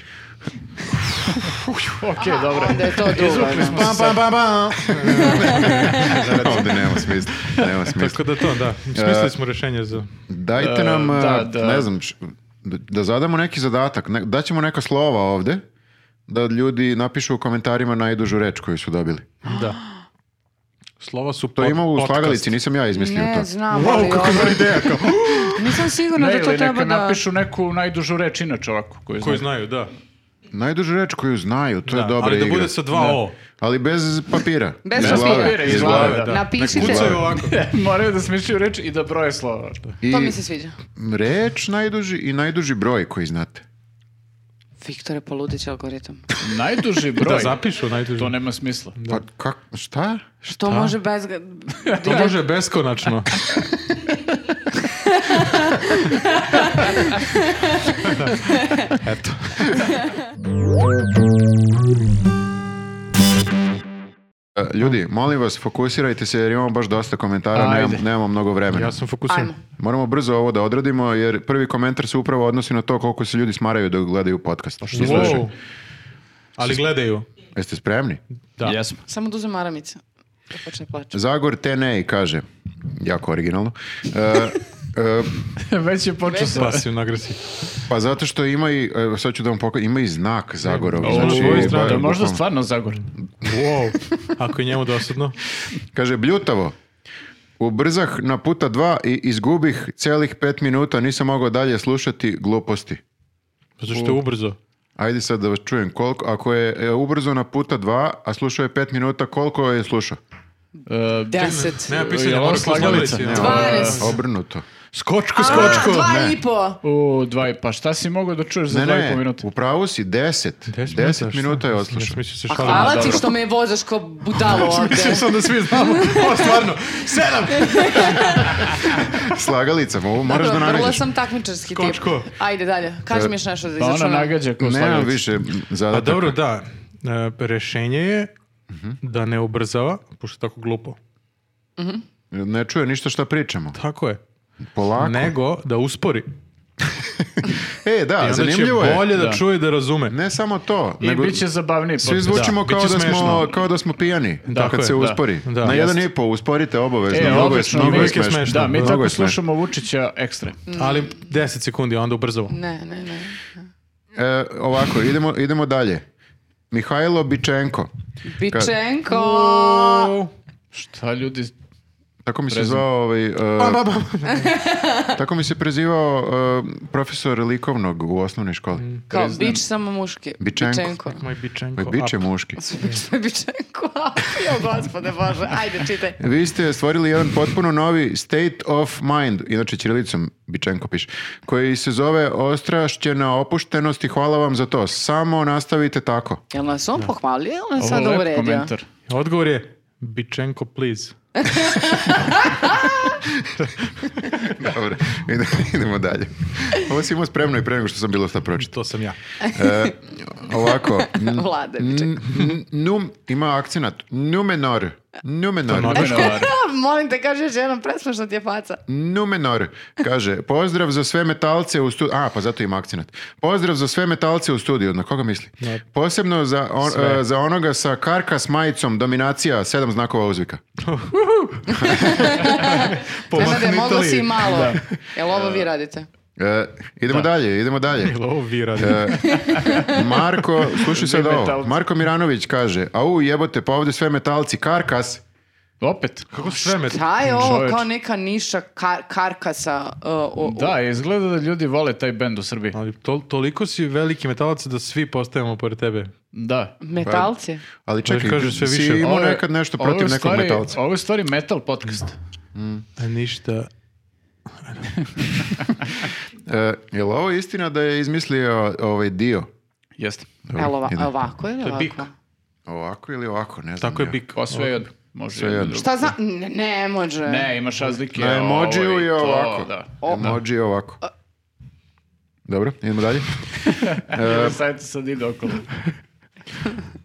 S2: Okej, dobro.
S3: Onda je to drugo.
S2: Izvukli smo
S3: da.
S2: se sad.
S1: Ovde nema smisla. Nema smisla.
S4: Tako da to, da. Smislili smo rješenje za...
S1: Dajte
S2: E,
S1: nam, e,
S2: da, da.
S1: ne znam, š- da, da zadamo neki zadatak. Ne, daćemo neka slova ovde da ljudi napišu u komentarima najdužu reč koju su dobili.
S4: Da. Slova su
S1: To
S4: pod-
S1: ima u
S4: podcast.
S1: slagalici, nisam ja izmislio
S3: Ne
S1: to.
S3: znam, ali ovo... Nisam sigurna
S2: Ne,
S3: da to
S2: ili
S3: treba
S2: neka
S3: da...
S2: napišu neku najdužu reč inače ovako. Koju
S4: Koji
S2: znaju.
S4: znaju, da.
S1: Najdužu reč koju znaju, to
S4: da.
S1: je dobra
S4: Ali da
S1: igra.
S4: bude sa dva O.
S1: Ali bez papira.
S3: Bez
S1: Iz
S3: papira.
S1: glave,
S2: Papira, iz
S1: iz
S2: glave,
S1: glave.
S2: da.
S3: Napišite.
S1: Nek
S4: Pucaju
S1: bucaju.
S4: ovako.
S2: Moraju da smišljaju reč i da broje slova.
S1: I
S3: To Pa mi se sviđa.
S1: reč najduži i najduži broj koji znate.
S3: Viktore, poludić algoritam.
S2: Najduži broj.
S4: Da zapišu najduže.
S2: To nema smisla.
S1: Pa kak, šta?
S3: Što može bez... ga-
S4: To može beskonačno. Eto.
S1: E, Ljudi, molim vas, fokusirajte se jer imamo baš dosta komentara,
S2: Ajde.
S1: nemam- nemamo mnogo vremena.
S4: Ja sam fokusiran.
S3: Ajmo.
S1: Moramo brzo ovo da odradimo, jer prvi komentar se upravo odnosi na to koliko se ljudi smaraju dok gledaju podcast. I slušaju.
S4: Wow. Ali gledaju.
S1: Jeste spremni?
S4: Da.
S2: Jesmo.
S3: Samo da uzem aramice. Da počne plaću.
S1: Zagor Tenej kaže, jako originalno, e, e,
S2: Već je počeo sa...
S4: Pasivno agresivno.
S1: pa zato što ima i, e, sad ću da vam pokažem, ima i znak Zagorov.
S4: O,
S1: znači,
S4: ovo je
S1: ba-
S2: Da, možda
S1: bukvalno.
S2: stvarno Zagor.
S4: Wow. Ako je njemu dosadno.
S1: Kaže, bljutavo, Ubrzah na puta dva i izgubih celih pet minuta, nisam mogao dalje slušati gluposti.
S4: Zato što pa je ubrzo.
S1: Ajde sad da vas čujem, koliko, ako je e, ubrzo na puta dva, a slušao je pet minuta, koliko je slušao?
S2: E,
S3: Deset.
S4: Nema pisanja,
S2: Jel ovo
S4: moraš
S2: slagalica?
S4: poslagalici.
S1: Ne,
S3: Dvanaest.
S1: o- Obrnuto.
S4: Skočko,
S3: A,
S4: skočko.
S3: dva
S1: ne.
S3: i po.
S2: U dva i pa šta si mogao da čuješ za
S1: Ne,
S2: dva i po
S1: ne,
S2: minuta?
S1: u pravu si, deset. Deset,
S4: šta?
S1: minuta je
S4: Ja sam
S1: odslušao.
S4: mislio se
S3: A
S4: šalim.
S3: hvala
S4: Da,
S3: ti
S4: dobro.
S3: što me vozaš kao budalo ovde.
S2: Mislim da svi znamo.
S4: O, stvarno, sedam!
S1: Slagalicama, ovo moraš da
S3: Dobro, vrlo
S1: nagađaš.
S3: sam takmičarski tip.
S4: Skočko.
S3: Ajde dalje, kaži mi još nešto da
S2: Pa ona
S3: izračunam.
S2: nagađa kao
S1: Nemam
S2: slagalica.
S1: više
S4: Pa
S1: zadataka.
S4: dobro, da. E, rešenje je
S1: Mhm.
S4: da ne ubrzava, pošto je tako glupo.
S1: Ne čuje ništa šta pričamo.
S4: Tako je.
S1: Polako.
S4: Nego da uspori.
S1: E, da,
S4: I onda će
S1: zanimljivo je.
S4: bolje da,
S2: Da.
S4: čuje i da razume.
S1: Ne samo to,
S2: I
S1: nego
S2: bit će zabavniji
S1: svi
S2: podcast.
S1: zvučimo
S4: Da,
S1: kao,
S4: bit će
S1: da smo,
S4: smešno.
S1: kao da smo pijani da,
S4: Tako
S1: kad
S4: je,
S1: se
S4: da.
S1: uspori.
S4: Da,
S1: Na jedan
S4: jest.
S1: i po usporite obavezno.
S2: E,
S1: mnogo je,
S2: odlično,
S1: mnogo je
S4: uvijek je
S1: smešno.
S4: smešno.
S2: Da, mi
S1: Mnogo
S2: tako
S1: je smešno.
S2: slušamo Vučića ekstra.
S4: Ali 10 sekundi, a onda ubrzavo.
S3: Ne, ne, ne.
S1: E, ovako, idemo, idemo dalje. Mihajlo Bičenko.
S3: Bičenko!
S2: Šta ljudi...
S1: Tako mi se
S2: Prezime.
S1: zvao ovaj... e, tako mi se prezivao e, profesor likovnog u osnovnoj školi.
S3: Kao
S2: priznajem.
S3: bič samo muški.
S1: Bičenko.
S3: Bičenko.
S4: Moj bičenko.
S1: Ovaj Bič je muški.
S3: Mm. Bičenko. Jo, gospode Bože, ajde, čitaj.
S1: Vi ste stvorili jedan potpuno novi state of mind, inače ćirilicom Bičenko piše, koji se zove ostrašćena opuštenost i hvala vam za to. Samo nastavite tako.
S3: Jel nas on pohvalio ili nas
S2: Ovo
S3: sada
S2: je lep
S3: uredio?
S2: komentar.
S4: A- Odgovor je bičenko, please.
S1: Dobro, idemo, idemo dalje. Ovo si imao spremno i pre nego što sam bilo šta pročitao.
S4: To sam ja.
S1: Ovako.
S3: Mm.
S2: Mm.
S1: n-
S3: Vlade Bičenko.
S1: n- n- Num, ima akcenat. Numenor. Numenor.
S4: Numenor.
S2: Novinar.
S3: A, Ah, Molim te, kaži još jednom, presmešno ti je faca.
S1: Numenor kaže, pozdrav za sve metalce u studiju. A, pa zato ima akcenat. Pozdrav za sve metalce u studiju. Na koga misli? Posebno za, on- e, za onoga sa karka s majicom, dominacija, sedam znakova uzvika.
S3: Nenade, mogo si i
S4: Pomahnitali.
S3: malo. Jel ovo vi radite?
S1: E, idemo dalje, idemo dalje.
S4: Jel ovo vi radite?
S1: E, Marko, slušaj sad
S2: Vi
S1: ovo.
S2: metalci.
S1: Marko Miranović kaže, au jebote, pa ovdje sve metalci, karkas.
S2: Opet.
S4: Kako se sve met-
S3: Šta je ovo
S2: Čoveč.
S3: kao neka niša kar- karkasa? uh, o- o-
S2: Da, izgleda da ljudi vole taj bend u Srbiji.
S4: Ali to, toliko si veliki metalac da svi postajemo pored tebe.
S2: Da.
S3: Metalci?
S1: Ali čekaj,
S4: kaže sve
S1: si
S4: više.
S1: imao
S2: Ovo je-
S1: nekad nešto
S2: ovo je
S1: protiv
S2: u
S1: nekog
S2: stvari-
S1: metalca.
S2: Ovo je u stvari metal podcast.
S4: A ništa.
S1: E, je li ovo istina da je izmislio ovaj dio?
S2: Jeste.
S1: Dobro,
S3: Jel ova-
S1: idem.
S3: ovako ili
S4: To je bik.
S3: ovako?
S1: Ovako ili ovako, ne znam.
S4: Tako je
S1: ja.
S4: bik.
S2: Pa sve jedno. Može
S1: Sve
S2: jedno
S1: jedno.
S2: drugo.
S3: Šta zna? Ne, ne može.
S2: Ne, imaš razlike.
S1: Na
S2: ovo i
S1: emodžiju je
S2: to,
S1: ovako.
S2: Da.
S1: Emoji je ovako. Dobro, idemo dalje.
S2: Evo, sad sad ide okolo.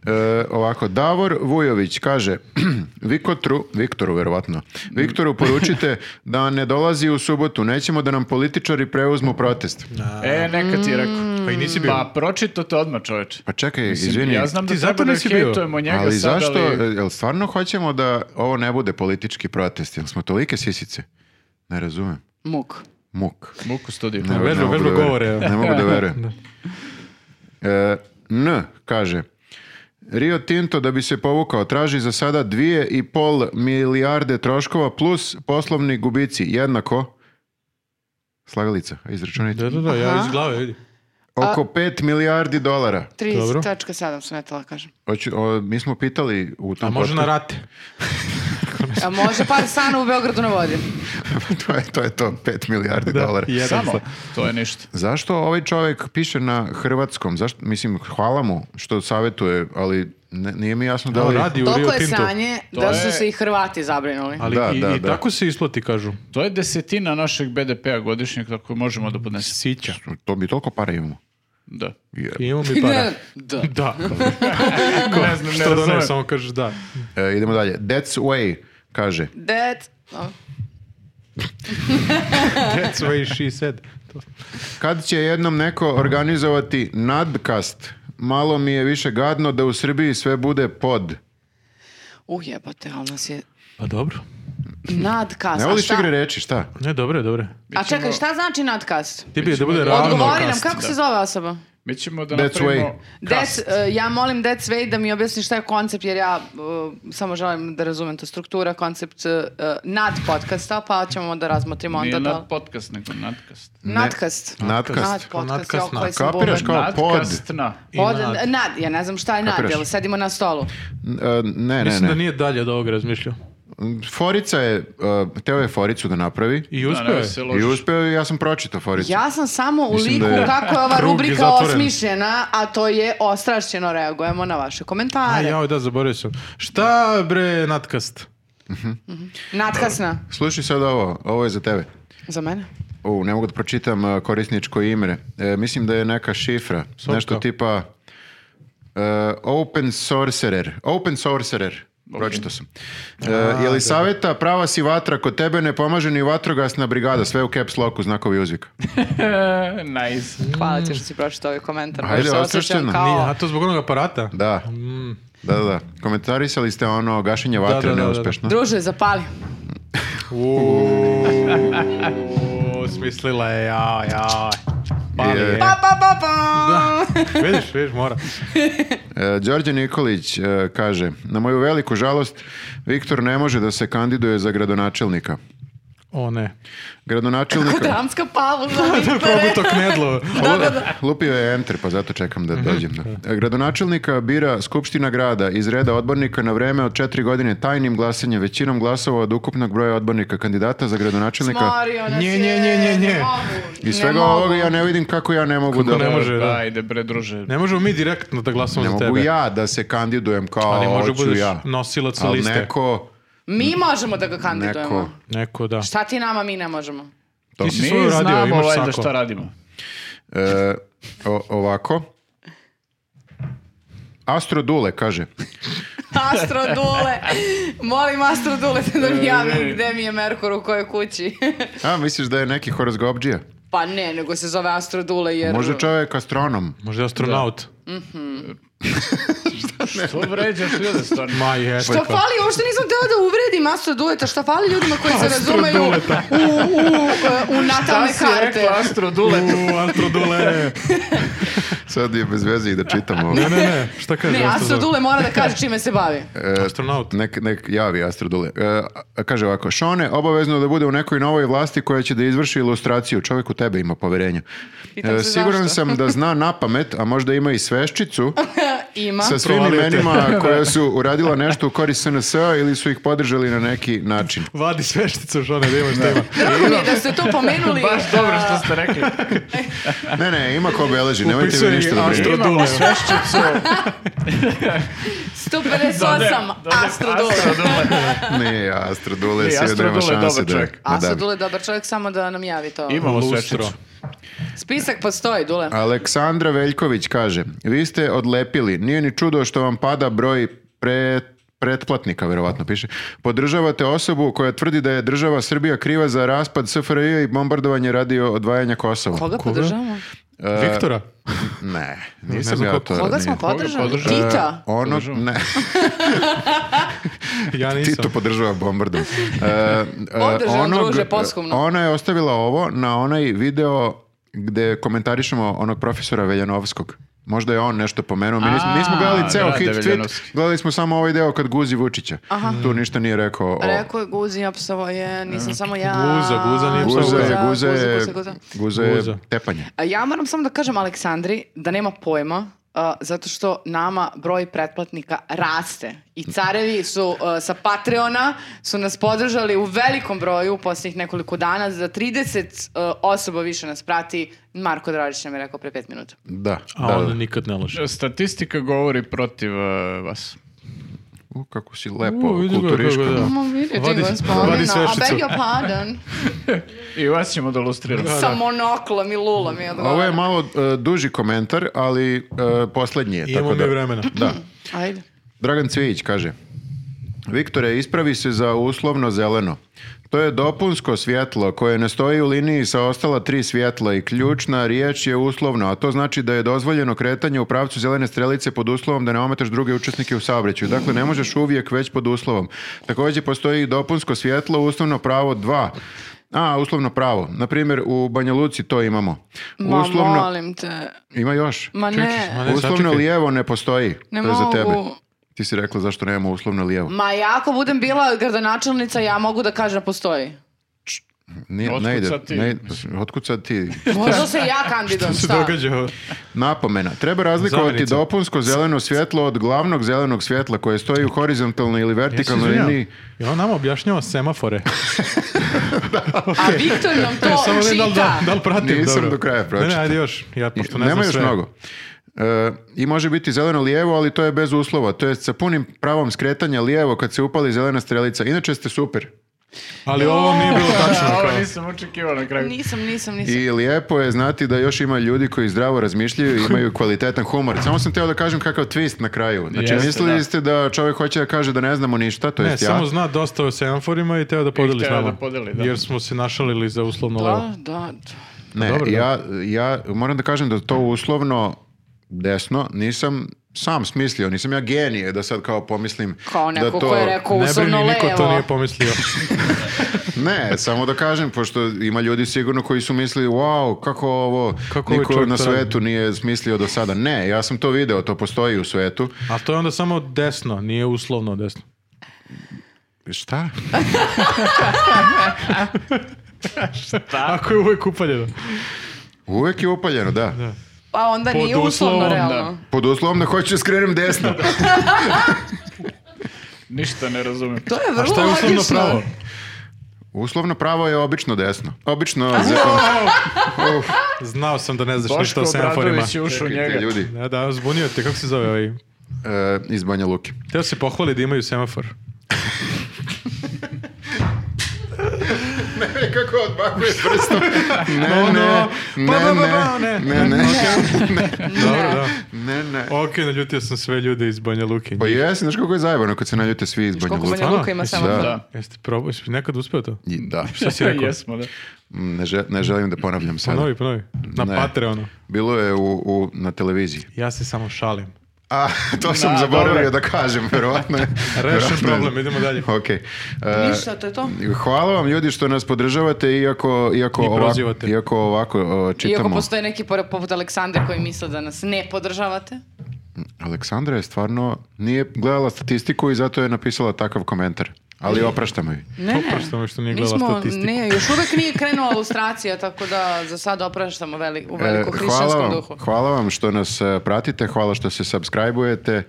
S1: E, ovako, Davor Vujović kaže Vikotru, Viktoru verovatno, Viktoru poručite da ne dolazi u subotu, nećemo da nam političari preuzmu protest.
S2: E, neka ti je
S1: Mm.
S2: rekao.
S4: Pa i nisi bio.
S2: Pa pročito te odmah, čoveče.
S1: Pa čekaj, izvini,
S2: ja znam da
S4: Ti
S2: treba
S4: zato
S2: da
S4: nisi bio.
S2: hejtujemo njega
S1: ali
S2: sad,
S1: zašto, e,
S2: ali...
S1: jel stvarno hoćemo da ovo ne bude politički protest? Jel smo tolike sisice? Ne razumem.
S3: Muk.
S1: Muk.
S2: Muku studiju.
S1: Ne,
S4: vežba-
S1: mogu
S4: vežba
S1: da verujem.
S4: govore, evo.
S1: Ne mogu da verujem. E, N kaže, Rio Tinto da bi se povukao traži za sada dvije i pol milijarde troškova plus poslovni gubici jednako slagalica, izračunajte.
S4: Da, da, da, ja
S3: Aha.
S4: iz glave vidim.
S1: Oko 5 milijardi dolara.
S3: 30.7 sam etala kažem.
S1: Hoću- o, mi smo pitali u tom
S4: A može
S1: podcastu-
S4: na rate.
S3: A može par stana u Beogradu na vodi.
S1: to, je, to je to, 5 milijardi dolara.
S4: jedan
S2: Samo,
S4: sad.
S2: to je ništa.
S1: Zašto ovaj čovjek piše na hrvatskom? Zašto, mislim, hvala mu što savjetuje, ali ne- nije mi jasno da
S4: Da,
S1: li...
S4: radi u Rio
S3: Toliko je
S4: Tinto.
S3: sanje da
S2: je-
S3: su se i Hrvati zabrinuli.
S4: Ali
S1: Da,
S4: i,
S1: da,
S4: i
S1: da.
S4: tako se isplati, kažu.
S2: To je desetina našeg BDP-a godišnjeg, tako možemo da podnesemo.
S4: Sića.
S1: To mi toliko para imamo.
S2: Da.
S1: Je.
S4: Imamo mi para.
S3: da.
S4: Da.
S2: ne znam,
S4: Što da ne, samo kažeš da.
S1: E, idemo dalje. That's way, kaže.
S3: That... O,
S4: That's what she said. To.
S1: Kad će jednom neko organizovati nadkast? Malo mi je više gadno da u Srbiji sve bude pod.
S3: ujebate, ali nas je
S4: Pa dobro.
S3: nadkast.
S1: Ne
S3: A
S1: voliš
S3: šta-
S1: igre reči, šta?
S4: Ne, dobro je, dobro je.
S3: A čekaj, šta znači nadkast?
S4: Ti bi je da bude
S2: Bićemo-
S4: ravno.
S3: Odgovori nam,
S4: kast.
S3: kako se zove osoba?
S2: Mi ćemo da
S1: That's
S2: napravimo...
S1: way.
S3: Dec, e, ja molim Dec Way da mi objasni šta je koncept, jer ja e, samo želim da razumem to struktura, koncept e, nad podcasta, pa ćemo da razmotrimo onda
S2: Nije
S3: da...
S2: nad podcast, nego nadcast.
S1: Nadcast.
S3: Nadcast. Nad podcast,
S4: Nadcast,
S3: jao, koji sam
S1: Kapiraš
S3: buben.
S1: Kao pod.
S2: Nadkastna.
S4: I
S3: Pod,
S4: nad.
S3: nad. ja ne znam šta je nad,
S1: Kapiraš?
S3: jel sedimo na stolu.
S1: E, Ne, ne,
S4: Mislim
S1: ne.
S4: da nije dalje od ovog razmišljao.
S1: Forica je, e, teo je Foricu da napravi
S4: I
S2: Da,
S4: uspeo
S2: ne,
S4: je.
S2: se
S1: i
S2: ložiš.
S1: uspeo je, ja sam pročitao Foricu.
S3: Ja sam samo u
S1: Mislim
S3: liku
S1: da je-
S3: kako je ova
S4: Krug je
S3: rubrika
S4: zatvoren.
S3: osmišljena, a to je ostrašćeno reagujemo na vaše
S4: A
S3: komentare.
S4: jao, da, zaboravio sam. Šta bre, natkast?
S3: Natkasna.
S1: Slušaj sad ovo, ovo je za tebe.
S3: Za mene?
S1: U, ne mogu da pročitam e, korisničko ime. E, mislim da je neka šifra,
S4: Sopka.
S1: nešto tipa e, Open Sorcerer. Open Sorcerer. Pročitao sam. E, Jelisaveta, prava si vatra, kod tebe ne pomaže ni vatrogasna brigada, sve u caps locku, znakovi uzvika.
S2: E, nice.
S3: Hvala ti što si pročitao ovaj komentar.
S1: Ajde,
S3: Baš se osjećam
S1: ostrašćeno.
S3: kao...
S4: Nije, a to zbog onog aparata? Mm.
S1: Da, da, da, da. Komentarisali ste ono gašenje vatre
S4: da, da, da.
S1: neuspešno.
S3: Druže, zapali.
S4: Uuu, smislila je, jao, jao. Pali
S1: Je.
S4: je.
S3: Pa, pa, pa, pa.
S4: Da, vidiš, vidiš, mora.
S1: E, Đorđe Nikolić e, kaže, na moju veliku žalost, Viktor ne može da se kandiduje za gradonačelnika.
S4: O ne.
S1: Gradonačelnika...
S3: Dramska pauza, Viktore.
S4: Proguto knedlo.
S1: Lupio je enter, pa zato čekam da dođem.
S4: Mhm.
S1: Da. E, Gradonačelnika bira Skupština grada iz reda odbornika na vreme od četiri godine tajnim glasanjem, većinom glasova od ukupnog broja odbornika kandidata za gradonačelnika.
S3: Smorio nas
S4: Nje,
S3: je.
S4: nje, nje, nje, nje.
S3: Ne mogu.
S1: Iz svega
S3: ne mogu.
S1: ovoga ja ne vidim kako ja ne mogu da...
S4: ne može,
S2: Dobro,
S4: da.
S2: Ajde, bre, druže.
S4: Ne možemo mi direktno da glasamo
S1: Ne
S4: za
S1: mogu
S4: tebe.
S1: ja da se kandidujem kao
S4: Ali može
S1: hoću
S4: budeš
S1: ja.
S4: nosilac
S1: Ali
S4: liste.
S1: neko,
S3: Mi možemo da ga kandidujemo.
S1: neko...
S4: Neko, da.
S3: Šta ti nama, mi ne možemo.
S4: Ti
S2: Pa Mi
S4: si svoju radio,
S2: znamo
S4: imaš
S2: valjda
S4: sako.
S2: šta radimo.
S1: E, o- ovako. Astro Dule kaže,
S3: Astro Dule. Molim Astro Dule da mi
S2: E.
S3: javi gde mi je Merkur u kojoj kući.
S1: a misliš da je neki horozgobđija?
S3: pa ne, nego se zove Astro Dule jer...
S1: Možda čovjek astronom.
S4: Možda je astronaut.
S2: Što vređaš ljude stvarno?
S4: Ma je.
S3: Što fali, uopšte nisam teo da uvredim Astro Duleta, šta fali ljudima koji se razumeju u, u, u, u
S2: Šta
S3: natalne
S2: si
S3: karte.
S2: rekla, Astro Dule?
S4: U, astrodule.
S1: Sad je bez veze i da čitam ovo.
S4: Ne, ne, ne. Šta kaže
S3: Ne, Astro
S4: astrodule?
S3: Dule mora da kaže čime se bavi.
S4: E,
S1: E,
S4: Astronaut.
S1: Nek, nek javi Astro Dule. E, a- a kaže ovako, Šone, obavezno da bude u nekoj novoj vlasti koja će da izvrši ilustraciju. Čovjek u tebe ima poverenja.
S3: Pitam se
S1: siguran
S3: zašto.
S1: sam da zna na pamet, a možda ima i sveščicu
S3: Ima.
S1: sa svim
S4: Provalio te.
S1: imenima koja su uradila nešto u korist SNS-a ili su ih podržali na neki način.
S4: Vadi svešticu, Žone, da imaš tema.
S3: Drago mi je da ste to pomenuli.
S2: Baš dobro što ste rekli.
S1: Ne, ne, ima ko beleži, nemojte
S4: Upisuje
S1: mi ništa da brinete.
S4: Astro
S2: Imamo
S4: Dule.
S2: sveščicu.
S3: 158 Astro Dule.
S1: Ne, Astro Dule
S2: Ne,
S1: si
S2: Astro
S1: nema
S2: Dule je
S1: šanse
S2: dobar
S1: da...
S2: čovjek.
S1: da
S3: Astro
S1: davi.
S3: Dule, dobar čovjek, samo da nam javi to.
S2: Imamo
S4: Lustro.
S2: sveščicu.
S3: Spisak postoji, Dule.
S1: Aleksandra Veljković kaže, vi ste odlepili, nije ni čudo što vam pada broj pre- pretplatnika, verovatno piše. Podržavate osobu koja tvrdi da je država Srbija kriva za raspad SFRJ i bombardovanje radio odvajanja Kosova.
S3: Koga
S4: Koga?
S3: podržavamo?
S1: E,
S4: Viktora.
S1: Ne,
S4: Ne
S1: nisam
S4: znam
S1: ja
S4: kako-
S1: to.
S3: Koga
S1: nije.
S3: smo podržali?
S2: podržali?
S3: Tita.
S1: Ono,
S2: Podržavam.
S1: ne,
S4: Ja
S1: Tito
S4: nisam.
S1: podržava bombardu. E, e,
S3: Podržavam, druže, posthumno.
S1: Ona je ostavila ovo na onaj video gde komentarišemo onog profesora Veljanovskog. Možda je on nešto pomenuo. Mi nismo,
S2: A,
S1: nismo gledali ceo
S2: brate,
S1: hit tweet,
S2: Veljanovski.
S1: gledali smo samo ovaj deo kad guzi Vučića. Tu ništa nije rekao. o-
S3: Rekao je Guzi, apsovo je, nisam samo ja.
S4: Guza, Guza nije
S1: Guza je,
S4: Guza,
S1: guza je, guza je
S4: Guza.
S1: tepanje.
S3: A Ja moram samo da kažem Aleksandri da nema pojma a, zato što nama broj pretplatnika raste i carevi su a, sa Patreona su nas podržali u velikom broju u posljednjih nekoliko dana za 30 a, osoba više nas prati Marko Dražić nam je rekao pre 5 minuta
S1: Da, da,
S4: A
S1: da.
S4: on nikad ne laže.
S2: Statistika govori protiv eh, vas.
S1: U, kako si lepo,
S4: U, vidi ga,
S1: kulturiška.
S4: kako da.
S3: Ma vidi ti
S4: Vadi- vadi
S3: gospodina, a
S4: svešticu.
S3: beg your pardon
S2: I vas ćemo da lustriramo.
S4: Da,
S3: sa monoklom i lulom
S1: Ovo
S3: i
S1: je
S3: odgovara
S1: malo e, duži komentar, ali e, poslednji je.
S4: Imamo
S1: tako da,
S4: mi vremena.
S1: Da.
S3: Ajde.
S1: Dragan Cvijić kaže Viktore, ispravi se za uslovno zeleno. To je dopunsko svjetlo koje ne stoji u liniji sa ostala tri svjetla i ključna riječ je uslovno, a to znači da je dozvoljeno kretanje u pravcu zelene strelice pod uslovom da ne ometaš druge učesnike u saobraćaju. Dakle, ne možeš uvijek već pod uslovom. Također postoji i dopunsko svjetlo, uslovno pravo 2. A, uslovno pravo. Naprimjer, u Banja Luci to imamo.
S3: Ma,
S1: Uslovno,
S3: molim te.
S1: ima još.
S3: Ma
S4: Čekaj, ma
S3: ne.
S4: ne,
S1: Uslovno
S4: sačekaj.
S1: lijevo ne postoji.
S3: Ne
S1: to je za tebe.
S3: mogu.
S1: Ti si rekla zašto nemamo uslovno
S2: Mm.
S1: lijevo.
S3: Ma ja ako budem bila gradonačelnica, ja mogu da kažem da postoji.
S1: Nije,
S2: Otkud
S1: ne ide.
S2: sad ti?
S1: Ne, otkud sad ti?
S3: Možda se ja kandidujem,
S4: Što se
S3: šta?
S4: događa ovo?
S1: Napomena. Treba razlikovati
S4: Zamenica.
S1: dopunsko zeleno svjetlo od glavnog zelenog svjetla koje stoji u horizontalnoj ili
S4: Ja se
S1: vertikalnoj
S4: izvinjam.
S1: liniji.
S4: I on nam objašnjava semafore.
S3: A Viktor nam to
S4: Samo ne da li, da,
S3: čita.
S4: da li pratim
S1: Nisam
S4: dobro.
S1: do kraja
S4: Ne,
S1: pročitao.
S4: ne, ajde još. Ja, pošto ne
S1: Nema
S4: znam
S1: još
S4: sve.
S1: mnogo. E, I može biti zeleno lijevo, ali to je bez uslova. To je sa punim pravom skretanja lijevo kad se upali zelena strelica. Inače ste super.
S4: Ali ovo nije bilo tačno.
S2: Da, ovo
S4: kao.
S2: nisam očekivao na kraju.
S3: Nisam, nisam, nisam.
S1: I lijepo je znati da još ima ljudi koji zdravo razmišljaju i imaju kvalitetan humor. Samo sam teo da kažem kakav twist na kraju. Znači,
S2: Jeste,
S1: mislili
S2: da.
S1: ste da čovjek hoće da kaže da ne znamo ništa, to
S4: Ne,
S1: jest ja.
S4: samo zna dosta o semaforima i teo da podeli s
S2: hteo
S4: nama.
S2: da podeli, da.
S4: Jer smo se našalili za uslovno levo.
S3: Da, da.
S1: Ne,
S4: Pa dobro, da.
S1: ja, ja moram da kažem da to uslovno desno nisam sam smislio, nisam ja genije da sad kao pomislim
S3: Kao
S1: da
S3: neko
S1: to...
S3: ko je rekao
S4: Ne brini,
S3: uslovno
S4: niko to
S3: levo.
S4: nije pomislio.
S1: Ne, samo da kažem, pošto ima ljudi sigurno koji su mislili, wow, kako ovo
S4: Kako ovaj
S1: niko
S4: čovjek
S1: na
S4: to radi?"
S1: svetu nije smislio do sada. Ne, ja sam to video, to postoji u svetu.
S4: A to je onda samo desno, nije uslovno desno.
S1: Šta?
S4: Ako je uvek upaljeno.
S1: Uvek je upaljeno, da.
S3: Pa onda
S4: Pod
S3: nije uslovno
S4: uslovom da.
S3: realno.
S1: Pod uslovom da hoću da skrenem desno.
S2: Ništa ne razumem.
S3: To je
S4: A šta
S3: vrlo
S4: je uslovno
S3: logično.
S4: pravo?
S1: Uslovno pravo je obično desno. Obično za... Uf,
S4: Znao sam da ne znaš ništa
S2: Boško
S4: o semaforima.
S2: Obradović je ušao u
S1: čekajte,
S2: njega.
S1: ljudi.
S4: Da, da, zbunio te, kako se zove ovaj?
S1: E, iz Banja Luki.
S4: Teo se pohvali da imaju semafor.
S1: Ne, kako odbakuje prstom. Ne,
S4: No,
S1: ne,
S4: no. Pa,
S1: ne,
S4: pa, pa, pa,
S1: ne,
S4: ne.
S1: ne, ne,
S4: Dobro, da.
S1: ne, ne.
S4: Ok, naljutio sam sve ljude iz Banja Luke.
S1: Pa jesi, znaš kako je zajebano kad se naljute svi iz Banja
S3: Koliko
S1: Luke.
S3: Banja Luka
S4: Stvarno?
S3: ima
S1: Jesi
S3: samo.
S1: da?
S2: Da.
S4: Jeste probao, jesi nekad uspeo to?
S1: I Da,
S4: Šta si rekao?
S2: Jesmo, da.
S1: Mm, ne, žel- ne želim da ponavljam sada.
S4: Ponovi, ponovi. Na
S1: Ne.
S4: Patreonu.
S1: Bilo je u, u, na televiziji.
S4: Ja se samo šalim.
S1: A, to sam
S2: Da,
S1: zaboravio
S2: dobro.
S1: da kažem, verovatno je.
S4: Rešen
S1: verovatno je-
S4: problem, idemo dalje.
S1: Okej. E,
S3: Ništa, to je to.
S1: Hvala vam ljudi što nas podržavate iako iako
S4: I
S1: ovako,
S4: prozivate.
S1: iako ovako o, čitamo.
S3: Iako postoje neki por- poput Aleksandre koji misle da nas ne podržavate.
S1: Aleksandra je stvarno nije gledala statistiku i zato je napisala takav komentar. Ali opraštamo joj.
S3: Ne, ne.
S4: Opraštamo što nije gledala
S3: Nismo-
S4: statistiku.
S3: Ne, još uvek nije krenula lustracija, tako da za sad opraštamo veli, u
S1: E, hvala,
S3: veliko hrišćanskom
S1: vam,
S3: duhu.
S1: hvala vam što nas e, pratite, hvala što se subscribe-ujete.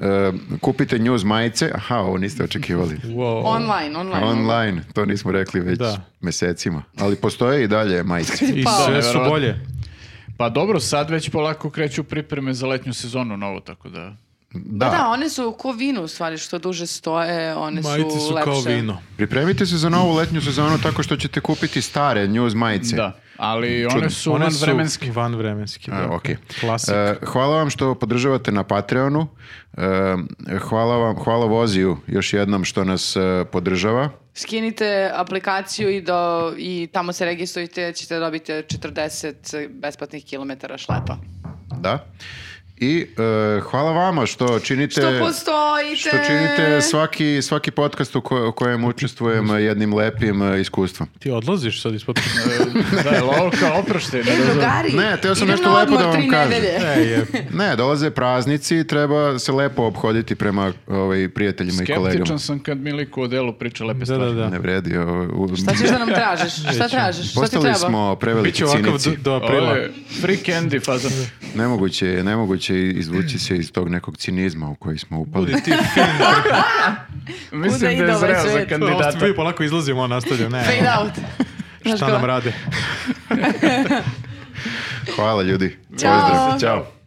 S1: E, kupite news majice. Aha, ovo niste očekivali.
S4: Wow.
S3: Online, online.
S1: Online, to nismo rekli već
S4: Da.
S1: mesecima. Ali postoje i dalje majice.
S4: I
S3: Pa,
S4: sve su
S2: nevjerovatno.
S4: bolje.
S2: Pa dobro, sad već polako kreću pripreme za letnju sezonu novo, tako da...
S3: Da.
S1: Da,
S3: one su ko vino u stvari, što duže stoje, one
S4: Majice su
S3: lepše.
S4: kao vino.
S1: pripremite se za novu letnju sezonu tako što ćete kupiti stare news majice.
S2: Da, ali one su
S4: One
S2: van vremenski.
S4: Van vremenski, da.
S1: A, ok.
S4: Klasik.
S1: E, hvala vam što podržavate na Patreonu. E, hvala vam, hvala Voziju još jednom što nas e, podržava.
S3: Skinite aplikaciju i, do, i tamo se registrujte, ćete dobiti 40 besplatnih kilometara šlepa.
S1: Da. I e, hvala vama što činite...
S3: Što postojite!
S1: što činite svaki, svaki podcast u, ko- u kojem učestvujem e, jednim lepim e, iskustvom.
S4: Ti odlaziš sad ispod...
S2: e, da, je ovo kao oprošte, ne
S3: E,
S2: razumem.
S3: drugari,
S1: Ne, teo sam
S3: idem
S1: nešto
S3: na
S1: lepo da
S3: odmor
S1: vam
S3: tri
S1: kažem.
S3: nedelje.
S4: e, je.
S1: Ne, dolaze praznici, treba se lepo obhoditi prema ovaj, prijateljima i kolegama.
S2: Skeptičan sam kad mi liko u delu priča lepe
S4: Da,
S2: stvari.
S4: da, da.
S1: Ne vredi. ovo, u-
S3: Šta ćeš da nam tražiš? Šta tražiš? Šta ti
S1: Postali
S3: treba?
S1: smo preveliki
S4: Biće ovakav
S1: cinici.
S4: do, do
S2: Ovo
S4: aprila.
S2: je free candy faza.
S1: Nemoguće je, nemoguće je izvući se iz tog nekog cinizma u koji smo upali.
S4: Budi ti fin.
S2: Mislim
S3: ide
S2: da je
S3: ovaj
S2: zreo za
S3: svet?
S4: Ovo
S2: kandidata.
S4: ste vi polako izlazimo, on nastavlja. Ne,
S3: Fade out. Znaš
S4: šta
S3: ko?
S4: nam rade?
S1: Hvala ljudi.
S3: Ćao.
S1: Pozdrav. Ćao.